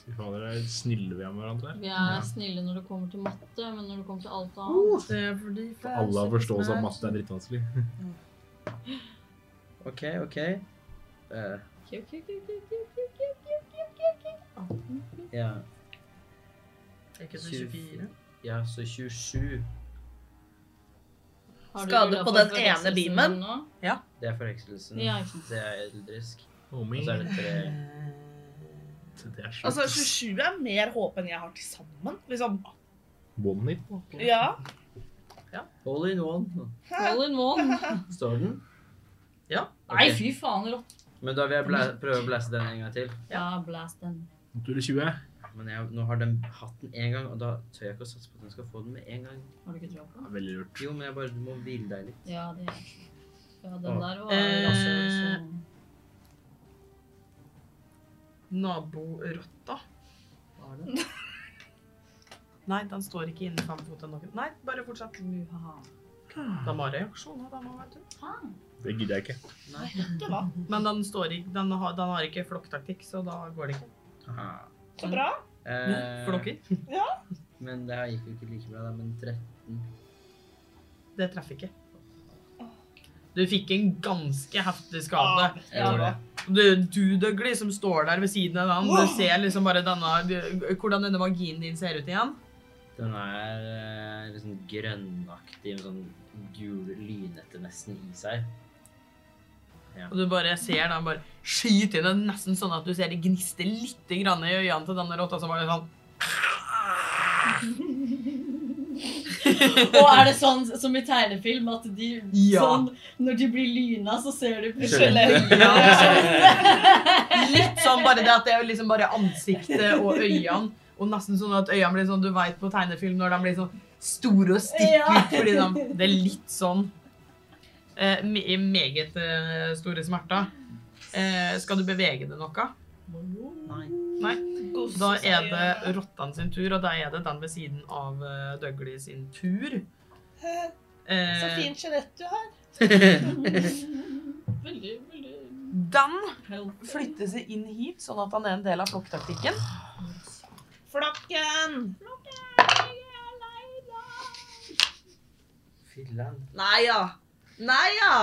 Fy fader, er snille vi er med hverandre.
Vi
Ja.
er snille når det kommer til matte, men når det kommer til alt annet
Det er fordi
Alle har forståelse av at matte er drittvanskelig.
OK, OK. Eh,
Kjøp, kjøp, kjøp, kjøp, kjøp, kjøp, kjøp.
ja.
Er ikke det 24?
ja, så 27.
Har du
Skade
rullet
på
for
den
vekselsen
ene beamen?
din nå?
Det er forvekselsen.
Ja, ikke sant.
Det er eldrisk. Og
Homie.
så er det tre
Det er
Altså,
sjukt.
27 er mer håp enn jeg har til sammen. Liksom.
Bonnie.
Ja.
All in one,
All in one.
står den.
Ja.
Nei,
Ok.
fy faen, rått.
Men da vil jeg blæ prøve å blæse den en gang til.
Ja, blast den.
Tur i 20.
Men jeg, nå har den hatt den én gang, og da tør jeg ikke å satse på at den skal få den med en gang.
Har du ikke troa på den?
Ja, Veldig lurt.
Jo, men jeg bare må hvile deg litt.
Ja, det er Ja, den der var
Eh.
altså sånn
Naborotta.
Var det?
Nei, den står ikke innen fem fot ennå. Nei, bare fortsett.
Muhaha.
De har reaksjoner, de òg, vet du.
Det gidder jeg ikke.
Nei.
Det var
Men den, står ikke, den, har, den har ikke flokktaktikk, så da går det ikke.
Haha.
så bra.
Eh,
Flokker.
Men det her gikk jo ikke like bra, da. Men 13.
Det treffer ikke. Du fikk en ganske heftig skade.
Jeg gjorde det.
Du, du Dougley, som står der ved siden av den, du ser liksom bare denne Hvordan denne magien din ser ut igjen.
Den er eh, liksom grønnaktig med sånn gul lynete nesten i seg.
Og du bare ser den bare skyte inn, og nesten sånn at du ser det gniste litt grann i øynene til denne rotta som var litt sånn
Og er det sånn som i tegnefilm at de
Ja.
sånn, Når de blir lyna, så ser du plutselig
Skjønte.
Litt sånn bare det at det er liksom bare ansiktet og øynene. Og nesten sånn at øynene blir sånn, du vet på tegnefilm når de blir sånn store og stikker
Ja.
ut. Fordi de, det er litt sånn. Eh, me- meget eh, store smerter. Eh, skal du bevege deg noe?
Nei.
Da er det rottene sin tur, og da er det den ved siden av eh, Dougley sin tur. Eh,
Så fint skjelett du har.
Veldig, veldig
Den flytter seg inn hit, sånn at han er en del av flokktaktikken.
Flokken!
Filler'n.
Nei ja. Nei ja.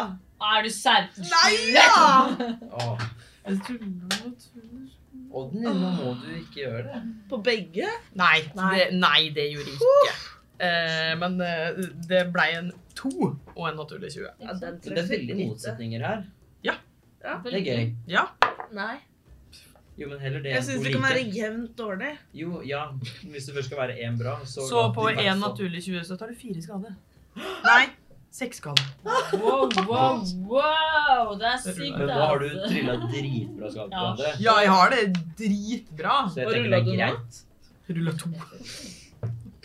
Er du serr?
Nei ja.
Åh. Odden, nå må du ikke gjøre det.
På begge?
Nei, Det, nei, det gjorde jeg ikke. Eh, men eh, det ble en to og en naturlig 20.
Ja, den det er veldig motsetninger her. Det er
Veldig.
gøy.
Nei.
Jo, men heller det
Jeg
enn
syns
to
det kan være
like.
jevnt dårlig.
Jo, ja. Hvis det først skal være én bra, så
Så
la
på
de være
en
sånn.
naturlig 20 så tar du fire skader. Nei, seks skader.
Wow, wow, wow! Det er sykt,
Men da har du
altså.
trilla dritbra skade på
Ja.
andre.
Ja, jeg har det dritbra.
Så jeg
Hva
tenker det er
rullet du nå?
greit.
Rulla to.
Wow.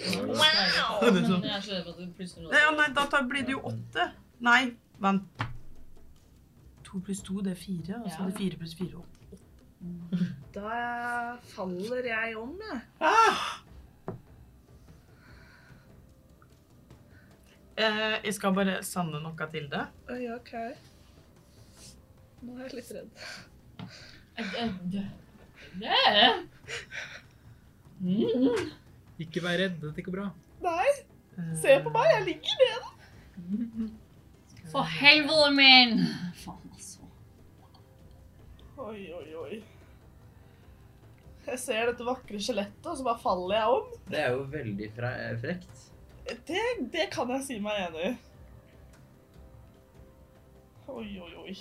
Wow! Men jeg er så redd for at du plutselig
Nei, ja, nei da tar, blir det jo åtte. Nei, vent. To pluss to, det er fire. Og så
Ja.
er det fire pluss fire. åtte.
Da faller jeg om, jeg.
Ah! Eh, jeg skal bare sende noe til det.
Oi, OK. Nå er jeg litt redd.
nå Yeah. Mm.
Ikke vær redd, dette går bra.
Nei, se på meg, jeg ligger
For helvete, min! Faen, altså.
Oi, oi, oi. Jeg ser dette vakre skjelettet, og så bare faller jeg om.
Det er jo veldig fre frekt.
Det, det kan jeg si meg enig i. Oi, oi, oi.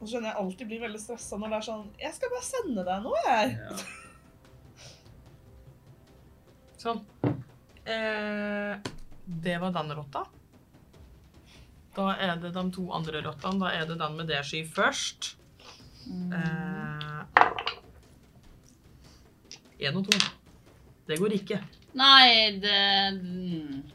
Nå skjønner jeg alltid blir veldig stressa når det er sånn Jeg skal bare sende deg noe, jeg.
Ja.
Sånn. Eh, det var den rotta. Da er det de to andre rottene. Da er det den med det sky først.
Mm.
Eh, en og to. Det går ikke.
Nei, det mm.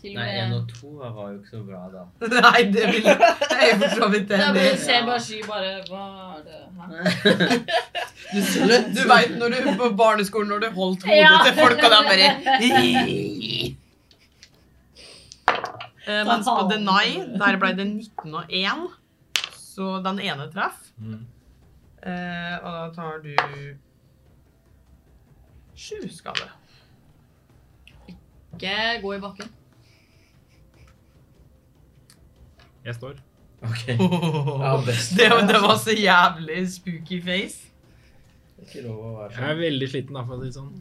Til og
Nei, én
med
og to var jo ikke så bra da.
Nei, det vil jeg for så vidt
Da
enig
blir
i.
ser bare sky bare Hva er det her?
Du veit når du på barneskolen når du holdt hodet
Ja.
til folk, og de bare eh, Mens på Denai, der ble det 19 og 1. Så den ene traff.
Mm.
Eh, og da tar du sju skade.
Ikke gå i bakken.
Jeg står.
Ok. Ja, best.
det, det var så jævlig spooky face.
Det er ikke lov å være
Jeg er
sånn.
veldig sliten, da, for å si det sånn.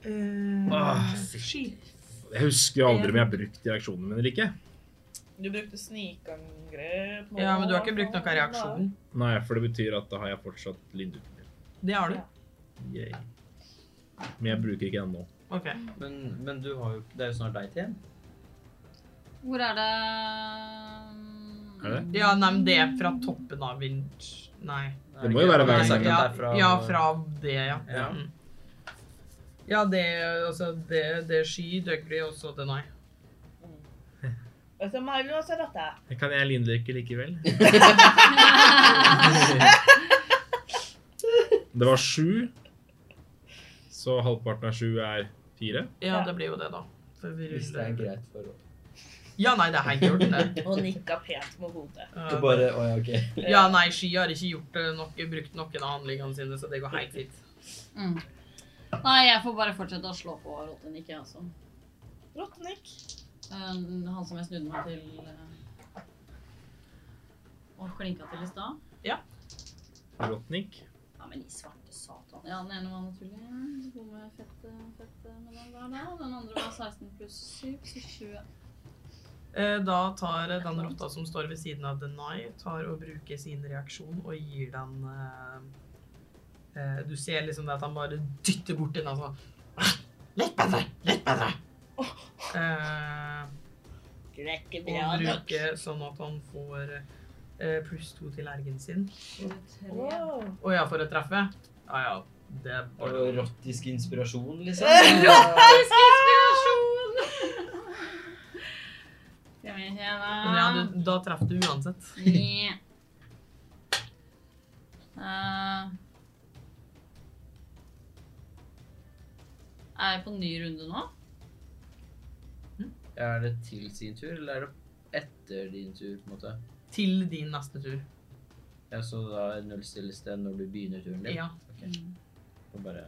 Eh,
Åh, Jeg husker jo aldri om jeg har brukt de reaksjonene mine eller ikke.
Du brukte snikangrep.
ja, men du har ikke brukt noen reaksjon.
Nei, for det betyr at da har jeg fortsatt linduten min.
Det har du.
Yay.
Men jeg bruker ikke den nå.
Ok.
Men, men du har jo Det er jo snart deg til igjen.
Hvor er det Mm.
Er det?
Ja, nei, men det er fra toppen av vinsj... Nei.
Er
Det må jo være hver
ikke- Jeg har sagt
Nei, ja,
at det er fra-
ja, fra det, ja.
Ja.
Mm. Ja, det, altså, det, det er sky, døglig, og så det nei.
Og så Milo og så rotta.
Kan jeg lindvirke likevel? det var sju. Så halvparten av sju er fire.
Ja, det blir jo det, da. For vi
Hvis det er
ruller.
greit for oss.
Ja, nei, det er helt gjort, det.
Og nikka pent med hodet. Eh,
Det er
Ja.
bare Å ja, OK.
Ja, nei, sky har ikke gjort det nok, brukt noen av handlingene sine, så det går helt fint.
Mm. Nei, jeg får bare fortsette å slå på rotten, ikke jeg også.
Rottenikk.
Eh, han som jeg snudde meg til eh, og klinka til i stad.
Rotnik.
Ja, men i svarte satan. Ja, den ene var naturlig. Så kom jeg fett, eh, fett eh, med den der, da. Den andre var 16 pluss 7, så 20.
Eh, Da tar eh, den rotta som står ved siden av Denai, tar og bruker sin reaksjon og gir den eh, Eh, Du ser liksom det at han bare dytter bort den. Altså. «Ah, Litt bedre! Litt bedre! Eh,
Du er ikke
og
bra
han
nok.
bruker sånn at han får eh, pluss to til ergen sin.
Wow.
Å ja, for å treffe? Ja ja. Det er
Og
bare
Erotisk inspirasjon, liksom.
Skal vi se,
Men ja,
da.
du, da treffer du uansett.
Ja. Eh, er jeg på ny runde nå?
Er det til sin tur, eller er det etter din tur, på en måte?
Til din neste tur.
Ja, så da nullstilles det når du begynner turen din?
Ja,
Og bare...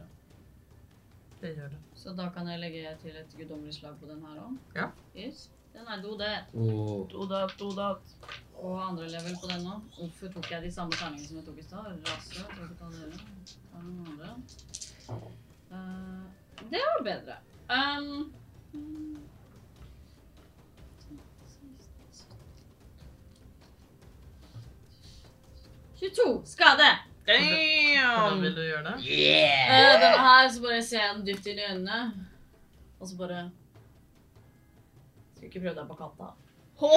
det gjør det.
Så da kan jeg legge til et guddommelig slag på den her òg?
Ja.
Yes. Den er do, det.
Åh,
Dodat, dodat.
Og andre level på den òg. Hvorfor tok jeg de samme terningene som jeg tok i stad? Rase. Jeg tror ikke ta dere. Ta noen andre. Eh, det var bedre. Um, mm. «22 skade!
Hvordan
Damn!
vil du gjøre det?
Eh, denne her, så bare ser jeg den dypt inn i øynene. Og så bare Skal ikke prøve deg på katta. Og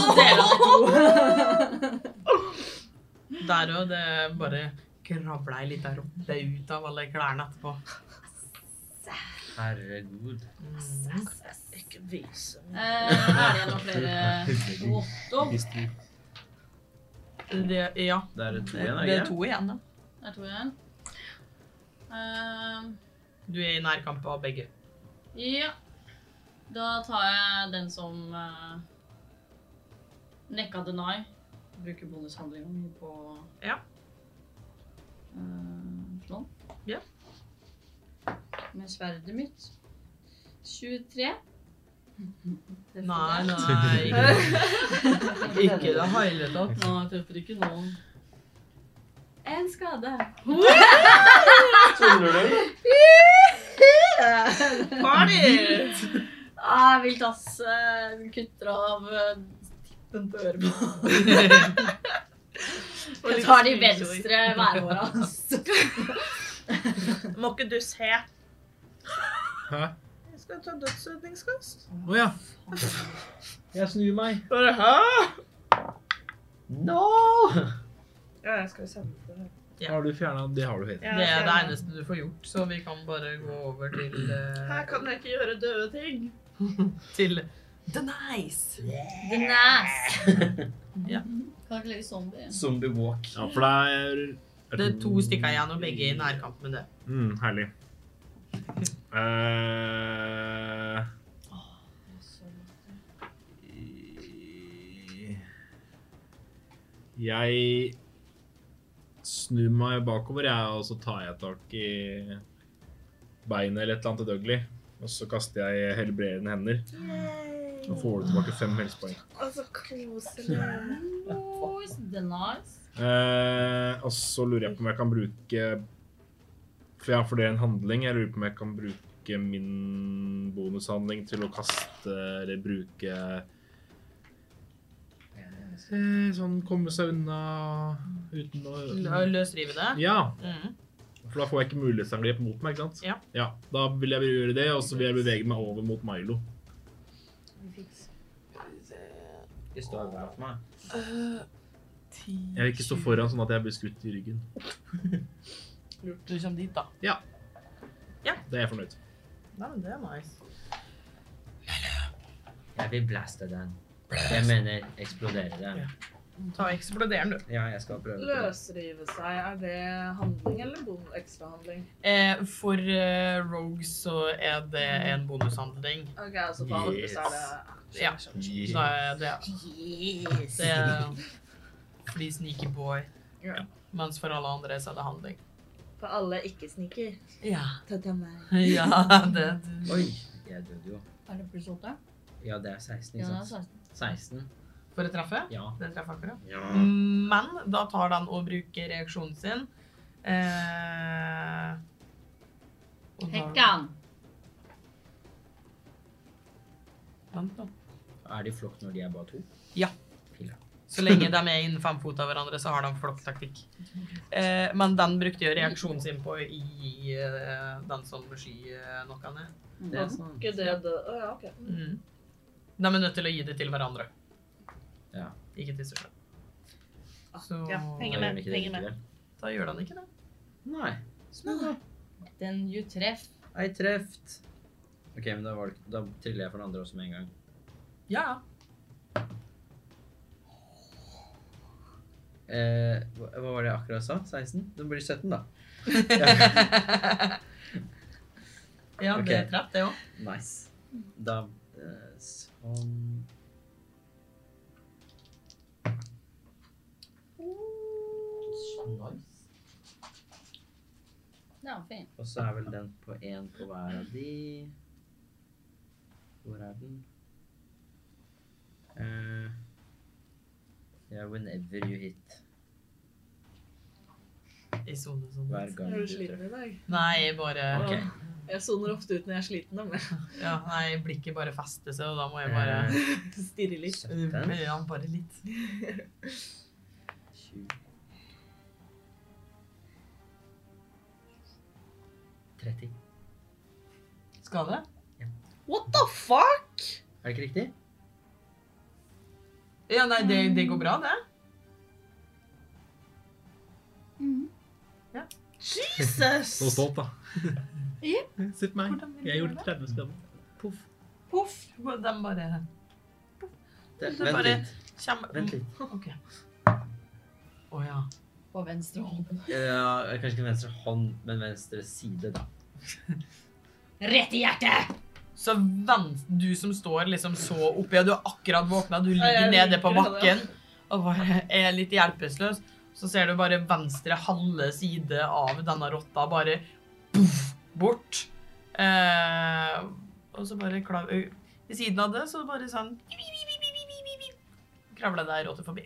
så deler han i to.
Der òg. Det er bare kravla ei lita rotte ut av alle klærne etterpå.
herregud.
Mm.
Ikke vise
Eh, er det noen flere Åtte?
Det, ja.
Det er et
Det
ben,
er
ikke?
to igjen, da.
Der tror jeg en. Ehm,
Du er i nærkamp av begge.
ja. Da tar jeg den som uh, nekka deny. Bruker bonushandlinga mi på
Ja.
eh, sånn.
Ja.
Med sverdet mitt. 23. Det
Nei,
får jeg.
nei. Ikke, ikke i det hele tatt.
Nå, jeg treffer ikke noen. En skade.
Tuller du?
Party!
Ah, vilt ass. Eh, Kutter av eh, tippen på øret på Jeg tar de venstre værhåra hans.
Må ikke du se.
Hæ?
Jeg skal ta dødsredningskast.
Å ja. Jeg snur meg.
Bare hæ?
No!
Ja, jeg skal jo sende det her.
Har du fjerna Det har du helt.
Det er det eneste du får gjort, så vi kan bare gå over til, eh,
Her kan jeg ikke gjøre døde ting.
til The Nice.
The Nass.
Ja.
Kan ikke legge zombie.
Zombie walk.
Ja, for det er
Det er to stykker igjen, og begge er i nærkamp med det.
Mm, herlig. Eh, jeg snur meg bakover, jeg, og så tar jeg tak i beinet eller et eller annet til Dougley. Og så kaster jeg helbredende hender og får du tilbake fem helsepoeng.
Altså, koselig.
Nice. The Nice.
Eh, og så lurer jeg på om jeg kan bruke For ja, for det er en handling. Jeg lurer på om jeg kan bruke min bonushandling til å kaste eller bruke eh, Sånn komme seg unna uten å
Lø- Løsrive det.
Ja,
Mm.
for da får jeg ikke mulighetsangrep mot meg, ikke sant?
Ja.
Da vil jeg gjøre det, og så vil jeg bevege meg over mot Milo.
Hvis du har vært meg.
Jeg vil ikke stå foran sånn at jeg blir skutt i ryggen.
Lurt du kommer dit, da.
Det er jeg fornøyd.
Nei, men det er nice.
Jeg vil blaste den. Jeg mener eksplodere den.
Ta og eksploder den, du.
Ja, jeg skal prøve på det.
Løsrive seg, er det handling eller bon ekstrahandling?
Eh, for eh, Rogue så er det en bonushandling.
Ok, altså for andre så er
Yes.
det
Ja. Da er det Det er eh, fordi sneaky boy.
Ja.
Mens for alle andre så er det handling.
For alle ikke-sniker.
Ja.
Ta til meg.
ja det,
Oi, jeg døde jo.
Er det pluss åtte?
Ja, det er 16,
Ja,
ikke
det er
sant?
16.
altså.
16.
for å treffe?
Ja.
Det treffer akkurat.
Ja.
Men da tar den og bruker reaksjonen sin. Eh, og da-
Hekkan.
Vent nå.
Er de i flokk når de er bare to?
Ja.
Fila.
Så lenge de er innen fem fot av hverandre, så har de flokktaktikk. Eh, men den brukte jo reaksjonen sin på å gi eh, den som sky eh, noe ned.
Det er sånn.
Ikke det, det. Å ja, ok.
Mm. De er nødt til å gi det til hverandre.
Ja.
Ikke til seg selv. Så
Ah, Ja, henger med.
Da gjør den ikke det
Henger med.
likevel.
da gjør den ikke det.
Nei.
Den you treff.
Ei treft. Ok, men da, var det, da triller jeg for den andre også med en gang.
Ja,
Eh, hva, hva var det jeg akkurat sa? 16? Det blir 17, da.
ja det
Ok.
er treff, det òg.
Nice. Da eh, Sånn Nice.
Ja, fin.
Og så er vel den på én på hver av de. Hvor er den? Eh, yeah, whenever you hit.
I sone, sone.
Hver gang
Er
du
du sliten i
treffer.
dag?
Nei, bare
Ok.
Jeg soner ofte ut når jeg er sliten, nemlig.
ja, Nei, blikket bare fester seg, og da må jeg bare
Eh,
Stirrer litt.
sytten,
Ja, bare litt.
tjue. Tretti.
Skade?
What the fuck?
Er det ikke riktig?
Ja, nei, det, det går bra, det.
Jesus!
Så stolt, da.
Ja.
Se på meg.
Hvordan vil du
Jeg
gjøre
gjorde 30 skader.
Poff. De bare
Det,
Det er
vent
bare-
litt.
kommer
Vent litt.
OK. Å ja.
På venstre hånd.
Eh, Ja, kanskje ikke venstre hånd, men venstre side, da.
Rett i hjertet!
Så vent, du som står liksom så oppe, ja, du har akkurat våkna, du ligger
jeg
nede på
liker det, ja.
bakken og bare er litt hjelpeløs, så ser du bare venstre halve side av denne rotta bare puff, bort. Eh, og så bare klav... ø, Ved siden av det, så bare sånn Kravla deg rotte forbi.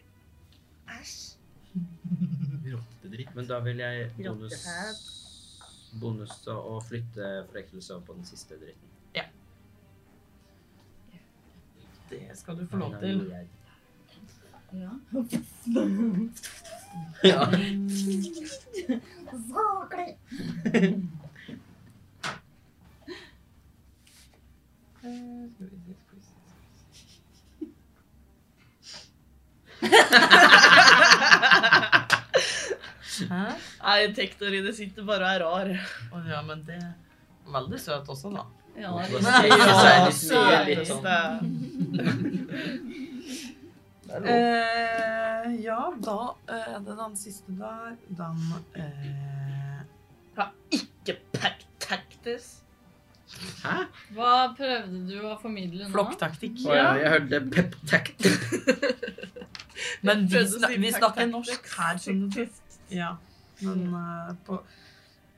Rottedritt.
Men da vil jeg bonus,
Rottefæl.
bonus og flytte forrekkelse over på den siste dritten.
Det skal du få lov til.
Da gjør jeg-
Ja.
Ja.
Hæ?
Nei, Tektor i det sitter bare og er rar.
Å ja, men det er veldig søt også, da.
Ja,
Hvorfor
det
sier jeg
Ja,
litt mye, litt sånn?
Eh, ja, da eh, er det den siste der. Den eh,
Ikke pack-tactis.
Hæ?
Hva prøvde du å formidle nå?
Flokktaktikk.
Å ja, jeg hørte pep-tactic.
Men vi,
Prøvde å
snak,
si
vi snakker
pack-tactics.
norsk her,
Eh.
skjønner du. Ja, men eh, på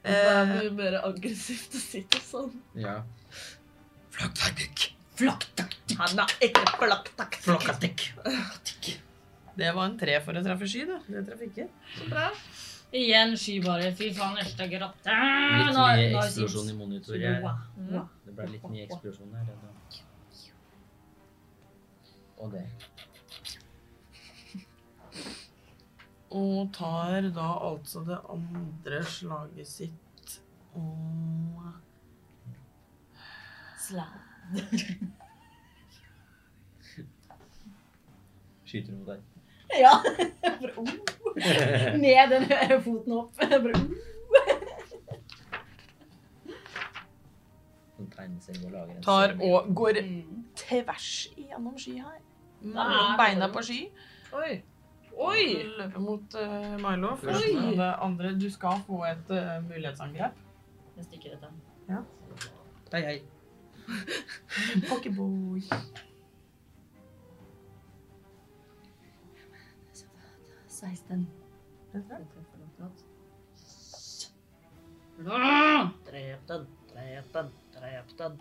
Det er
eh,
mye mer aggressivt å sitte sånn.
Ja.
Han er ikke flakk-taktikk.
Det var en tre for å treffe sky, du. Det traff ikke.
Igjen sky bare. Fy faen, neste grotte.
Litt
Nå-
mye
nå er
eksplosjon i
sint.
monitor. Jeg,
Wow.
det ble litt mye eksplosjon her. jeg da. Og det.
Og tar da altså det andre slaget sitt og
Slap.
Skyter mot deg.
Ja. Bare, oh. Ned den høyre foten opp. Bare, oh.
Sånn tegneserie og lager en
Tar
serie.
og går
Mm.
tvers igjennom sky her.
Nei.
Mellom beina på sky.
Oi. Oi!
Løper mot eh, Milo. Først
Oi!
med det andre. Du skal få et eh, mulighetsangrep.
Jeg stikker dette.
Hei, hei.
Pocketboy.
Så, 16.
Det tror jeg.
Ah!
Drep den, drep den, drep den.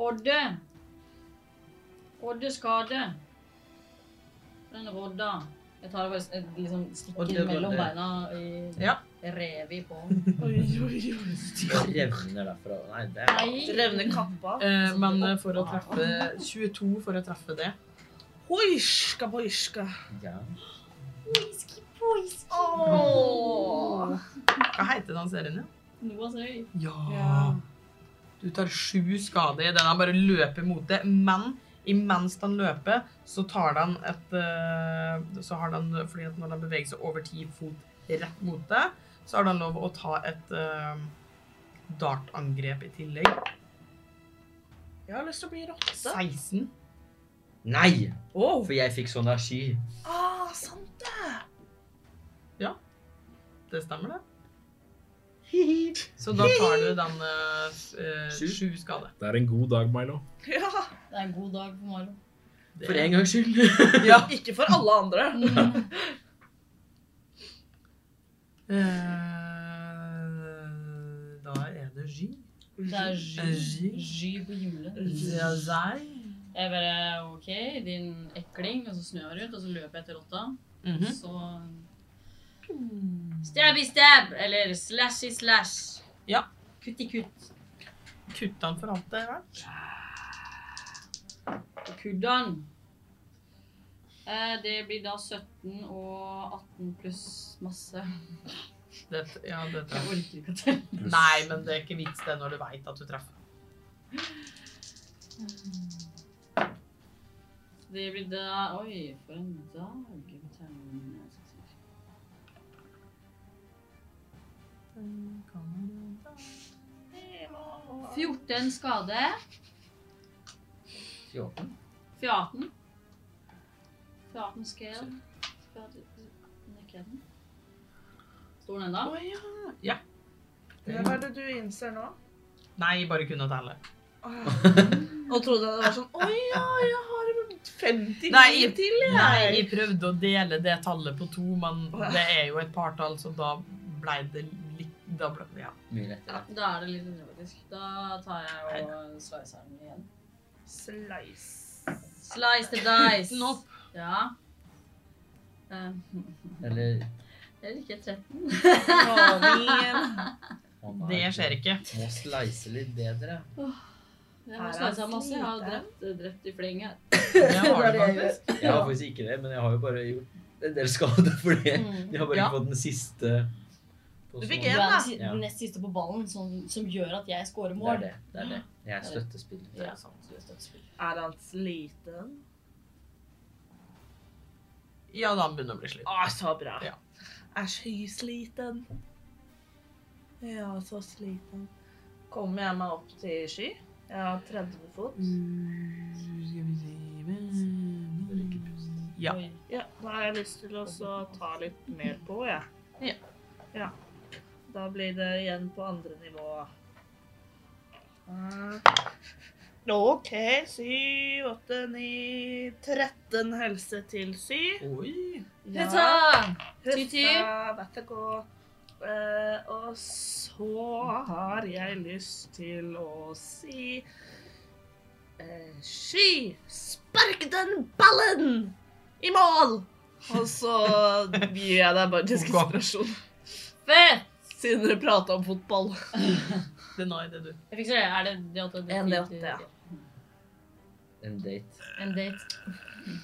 Odde. Odde skade. Den rodda. Jeg tar det bare s- eh, liksom
Odde
stikker mellom
rodde.
beina i
Ja.
revi på.
Oi, oi, oi.
Jeg revner derfra. Nei, det er
Nei.
Revner kappa.
Eh, men eh, for å treffe 22 for å treffe det.
Boiska, boiska.
Ja.
Hva heter den serien? igjen?
Noah sier
Ja. Du tar sju skader idet han bare løper mot det, men imens han løper, så tar han et eh, Så har han Fordi at når han beveger seg over ti fot rett mot det, så har han lov å ta et eh, dartangrep i tillegg.
Jeg har lyst til å bli rotte.
16.
Nei!
Wow.
For jeg fikk sånn energi.
Ah, sant det.
Det stemmer, det. Så da tar du den eh, s- eh,
Sju.
sju skade.
Det er en god dag, Milo.
Ja.
Det er en god dag for Milo.
Det-
For en gangs skyld.
ja. Ikke for alle andre.
Mm.
Eh, Da er det J.
Det er
Gy.
sky, sky på himmelen.
Det er Zai.
Jeg bare OK, din ekling. Og så snur jeg rundt, og så løper jeg til rotta.
Mhm.
Så Stabby stab! Eller slashy slash.
Ja.
Kutt i kutt.
Kutta han for alt det er verdt.
Kuddan. Eh, Det blir da 17 og 18 pluss masse.
Det- Ja, det
Jeg
traff.
orker ikke å telle.
Nei, men det er ikke vits det når du veit at du treffer.
Det blir da Oi, for en dag. Termin-
Hva
14 skade.
14.
14. 14 scale. 14 Nekker jeg den? Står den ennå?
er det du innser nå?
Nei, bare kunne telle.
Nå trodde jeg det var sånn Å ja, jeg har 50
Nei,
liv til, jeg.
Nei, jeg prøvde å dele det tallet på to, men det er jo et partall, så da blei det litt Da ble det ja.
Mye lettere.
Da er det litt mindre, faktisk. Da tar jeg og slicer den igjen.
Slice.
Slice the dice.
Den opp.
Ja. Eh,
Eller
Jeg liker 13.
å nei,
Det skjer ikke.
Må slice litt bedre.
Jeg
Her
har
er
slicer masse. Jeg har
sliten.
drept, drept i fleng her.
Det har du faktisk.
Jeg har faktisk ikke det, men jeg har jo bare gjort en del skade for det.
Mm.
Jeg har bare
Ja.
ikke fått den siste. sånn-
Du
posisjonen.
fikk
Du
en,
er
da.
den si-
Ja.
den nest siste på ballen som, som gjør at jeg scorer
Det er
mål.
det. det er det. Jeg er støttespiller.
Ja.
Er han sliten?
Ja, da begynner å bli sliten.
Å, så bra.
Ja.
Jeg er skysliten. Ja, så sliten. Kommer jeg meg opp til sky? Jeg har 30 fot.
Mm. Ja.
Oi.
Ja, da har jeg lyst til å så ta litt mer på, jeg.
Ja.
Ja. Da blir det igjen på andre nivå. Mm. OK, syv, åtte, ni 13 helse til syv.
Oi.
Hurra! Ty, ty.
Hurra, vær så god. Eh, og så har jeg lyst til å si eh, Sky, spark den ballen i mål! Og så gir jeg deg bare inspirasjon,
Fett!
siden dere prata om fotball.
Det nå er det du.
Jeg fikser det. Er det D8?
En D8, ja.
En date.
En date.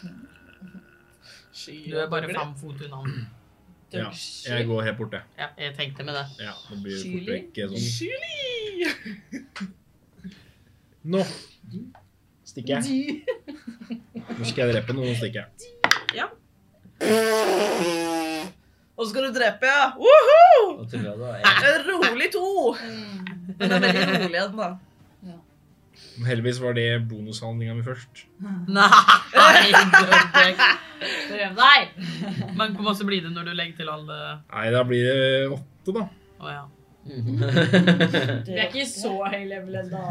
Du er bare fem fot unna. den.
Ja, jeg går helt bort, jeg.
Ja, jeg tenkte med det.
Ja, det blir fort
Kyling?
vekk eh, sånn. Nå stikker jeg. Nå skal jeg drepe noen, og stikker jeg.
Og så skal du drepe, ja. Woohoo!
Og til hva da? Jeg,
En rolig to.
Mm.
Men det er veldig rolig igjen, da.
Heldigvis var det bonushandlinga mi først.
Nei, Dødbekk.
Prøv deg!
Men hvor masse blir det når du legger til alle
Nei, da blir det åtte, da.
Å ja.
Vi er ikke så høy level ennå.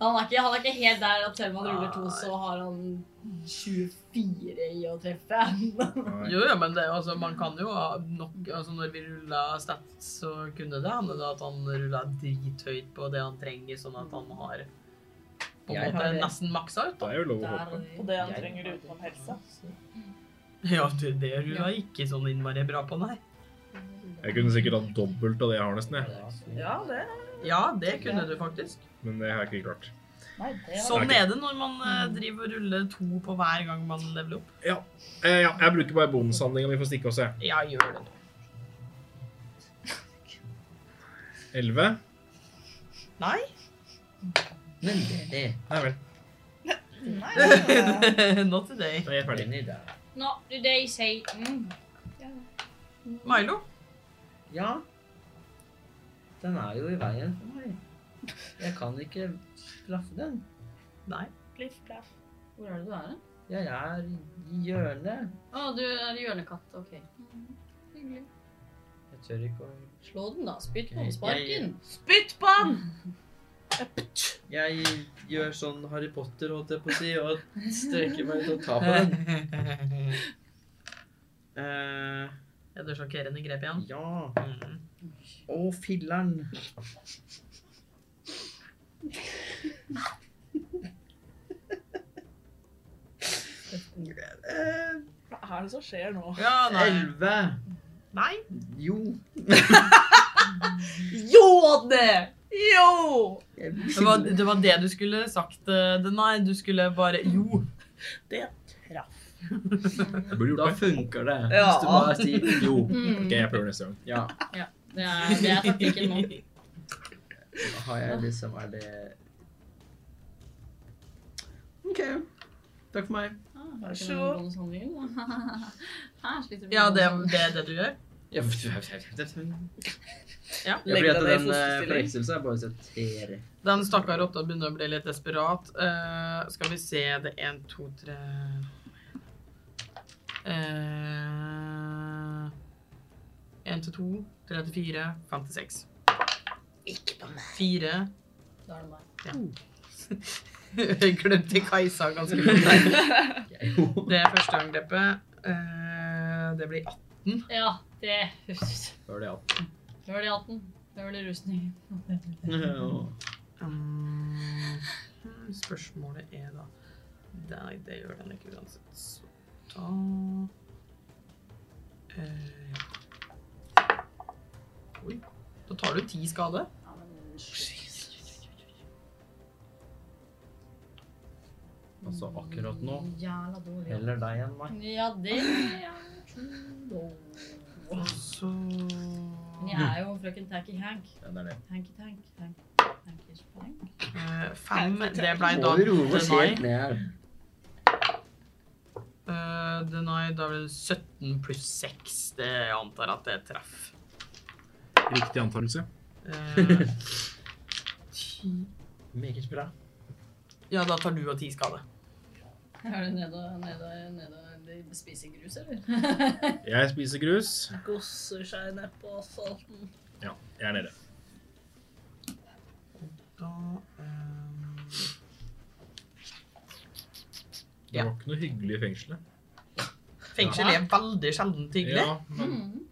Han er, ikke, han er ikke helt der at selv om han ruller to, så har han 24 i å treffe.
Nei.
Jo, jo, men det, er jo- altså, man kan jo ha nok altså, Når vi rulla stats, så kunne det hende da at han rulla drithøyt på det han trenger, sånn at han har på en
Jeg
måte
har det.
nesten maksa ut.
Det er jo lov å håpe.
Der,
Og det han
Jeg-
trenger utenom helse.
Ja, du, det rulla ikke sånn innmari bra på, nei.
Jeg kunne sikkert hatt dobbelt av det jeg har, nesten. jeg.
Ja, det
Ja, det kunne du faktisk.
Men det har jeg ikke klart.
Nei, det har
Sånn er det når man eh, driver og ruller to på hver gang man leveler opp.
Eh, ja, jeg bruker bare bonushandlinga mi for å stikke også, jeg.
Ja, gjør det.
11?
Nei.
Men det er det.
Nei vel.
Nei, det er-
Not today.
Da er jeg ferdig.
Den er der.
Not today, Satan.
Milo?
Ja. Den er jo i veien for meg. Jeg kan ikke straffe den.
Nei.
Pliff, plaff.
Hvor er det du er? hen?
Jeg er i hjørnet.
Å, du er hjørnekatt. OK. Hyggelig.
Jeg tør ikke å
Slå den, da. Spytt på
Ok,
den. Spark
jeg-
den.
Spytt på han!
Jeg gjør sånn Harry Potter, holdt jeg på å si, og strekker meg ut og tar på den. Eh,
Er det sjokkerende grep igjen?
ja.
Mm.
Å, filleren. Eh,
Hva er det som skjer nå?
Ja, nei.
Elleve.
Nei.
Jo.
Jåde! Jo!
Jeg
Det var, det var det du skulle sagt. eh, det- Nei, du skulle bare Jo.
Jeg burde gjort
Da
det.
funker det.
Ja.
Hvis du bare sier jo.
Mm.
Ok, jeg prøver neste gang.
Ja.
Det er, det er taktikken nå.
Da har jeg liksom Er det OK. Takk for meg.
Ah, har
Vær
ikke
så
noen
god.
bonushandlinger, da. Her sliter vi
Ja,
med
det,
bonushandlinger.
det er det du gjør?
Ja, fordi
Ja.
at
Legg deg ned i
den eh,
fosterstilling.
forvekselen så har jeg bare sett tre.
Den stakkar rotta begynner å bli litt desperat. Eh, skal vi se Det er én, to, tre Én eh, til to, tre til fire, fem til seks. Ikke på meg. Fire.
Da er det meg.
Jeg glemte Kajsa ganske fort der.
Jeg jo.
Det er første angrepet. Eh, det blir 18.
Ja, det Det
Hør det,
var de 18. Det var de rusningen.
ja.
Mm, Um, Spørsmålet er da Nei, det gjør den ikke uansett. Så da eh, Oi. Da tar du ti skade.
Ja, men
Altså akkurat nå.
Jævla dårlig.
Heller deg enn meg.
Ja, det er jo-
Og så
Men jeg er jo frøken Tanky Hank.
Ja, det er det.
Hanky Tank. Hank. Hanky Tank.
eh, Fem. Det ble da
Må vi roe oss
deny.
helt ned her?
Eh, deny. Da blir det 17 pluss 6. Det jeg antar at det er treff.
Riktig antakelse.
Eh, ti-
Meget bra.
ja, da tar du og ti skade.
Er du nede og nede og nede og spiser grus, eller?
Jeg spiser grus.
Gosser seg nedpå asfalten.
Ja, jeg er nede.
Da eh,
Det var ikke noe hyggelig i fengselet.
Fengsel er veldig sjeldent hyggelig.
Ja, men
Mm.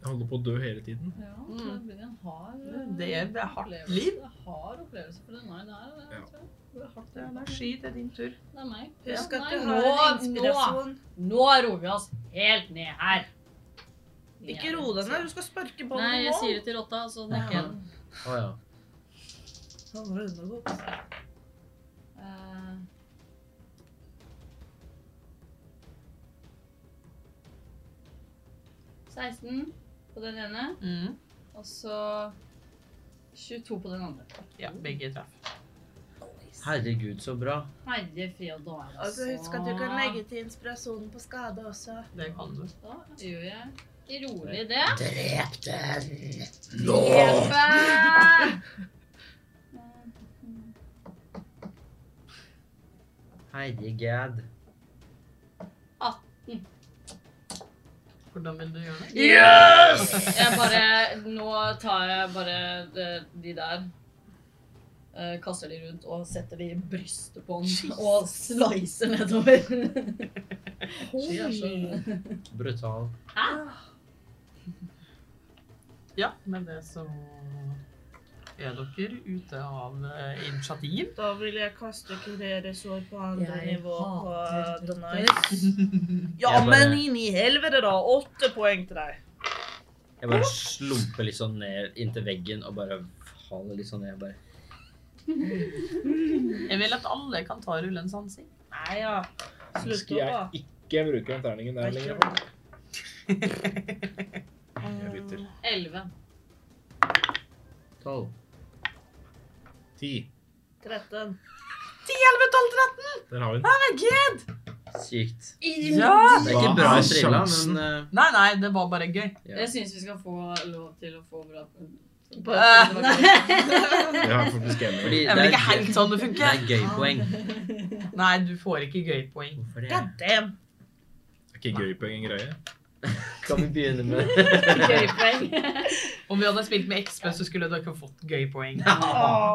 jeg holder på å dø hele tiden.
Ja, det blir en hard
Det er- det er hardt
opplevelse.
liv.
Det er hard opplevelse for den her, det er det,
Ja.
tror jeg. Det er hardt.
Ja, da sky, det er din tur.
Det er meg.
Husk at
Nei,
du har en
nå-
inspirasjon.
Nå, nå roer vi oss helt ned her.
Ikke ro deg ned, du skal sparke på den nå.
altså. Nei, jeg sier det til rotta, så det er ikke en
Å ja.
Han var undergått.
Eh, Seksten på den ene,
Mm.
og så 22 på den andre.
Ja, begge treff.
Herregud, så bra.
Herre fred og dare.
Altså, husk at du kan legge til inspirasjonen på skade også.
Det kan du.
Da gjør jeg ikke rolig det.
Drep den!
Jeppe!
Herregud.
18.
Hvordan vil du gjøre det?
Jeg bare Nå tar jeg bare de, de der. eh, Kaster de rundt og setter de i brystet på den og slicer nedover. altså. Oi.
Brutal.
Hæ?
Ja, med det så er dere ute av eh, initiativ.
Da vil jeg kaste kurere sår på andre
Jeg
nivå på
hater
Donai. Ja,
Jeg bare-
men inn i helvete, da! Åtte poeng til deg.
Jeg bare slumper litt sånn ned inntil veggen og bare faller litt sånn ned. Bare
Jeg vil at alle kan ta rulle en sansing.
Nei ja. Slutt
Skal
opp, da.
jeg ikke bruke den terningen der lenger? Jeg bytter.
11.
Tolv.
Ti.
13.
10, 11, 12, 13!
Der har vi den.
Sykt.
Ja!
Det er ikke
Hva
bra
er
trilla,
sjansen?
men eh,
Nei, nei, det var bare gøy.
Ja.
Jeg syns vi skal få lov til å få bra
Ah,
Eh,
Jeg er faktisk enig.
fordi
Det er vel ikke
gøy-
helt sånn det
det
funker.
er gøy poeng.
Nei, du får ikke gøy-poeng.
Hvorfor det?
God damn.
Er ikke gøy på en greie?
Kan vi begynne med
gøypoeng.
Om vi hadde spilt med XP, så skulle dere fått gøy-poeng.
Å,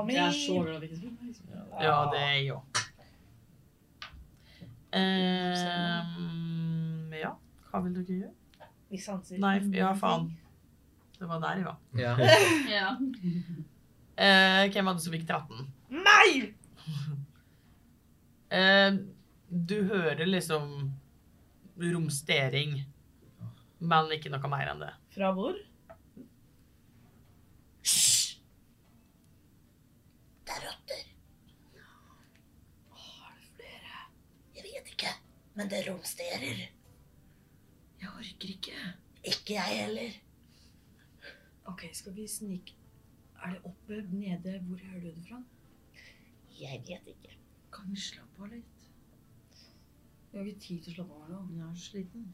Jeg er så
min.
glad vi ikke spiller med Xbox.
Ja, det er jeg òg. Ehm, ja, hva vil dere gjøre?
Vi sanser.
Nei, ja, faen. Det var der jeg var.
Ja.
Ja.
Eh, hvem var det som gikk til 18?
Meg!
Eh, du hører liksom romstering, men ikke noe mer enn det.
Fra hvor?
Jeg vet ikke, men det romsterer.
Jeg orker ikke.
Ikke jeg heller.
OK, skal vi snike Er det oppe, nede? Hvor hører du det fra?
Jeg vet ikke.
Kan vi slappe av litt?
Vi har ikke tid til å slappe av nå.
Jeg er så sliten.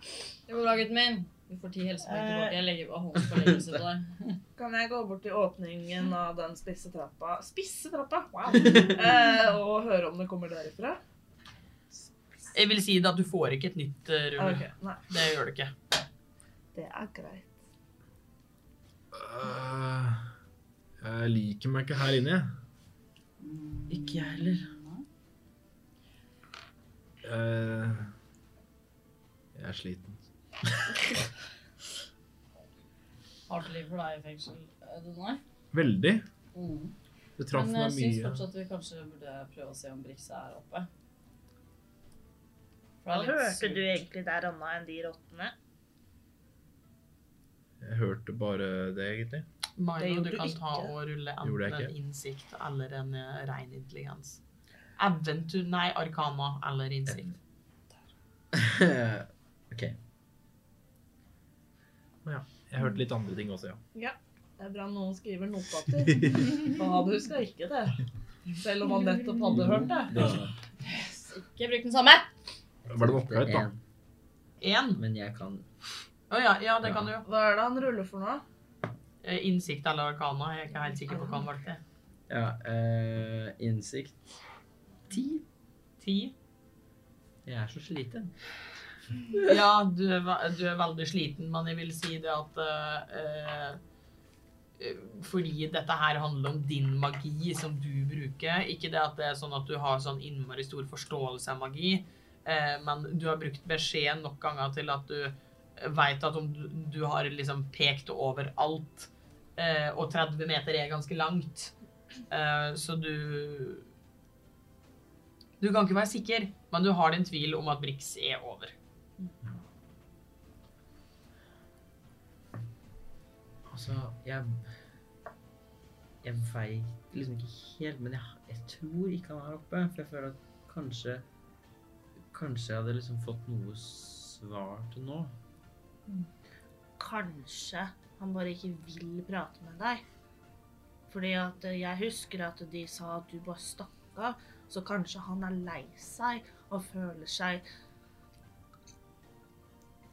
Det går bra, gutten min. Du får ti helsepoeng tilbake. Jeg legger bare hånden på leggelsen på deg.
Kan jeg gå bort til åpningen av den spisse trappa Spisse trappa! Wow! Eh, og høre om det kommer derifra?
Jeg vil si det at du får ikke et nytt eh, rull.
Ah, Ok, nei.
Det gjør du ikke.
Det er greit.
Øh, Jeg liker meg ikke her inne. jeg.
Ikke jeg heller.
Øh, Jeg er sliten.
Hardt liv for deg i fengsel. Er det nei?
Veldig.
Mm.
Det traff
Men jeg
meg
syns
mye.
fortsatt vi kanskje burde prøve å se om Brix er oppe.
Hva
For det er litt
hørte
surt.
du egentlig der annet enn de rottene?
Jeg hørte bare det, egentlig.
Milo,
gjorde
du
du
kan ta
ikke.
og rulle
Gjorde jeg
enten en innsikt eller en eh, ren intelligens. Eventu... Nei, arkana eller innsikt.
OK.
Jeg hørte litt andre ting også, ja.
Det er bra noen skriver notater. Faen, husker ikke det. Selv om han nettopp hadde hørt det.
Ikke bruk den samme!
Var det oppgave, da?
En,
Én?
Men jeg kan
Å ja, ja, det
Ja.
kan du jo.
Hva er det han ruller for noe?
Eh, Innsikt eller arkana. Jeg er ikke helt sikker på hva han valgte.
Ja. eh, innsikt ti.
Ti?
Jeg er så sliten.
Ja, du er, ve- du er veldig sliten, men jeg vil si det at eh, eh, Fordi dette her handler om din magi som du bruker. Ikke det at det er sånn at du har sånn innmari stor forståelse av magi, eh, men du har brukt beskjed nok ganger til at du veit at om du, du har liksom pekt over alt, eh, og 30 meter er ganske langt, eh, så du Du kan ikke være sikker, men du har din tvil om at Brix er over.
Altså, jeg Jeg veit liksom ikke helt, men jeg, jeg tror ikke han er oppe. For jeg føler at kanskje Kanskje jeg hadde liksom fått noe svar til nå.
Kanskje han bare ikke vil prate med deg. Fordi at eh, jeg husker at de sa at du bare stakk av. Så kanskje han er lei seg og føler seg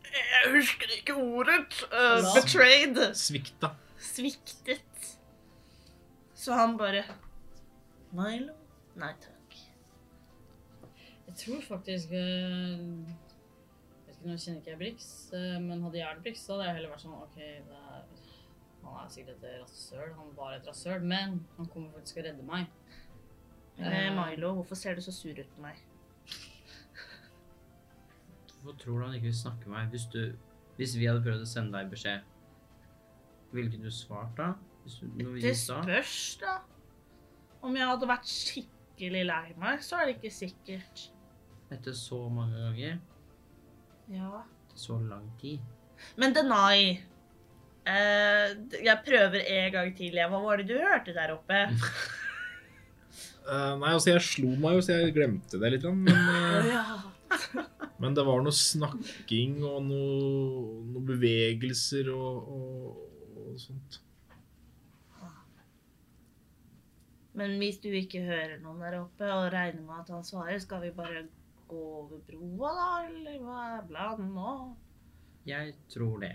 Jeg husker ikke ordet. eh,
Forlatt.
betrayed.
Svikta.
sviktet.
Så han bare
Milo? Nei takk.
Jeg tror faktisk eh, Jeg vet ikke, Nå kjenner ikke jeg Brix, eh, men hadde jeg vært Brix, så hadde jeg heller vært sånn OK, det er, han er sikkert et rasshøl. Han var et rasshøl, men han kommer faktisk og redder meg.
Eh, Milo, hvorfor ser du så sur ut på meg?
Hvorfor tror du han ikke vil snakke med meg? Hvis, du, hvis vi hadde prøvd å sende deg beskjed, ville ikke du svart da? Hvis du, når vi
Det
sa
spørs, da.
Om jeg hadde vært skikkelig lei meg, så er det ikke sikkert.
etter så mange ganger,
Ja.
etter så lang tid
Men deny. Eh, jeg prøver en gang til. jeg. Hva var det du hørte der oppe?
Eh, nei, altså, jeg slo meg jo, så jeg glemte det litt. grann, Men, eh, men det var noe snakking og noe, noe bevegelser og, og, og sånt.
Men hvis du ikke hører noen der oppe og regner med at han svarer, skal vi bare gå over broa da, eller hva er planen nå?
Jeg tror det.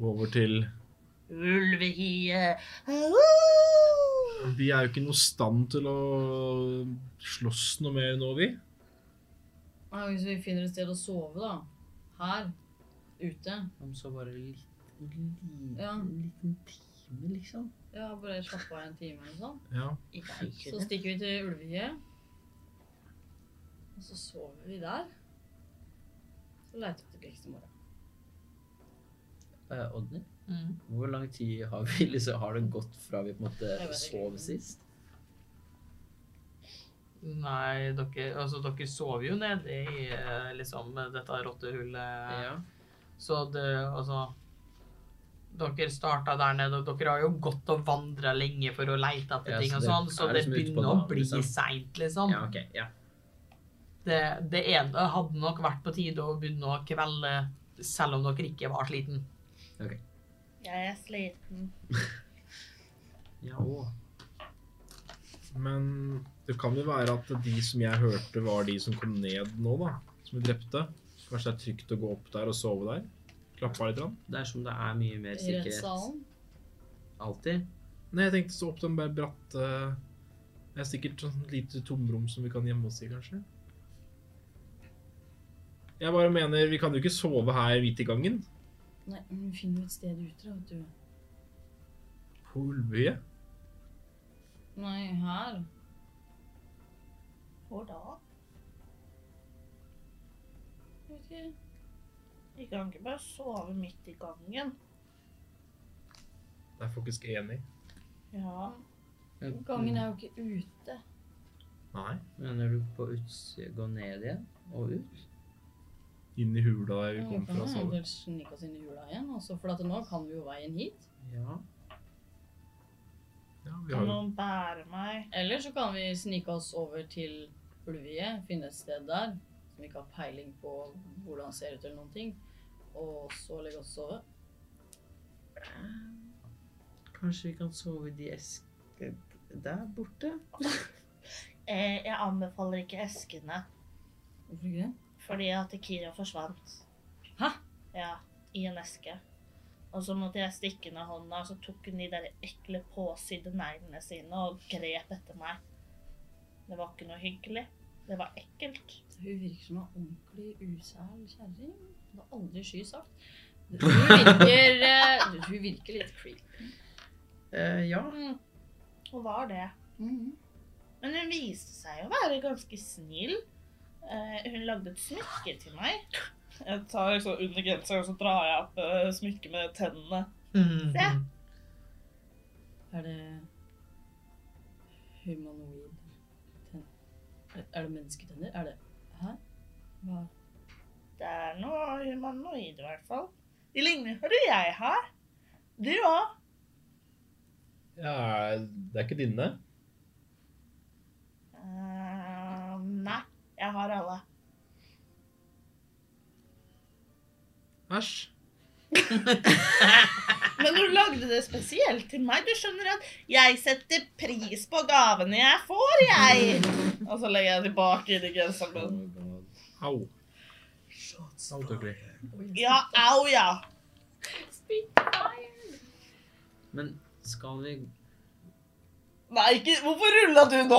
Over til
Ulvehiet.
Vi er jo ikke i noe stand til å slåss noe mer nå, vi.
Ja, hvis vi finner et sted å sove, da. Her. Ute.
Om så bare litt, litt,
Ja.
en liten time, liksom.
Ja, bare slappe av en time eller sånn.
Ja.
Så stikker vi til Ulvehiet. Og så sover vi der. Så leter vi tilbake til morgenen.
Eh, Odny,
Mm.
hvor lang tid har, vi, liksom, har det gått fra vi på en
vet
måte
ikke.
sov sist?
Nei, dere, altså, dere sover jo nede i eh, liksom, dette rottehullet. Så det, altså Dere starta der nede, og dere har jo gått og vandra lenge for å leite etter
Ja, så
ting og
det
sånn, så
er
det
liksom ute på
begynner å
dagen,
bli
liksom.
seint, liksom.
Ja, ok. Ja.
Det, det ene hadde nok vært på tide å begynne å kvelde, selv om dere ikke var sliten.
Jeg er sliten.
Ja, å.
Men det kan jo være at de som jeg hørte, var de som kom ned nå, da. Som vi drepte. Kanskje det er trygt å gå opp der og sove der? Klappe av litt? Grann.
Dersom det er mye mer
I
sikkerhet.
rettssalen.
Alltid.
Nei, jeg tenkte så opp den bare bratte Det er sikkert sånn lite tomrom som vi kan gjemme oss i, kanskje. Jeg bare mener, vi kan jo ikke sove her midt i gangen.
Nei, men vi finner jo et sted ute, da, vet du.
På Ulveøya.
Nei, her.
Hvor da?
Jeg vet ikke.
Vi kan ikke bare sove midt i gangen.
Det er jeg faktisk enig. i.
Ja.
Gangen er jo ikke ute.
Nei.
Mm. Mener du på utsida gå ned igjen og ut?
Inn i hula der vi
Ja,
kom fra og
Vi kan
sove.
jo snike oss inn i jula igjen, altså, for at nå kan vi jo veien hit.
Ja.
Ja, vi
Kan
har jo
noen bære meg?
Eller så kan vi snike oss over til Ulviet, finne et sted der som vi ikke har peiling på hvordan det ser ut eller noen ting, og så legge oss og sove.
Kanskje vi kan sove i de eskene der borte?
Eh, jeg anbefaler ikke eskene,
Hvorfor ikke det?
fordi at Kira forsvant.
Hæ?
Ja, i en eske. Og så måtte jeg stikke ned hånda, og så tok hun de der ekle påsydde neglene sine og grep etter meg. Det var ikke noe hyggelig. Det var ekkelt.
Hun virker som en ordentlig usæl kjerring. Hun har aldri sky sagt. Hun virker, eh, hun virker litt creep.
Eh, ja.
Mm. Og var det.
Mm.
Mhm.
Men hun viste seg å være ganske snill. Eh, hun lagde et smykke til meg.
Jeg tar liksom under genseren, og så drar jeg opp eh, smykket med tennene.
Se!
Er det humanoid tenn... Er det mennesketenner? Er det Hæ? Hva?
Det er noe humanoid, i hvert fall. De ligner Hva er det jeg har? Du òg.
Ja, det er ikke dine.
Eh, nei, jeg har alle.
Æsj.
Men du lagde det spesielt til meg. Du skjønner at jeg setter pris på gavene jeg får, jeg.
Og så legger jeg tilbake inn i genseren
Oh
min.
my god. Au. Au, Tøkli.
Ja, au, ja.
Men skal vi
Nei, ikke Hvorfor rulla du nå?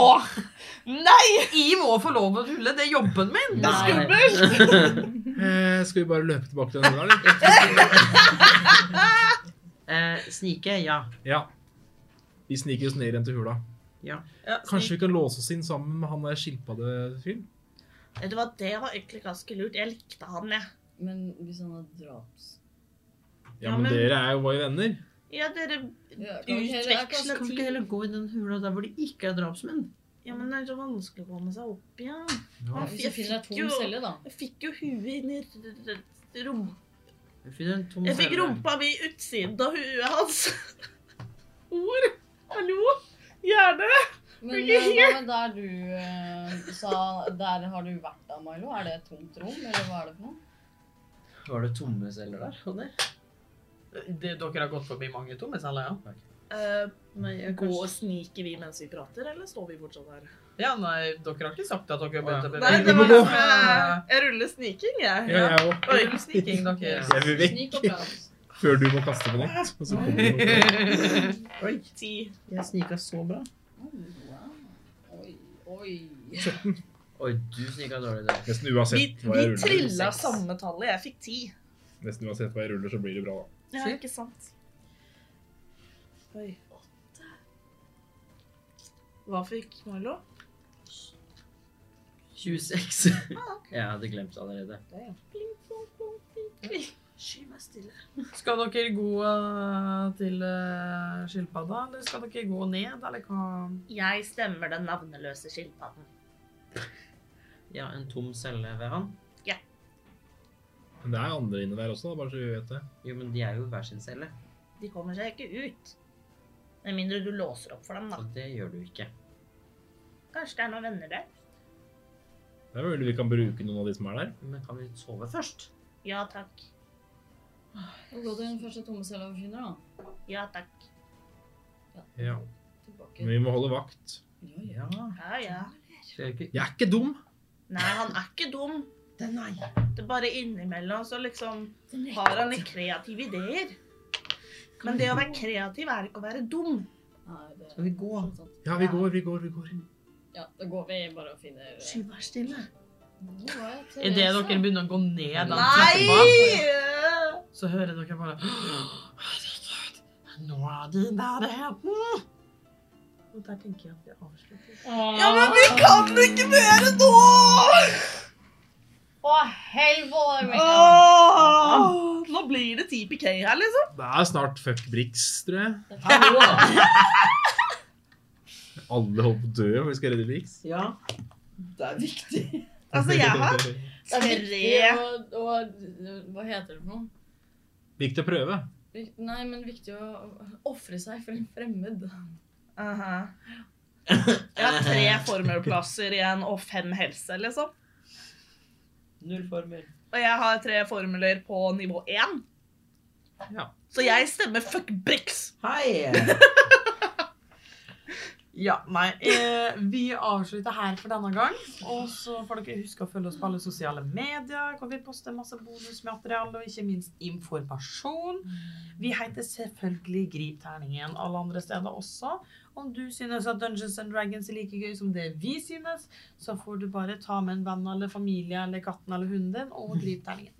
Nei!
Jeg må få lov å rulle, det er jobben min!
Nei.
Eh, skal vi bare løpe tilbake til den hula, eller?
Eh, snike, ja.
Ja. Vi sniker oss ned igjen til hula.
Ja,
Kanskje vi kan låse oss inn sammen med han der skilpaddefyren?
Vet du hva, det var egentlig ganske lurt. Jeg likte han, jeg.
Men hvis han har draps...
Ja, men dere er jo våre venner.
Ja, dere
Ja, kan vi heller- jeg kan-
utveksler
Kan vi ikke heller gå i den hula der hvor det ikke er drapsmenn?
Ja, men det er så vanskelig å komme seg opp igjen.
Ja.
Hvis jeg finner ei tom celle, da.
Jeg fikk jo huet inn i r- r- r- rom...
Jeg finner en tom
Jeg fikk
celle.
rumpa mi utsiden av huet hans. Ord. Hallo. Hjerne.
Men eh, hva med der du eh, sa Der har du vært da, Milo? Er det et tomt rom, eller hva er det for noe?
Var det tomme celler der? Hanne?
Det, dere har gått forbi mange tomme celler, ja?
Eh, men jeg går og sniker vi mens vi prater, eller står vi fortsatt her?
Ja, nei, dere har ikke sagt at dere har begynt å
Nei,
bevege
det var
dere.
derfor jeg- jeg ruller sniking, jeg.
Ja, jeg òg.
Oi, sniking, dere.
Jeg vil vekk
Snik og prat.
før du må kaste på noe. Og så kommer du opp.
Oi, ti.
Jeg snika så bra.
Oi, oi.
Oi, du snika dårlig der.
Nesten
Vi,
uansett hva jeg
vi
ruller,
trilla samme tallet. Jeg fikk ti.
Nesten uansett hva jeg ruller, så blir det bra, da.
Ja, ikke sant? Oi. Hva fikk Milo?
26.
Ah,
Jeg hadde glemt allerede.
Sky meg stille.
Skal dere gå eh, til eh, skilpadda, eller skal dere gå ned, eller hva?
Jeg stemmer den navneløse skilpadden.
Ja, en tom celle ved han.
Men det er andre inne der også, da, bare så vi vet det.
Jo, men de er jo i hver sin celle.
De kommer seg ikke ut. Med mindre du låser opp for dem, da.
Og det gjør du ikke.
Kanskje det er noen venner der?
Det er mulig vi kan bruke noen av de som er der.
Men kan vi sove først?
Ja takk.
Og Gå til den første tomme cella vi finner, da.
Ja takk.
Ja.
Tilbake.
Men vi må holde vakt.
Ja, ja.
Ja.
Ja ja.
Skal jeg ikke
Jeg er ikke dum!
Nei, han er ikke dum.
Den er jeg.
Det er bare innimellom så liksom har han litt kreative ideer. Men det å være kreativ er ikke å være dum.
Nei, det
Skal vi gå?
sånn sant.
Ja, vi går, vi går, vi går.
Ja, da går vi bare og finner eh,
Sky vær stille.
Idet dere begynner å gå ned den
Nei!
trappa, så hører dere bare Herregud, nå er de Mm!» i nærheten! Og der tenker jeg at vi avslutter.
Ja, men vi kan ikke mer nå!
Å, helvete! Mikael.
Åh, nå blir det 10 PK her, liksom.
Det er snart fuck Brix, tror jeg. Alle holder på å dø om vi skal redde Brix.
Ja. Det er viktig.
Altså, jeg har
Det er viktig
tre.
å- å- Hva heter det for noe?
Gikk til prøve.
Vik- Nei, men viktig å ofre seg for en fremmed.
Aha. Jeg har tre formelplasser igjen og fem helse, liksom.
Null former.
Og jeg har tre formuler på nivå 1.
Ja.
Så jeg stemmer fuck bricks.
Hei!
Ja, nei, eh, vi avslutter her for denne gang. Og så får dere huske å følge oss på alle sosiale medier. Hvor vi poster masse bonusmateriale og ikke minst informasjon. Vi heter selvfølgelig Grip terningen alle andre steder også. Om du synes at Dungeons and Dragons er like gøy som det vi synes, så får du bare ta med en venn eller familie eller katten eller hunden din og grip terningen.